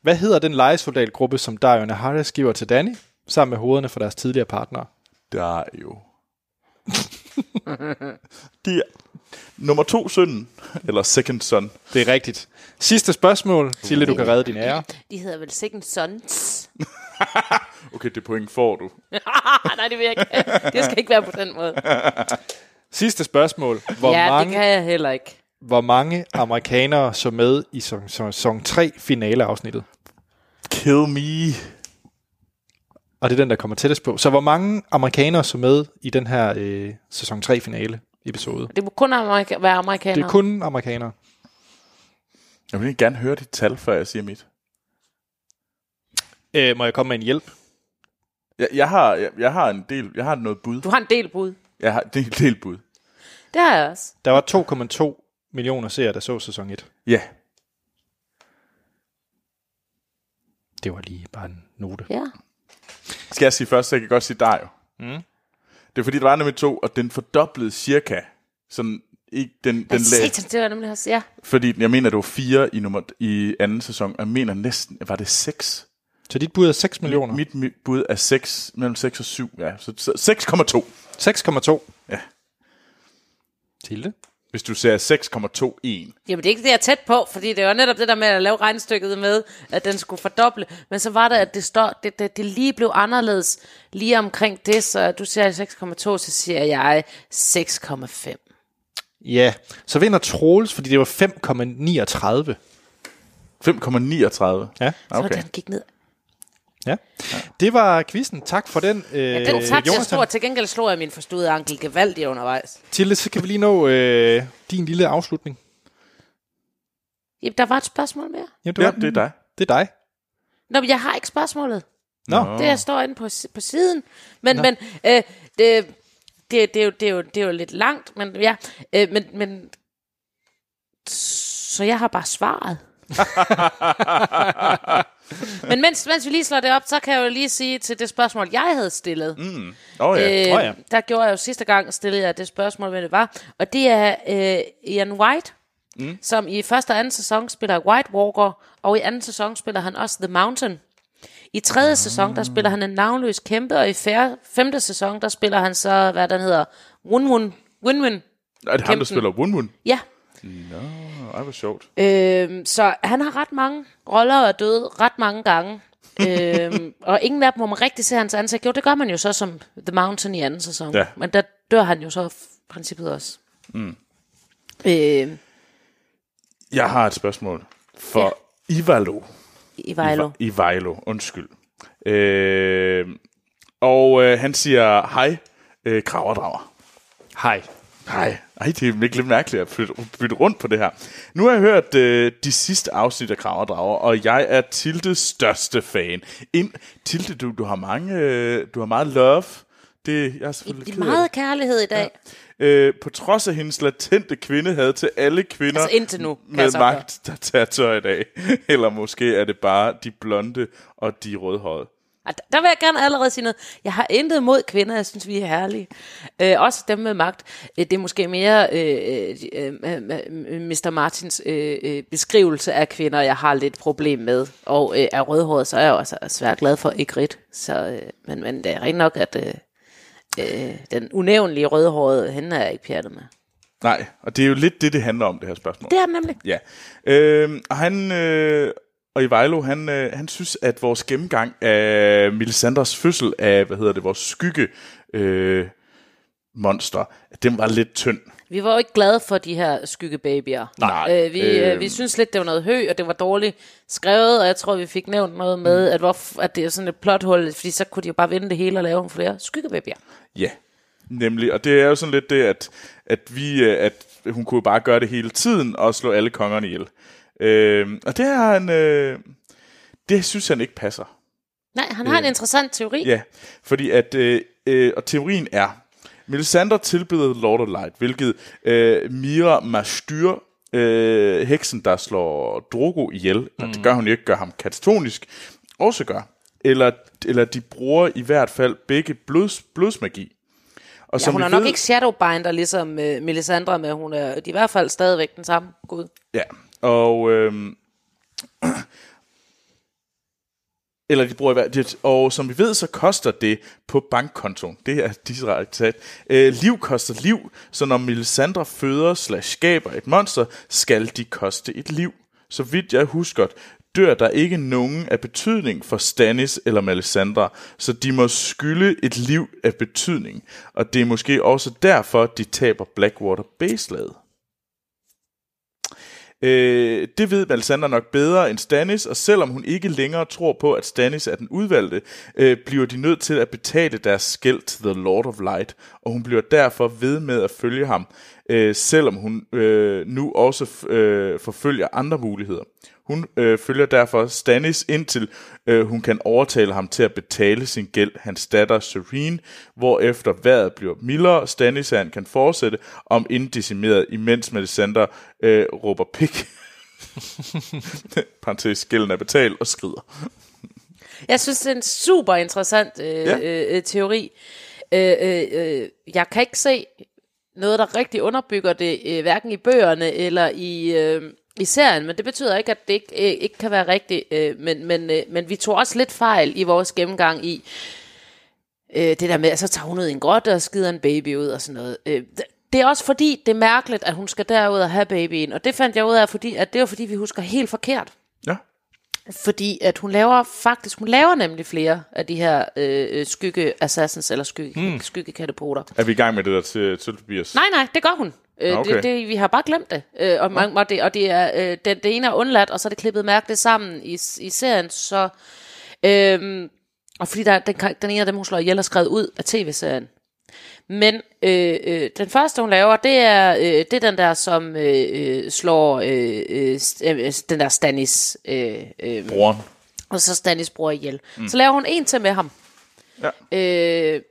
Speaker 1: Hvad hedder den lejesoldatgruppe, som Dario Naharis giver til Danny, sammen med hovederne fra deres tidligere partnere?
Speaker 2: Der er jo... De er nummer to søn, eller second son.
Speaker 1: Det er rigtigt. Sidste spørgsmål, Tille, du kan redde din ære.
Speaker 3: De hedder vel Second Sons?
Speaker 2: Okay, det point får du.
Speaker 3: Nej, det vil jeg ikke. Det skal ikke være på den måde.
Speaker 1: Sidste spørgsmål. Hvor,
Speaker 3: ja, det
Speaker 1: mange,
Speaker 3: kan jeg heller ikke.
Speaker 1: hvor mange amerikanere så med i sæson- sæson 3 finaleafsnittet?
Speaker 2: Kill me.
Speaker 1: Og det er den, der kommer tættest på. Så hvor mange amerikanere så med i den her øh, sæson 3 finale episode?
Speaker 3: Det må kun amerika- være amerikaner.
Speaker 1: Det er kun amerikanere.
Speaker 2: Jeg vil ikke gerne høre dit tal, før jeg siger mit.
Speaker 1: Øh, må jeg komme med en hjælp?
Speaker 2: Jeg, jeg, har, jeg, jeg har en del, jeg har noget bud.
Speaker 3: Du har en del bud.
Speaker 2: Jeg har en del, del bud.
Speaker 3: Det har jeg også.
Speaker 1: Der var 2,2 millioner seere, der så sæson 1.
Speaker 2: Ja,
Speaker 1: Det var lige bare en note.
Speaker 3: Ja.
Speaker 2: skal jeg sige først, så jeg kan godt sige dig jo. Mm. Det er fordi, der var nummer to, og den fordoblede cirka. Sådan, ikke den, den
Speaker 3: Den satan, det var nemlig også, ja.
Speaker 2: Fordi jeg mener, det var fire i, nummer, i anden sæson, og jeg mener næsten, var det seks?
Speaker 1: Så dit bud er 6 millioner.
Speaker 2: Mit, mit bud er 6, mellem 6 og 7, ja. Så så 6,2,
Speaker 1: 6,2.
Speaker 2: Ja.
Speaker 1: Tilde?
Speaker 2: hvis du ser 6,21.
Speaker 3: Jamen, det er ikke det, jeg er tæt på, fordi det var netop det der med at lave regnstykket med, at den skulle fordoble. Men så var det, at det, står, det, det, det lige blev anderledes lige omkring det, så du siger 6,2, så siger jeg 6,5.
Speaker 1: Ja. Så vinder Troels, fordi det var 5,39.
Speaker 2: 5,39.
Speaker 1: Ja.
Speaker 2: Okay.
Speaker 3: Så den gik ned.
Speaker 1: ja. Det var quizzen. Tak for den, øh, ja,
Speaker 3: Den tabte jeg
Speaker 1: Jonas.
Speaker 3: stor. Til gengæld slog jeg min forstudede ankel gevaldigt undervejs.
Speaker 1: Tilde, så kan vi lige nå øh, din lille afslutning.
Speaker 3: Jamen, der var et spørgsmål mere.
Speaker 1: Jamen, det,
Speaker 2: Ja,
Speaker 1: var
Speaker 2: det er dig.
Speaker 1: det er dig.
Speaker 3: Nå, men jeg har ikke spørgsmålet.
Speaker 1: Nå.
Speaker 3: Det jeg står inde på, si- på siden. Men, men øh, det, det, det, er jo, det, er jo, det er jo lidt langt, men ja. Øh, men, men, så jeg har bare svaret. men mens, mens vi lige slår det op, så kan jeg jo lige sige til det spørgsmål, jeg havde stillet. Mm,
Speaker 2: Åh oh, ja. Øh.
Speaker 3: øh,
Speaker 1: Åh ja.
Speaker 3: Der gjorde jeg jo sidste gang, stillede jeg det spørgsmål, hvad det var. Og det er øh, Ian White, mm. som i første og anden sæson spiller White Walker, og i anden sæson spiller han også The Mountain. I tredje sæson, der spiller han en navnløs kæmpe, og i fjerde, femte sæson, der spiller han så, hvad den hedder, Wun-Wun. Wun-Wun.
Speaker 2: Er det ham, der
Speaker 3: Kæmpen.
Speaker 2: spiller Wun Wun?
Speaker 3: Ja.
Speaker 2: Åh, Ej, hvor sjovt.
Speaker 3: Øhm, så han har ret mange roller og er død ret mange gange. øhm, og ingen af dem, hvor man rigtig ser hans ansigt. Jo, det gør man jo så som The Mountain i anden sæson.
Speaker 2: Ja.
Speaker 3: Men der dør han jo så i princippet også. Øhm, Mm. Øh,
Speaker 2: Jeg har et spørgsmål for Ivalo.
Speaker 3: I Vejlo.
Speaker 2: I Vejlo, undskyld. Øh, og øh, han siger, hej, øh, kraverdrager.
Speaker 1: Hej.
Speaker 2: Hej. Ej, det er virkelig lidt mærkeligt at bytte, bytte rundt på det her. Nu har jeg hørt øh, de sidste afsnit af Krav og Drager, og jeg er Tildes største fan. Ind, Tilde, du, du har mange, øh, du har meget love. Det, jeg er selvfølgelig
Speaker 3: Det er
Speaker 2: ked af
Speaker 3: meget kærlighed i dag. Ja.
Speaker 2: det. øh, På trods af hendes latente kvindehad til alle kvinder
Speaker 3: Altså indtil nu, kan jeg
Speaker 2: med
Speaker 3: så
Speaker 2: magt, der tager tøj i dag. Eller måske er det bare de blonde og de rødhårede.
Speaker 3: Der vil jeg gerne allerede sige noget. Jeg har intet mod kvinder, jeg synes, vi er herlige. Øh, også dem med magt. Øh, det er måske mere øh, øh, øh, øh, Mr. Martins øh, øh, beskrivelse af kvinder, jeg har lidt problem med. Og øh, af rødhåret, så er jeg også svært glad for Egrit. Så, øh, men, men det er rigtig nok, at øh, øh, den unævnlige rødhårede, hende er jeg ikke pjattet med.
Speaker 2: Nej, og det er jo lidt det, det handler om, det her spørgsmål.
Speaker 3: Det er den nemlig.
Speaker 2: Ja. Øhm, og han... Øh, og Ivejlo, han, øh, han synes, at vores gennemgang af Melisandres fødsel af, hvad hedder det, vores skygge, øh, monster, den var lidt tynd.
Speaker 3: Vi var jo ikke glade for de her skyggebabyer.
Speaker 2: Nej,
Speaker 3: Øh, vi, øh,
Speaker 2: øhm.
Speaker 3: vi synes lidt, det var noget hø, og det var dårligt skrevet, og jeg tror, vi fik nævnt noget
Speaker 2: Mm.
Speaker 3: med, at, hvor, at det er sådan et plothul, fordi så kunne de jo bare vinde det hele og lave flere skyggebabyer.
Speaker 2: Ja, nemlig. Og det er jo sådan lidt det, at, at, vi, øh, at hun kunne jo bare gøre det hele tiden og slå alle kongerne ihjel. Øh, og det har han... Øh, det synes han ikke passer.
Speaker 3: Nej, han har en interessant teori.
Speaker 2: Øh. Ja, fordi at, øh, øh, og teorien er, Melisandre tilbeder Lord of Light, hvilket øh, Mira Mastyr, øh, heksen, der slår Drogo ihjel, mm. det gør hun ikke, gør ham katatonisk, også gør. Eller, eller de bruger i hvert fald begge blods, blodsmagi. Og
Speaker 3: Ja, hun
Speaker 2: vi
Speaker 3: er nok ikke shadowbinder, ligesom uh, Melisandre, men hun er de er i hvert fald stadigvæk den samme gud.
Speaker 2: Ja, og... Øhm, eller de bruger i hver- det, og som vi ved, så koster det på bankkontoen. Det er direkte sat. Øh, liv koster liv, så når Melisandre føder slash skaber et monster, skal de koste et liv. Så vidt jeg husker, dør der ikke nogen af betydning for Stannis eller Melisandre, så de må skylde et liv af betydning. Og det er måske også derfor, de taber Blackwater Baselaget. Øh, det ved Melisandre nok bedre end Stannis, og selvom hun ikke længere tror på, at Stannis er den udvalgte, øh, bliver de nødt til at betale deres skæld til The Lord of Light, og hun bliver derfor ved med at følge ham, øh, selvom hun øh, nu også f- øh, forfølger andre muligheder. Hun øh, følger derfor Stannis indtil øh, hun kan overtale ham til at betale sin gæld, hans datter Serene, hvorefter vejret bliver mildere, Stannis han kan fortsætte om inddecimeret, imens Melisandre øh, råber pik. Parenthes, gælden er betalt og skrider.
Speaker 3: Jeg synes, det er en super interessant øh,
Speaker 2: Ja.
Speaker 3: ja. øh, øh, teori. Øh, øh, øh, jeg kan ikke se noget, der rigtig underbygger det, øh, hverken i bøgerne eller i, øh, i serien, men det betyder ikke, at det ikke, øh, ikke kan være rigtigt. Øh, men, men, øh, men vi tog også lidt fejl i vores gennemgang i øh, det der med, at så tager hun ud i en grotte og skider en baby ud og sådan noget. Øh, d- det er også fordi, det er mærkeligt, at hun skal derud og have babyen, og det fandt jeg ud af, fordi, at det var fordi, vi husker helt forkert
Speaker 2: Ja.
Speaker 3: fordi at hun laver faktisk, hun laver nemlig flere af de her øh, øh, skygge assassins eller skygge, mm. skyggekatapoter.
Speaker 2: Er vi i gang med det der til, til Tobias?
Speaker 3: Nej, nej, det gør hun. Øh,
Speaker 2: Okay.
Speaker 3: okay. det, det, vi har bare glemt det. Øh, og, man, og, det og det er, øh, det, det ene er undladt, og så er det klippet mærkeligt sammen i, i serien, så... Øhm, og fordi der, den, kan- den ene af dem, hun slår ihjel, er skrevet ud af tv-serien. Men øh, øh, den første, hun laver, det er, øh, det er den der, som øh, øh, slår øh, øh, st- øh, den der Stannis øh, øh,
Speaker 2: Broren.
Speaker 3: og så Stannis bror ihjel. Mm. Så laver hun en til med ham.
Speaker 2: Ja.
Speaker 3: Øh,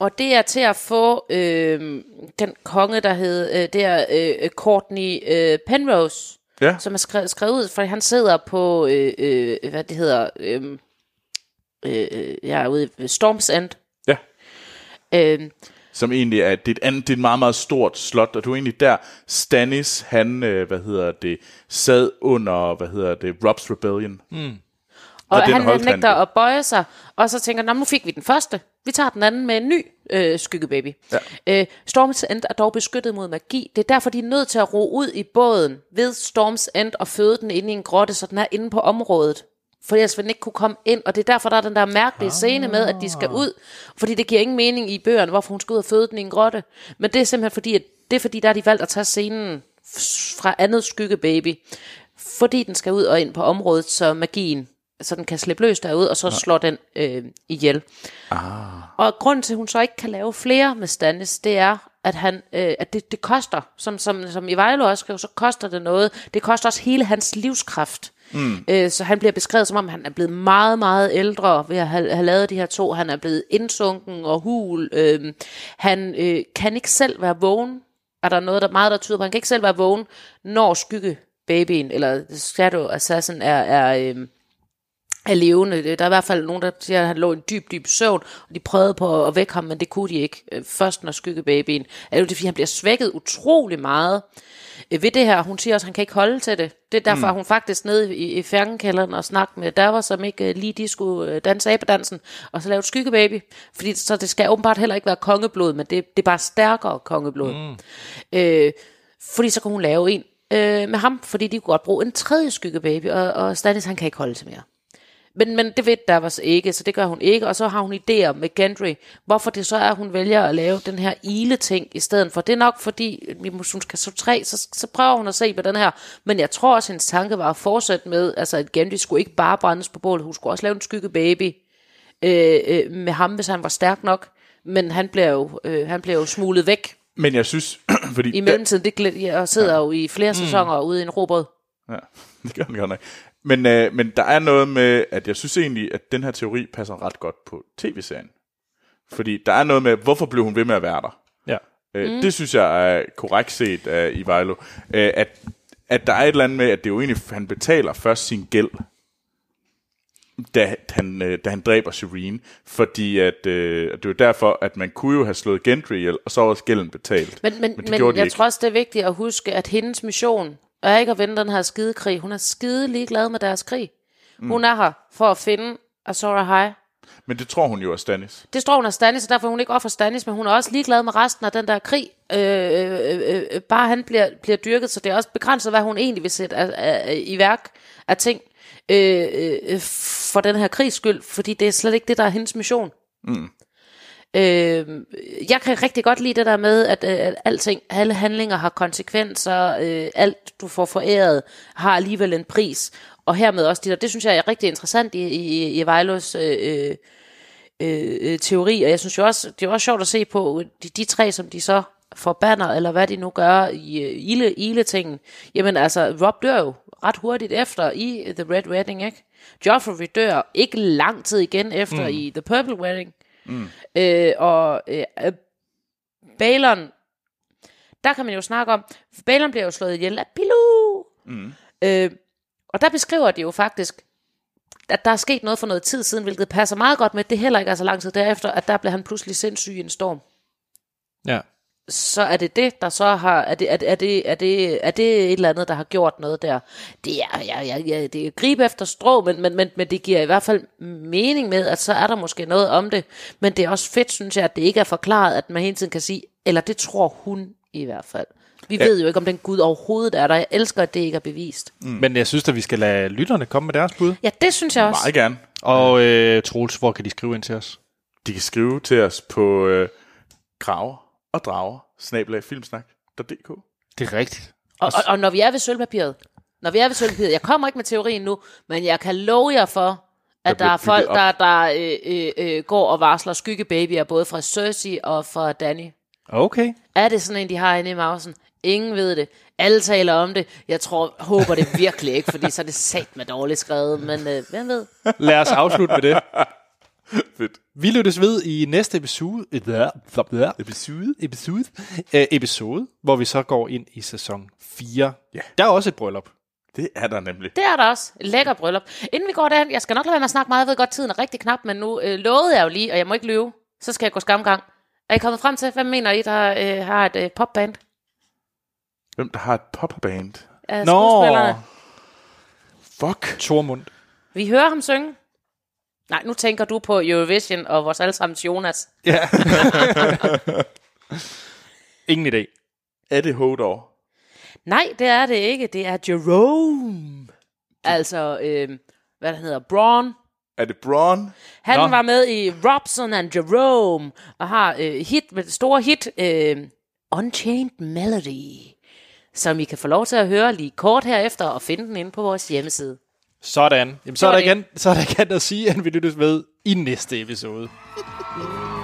Speaker 3: og det er til at få øh, den konge, der hed, øh, det er øh, Courtney øh, Penrose,
Speaker 2: Ja.
Speaker 3: som er skrevet, skrevet ud, for han sidder på, øh, øh, hvad det hedder, øh, øh, øh, jeg er ude i Storms End.
Speaker 2: ja.
Speaker 3: Øh,
Speaker 2: Som egentlig er, det er, et andet, det er et meget, meget stort slot, og du er egentlig der. Stannis, han, øh, hvad hedder det, sad under, hvad hedder det, Rob's Rebellion.
Speaker 3: og
Speaker 2: Og
Speaker 3: han,
Speaker 2: den
Speaker 3: han
Speaker 2: holdt han
Speaker 3: nægter
Speaker 2: det.
Speaker 3: at bøje sig, og så tænker han, "Nå, nu fik vi den første. Vi tager den anden med en ny øh, skyggebaby. Ja. Øh, Storms End er dog beskyttet mod magi. Det er derfor, de er nødt til at ro ud i båden ved Storms End og føde den inde i en grotte, så den er inde på området. For ellers vil den ikke kunne komme ind, og det er derfor, der er den der mærkelige scene med, at de skal ud. Fordi det giver ingen mening i bøgerne, hvorfor hun skal ud og føde den i en grotte. Men det er simpelthen fordi, at det er fordi, der har de valgt at tage scenen f- fra andet skyggebaby. Fordi den skal ud og ind på området, så magien, så den kan slippe løs derud, og så slår den øh, ihjel. Og grunden til, at hun så ikke kan lave flere med Stannis, det er, at, han, øh, at det, det koster, som, som, som Ivejlo også skrev, så koster det noget. Det koster også hele hans livskraft. Mm. Øh, så han bliver beskrevet, som om han er blevet meget, meget ældre ved at have, have lavet de her to. Han er blevet indsunken og hul. Øh, han øh, kan ikke selv være vågen. Er der noget, der meget der tyder på? Han kan ikke selv være vågen, når skygge babyen, eller Shadow Assassin er, er øh, er levende. Øh, Der er i hvert fald nogen, der siger, at han lå i en dyb, dyb søvn, og de prøvede på at vække ham, men det kunne de ikke. øh, Først når skyggebabyen. Er jo det, fordi han bliver svækket utrolig meget øh, ved det her. Hun siger også, at han kan ikke holde til det. Det er derfor, mm. hun faktisk nede i, i fjernkælderen og snakke med Davos, som ikke øh, lige de skulle øh, danse abedansen, og så lave et skyggebaby. Fordi så det skal åbenbart heller ikke være kongeblod, men det, det er bare stærkere kongeblod. Mm. Øh, fordi så kunne hun lave en øh, med ham, fordi de kunne godt bruge en tredje skyggebaby, og, og Stannis han kan ikke holde til mere. Men, men det ved Davos ikke, så det gør hun ikke. Og så har hun idéer med Gendry. Hvorfor det så er, at hun vælger at lave den her ile-ting i stedet for. Det er nok fordi, at hvis hun skal så tre, så, så prøver hun at se på den her. Men jeg tror også, hendes tanke var at fortsætte med, altså at Gendry skulle ikke bare brændes på bålet. Hun skulle også lave en skygge baby øh, øh, med ham, hvis han var stærk nok. Men han bliver jo, øh, han bliver jo smuglet væk
Speaker 2: Men jeg synes, fordi...
Speaker 3: i mellemtiden. Det, glæ- jeg sidder jo i flere sæsoner ude i en robot.
Speaker 2: Ja, det gør den godt nok. Men, øh, men der er noget med, at jeg synes egentlig, at den her teori passer ret godt på tv-serien. Fordi der er noget med, hvorfor blev hun ved med at være der?
Speaker 1: Ja.
Speaker 2: Øh, Det synes jeg er korrekt set af Ivejlo. Øh, at, at der er et eller andet med, at det er jo egentlig, han betaler først sin gæld, da han, øh, da han dræber Shireen. Fordi at, øh, det er jo derfor, at man kunne jo have slået Gendry ihjel, og så var også gælden betalt.
Speaker 3: Men, men,
Speaker 2: Men det
Speaker 3: men,
Speaker 2: gjorde
Speaker 3: men
Speaker 2: de
Speaker 3: jeg
Speaker 2: ikke.
Speaker 3: tror også, det er vigtigt at huske, at hendes mission er ikke at vinde den her skidekrig. Hun er skide ligeglad med deres krig. Mm. Hun er her for at finde Azor Ahai.
Speaker 2: Men det tror hun jo er Stannis.
Speaker 3: Det står hun af Stannis, og derfor er hun ikke offer Stannis, men hun er også ligeglad med resten af den der krig. Øh, øh, øh, øh, bare han bliver, bliver dyrket, så det er også begrænset, hvad hun egentlig vil sætte af, af, af, i værk af ting øh, øh, øh, for den her krigs skyld, fordi det er slet ikke det, der er hendes mission. Øh, jeg kan rigtig godt lide det der med, at, øh, at alting, alle handlinger har konsekvenser, øh, alt du får foræret har alligevel en pris, og hermed også dit, og det synes jeg er rigtig interessant i, i, i Vejlos øh, øh, øh, øh, teori, og jeg synes jo også, det er jo også sjovt at se på øh, de, de tre, som de så forbander, eller hvad de nu gør i øh, ile, ile-tingen. Jamen altså, Rob dør jo ret hurtigt efter i øh, The Red Wedding, ikke? Joffrey dør ikke lang tid igen efter mm. i The Purple Wedding. Øh, og øh, øh, Balon, der kan man jo snakke om, for Balon bliver jo slået ihjel af Pilu. Mm. Øh, og der beskriver de jo faktisk, at der er sket noget for noget tid siden, hvilket passer meget godt med, at det heller ikke er så lang tid derefter, at der blev han pludselig sindssyg i en storm.
Speaker 1: Ja.
Speaker 3: Så er det det, der så har... Er det, er, det- er, det, er, det, er det et eller andet, der har gjort noget der? Det er, ja, ja, ja, det er gribe efter strå, men, men, men, men det giver i hvert fald mening med, at så er der måske noget om det. Men det er også fedt, synes jeg, at det ikke er forklaret, at man hele tiden kan sige... Eller det tror hun i hvert fald. Vi ja. ved jo ikke, om den Gud overhovedet er der. Jeg elsker, at det ikke er bevist.
Speaker 1: Mm. Men jeg synes at vi skal lade lytterne komme med deres bud.
Speaker 3: Ja, det synes jeg også.
Speaker 2: Meget gerne.
Speaker 1: Og øh, Troels, hvor kan de skrive ind til os?
Speaker 2: De kan skrive til os på øh, graver og drager snabelagfilmsnak.dk
Speaker 1: Det er rigtigt.
Speaker 3: Og, og, og når vi er ved sølvpapiret, når vi er ved sølvpapiret, jeg kommer ikke med teorien nu, men jeg kan love jer for, at der,
Speaker 2: bliver
Speaker 3: er folk,
Speaker 2: bygget
Speaker 3: der, der øh, øh, øh, går og varsler skyggebabyer, både fra Cersei og fra Danny.
Speaker 1: Okay.
Speaker 3: Er det sådan en, de har inde i mausen? Ingen ved det. Alle taler om det. Jeg tror, håber det virkelig ikke, fordi så er det sat med dårligt skrevet, men øh, hvem ved?
Speaker 1: Lad os afslutte med det.
Speaker 2: Fedt.
Speaker 1: Vi lyttes ved i næste episode. Episode. Episode. Øh, episode, hvor vi så går ind i sæson 4.
Speaker 2: Ja.
Speaker 1: Der er også et bryllup.
Speaker 2: Det er der nemlig.
Speaker 3: Det er der også. Lækker bryllup. Inden vi går derhen, jeg skal nok lade være med at snakke meget. Jeg ved godt, tiden er rigtig knap, men nu øh, lovede jeg jo lige, og jeg må ikke lyve. Så skal jeg gå skamgang. Er I kommet frem til, hvad mener I, der øh, har et øh, popband?
Speaker 2: Hvem der har et popband?
Speaker 3: af skuespillerne.
Speaker 2: Fuck.
Speaker 1: Tormund.
Speaker 3: Vi hører ham synge. Nej, nu tænker du på Eurovision og vores allesammens Jonas.
Speaker 1: Ja. Ingen idé.
Speaker 2: Er det Hodor?
Speaker 3: Nej, det er det ikke. Det er Jerome. Altså, øh, hvad der hedder, Braun.
Speaker 2: Er det Braun?
Speaker 3: Han
Speaker 1: Nå.
Speaker 3: Nå. var med i Robson and Jerome og har øh, hit med det store hit øh, Unchained Melody, som I kan få lov til at høre lige kort herefter og finde den inde på vores hjemmeside.
Speaker 1: Sådan. Jamen, så, er der
Speaker 3: Sådan.
Speaker 1: igen, så er der igen at sige, at vi lyttes ved i næste episode.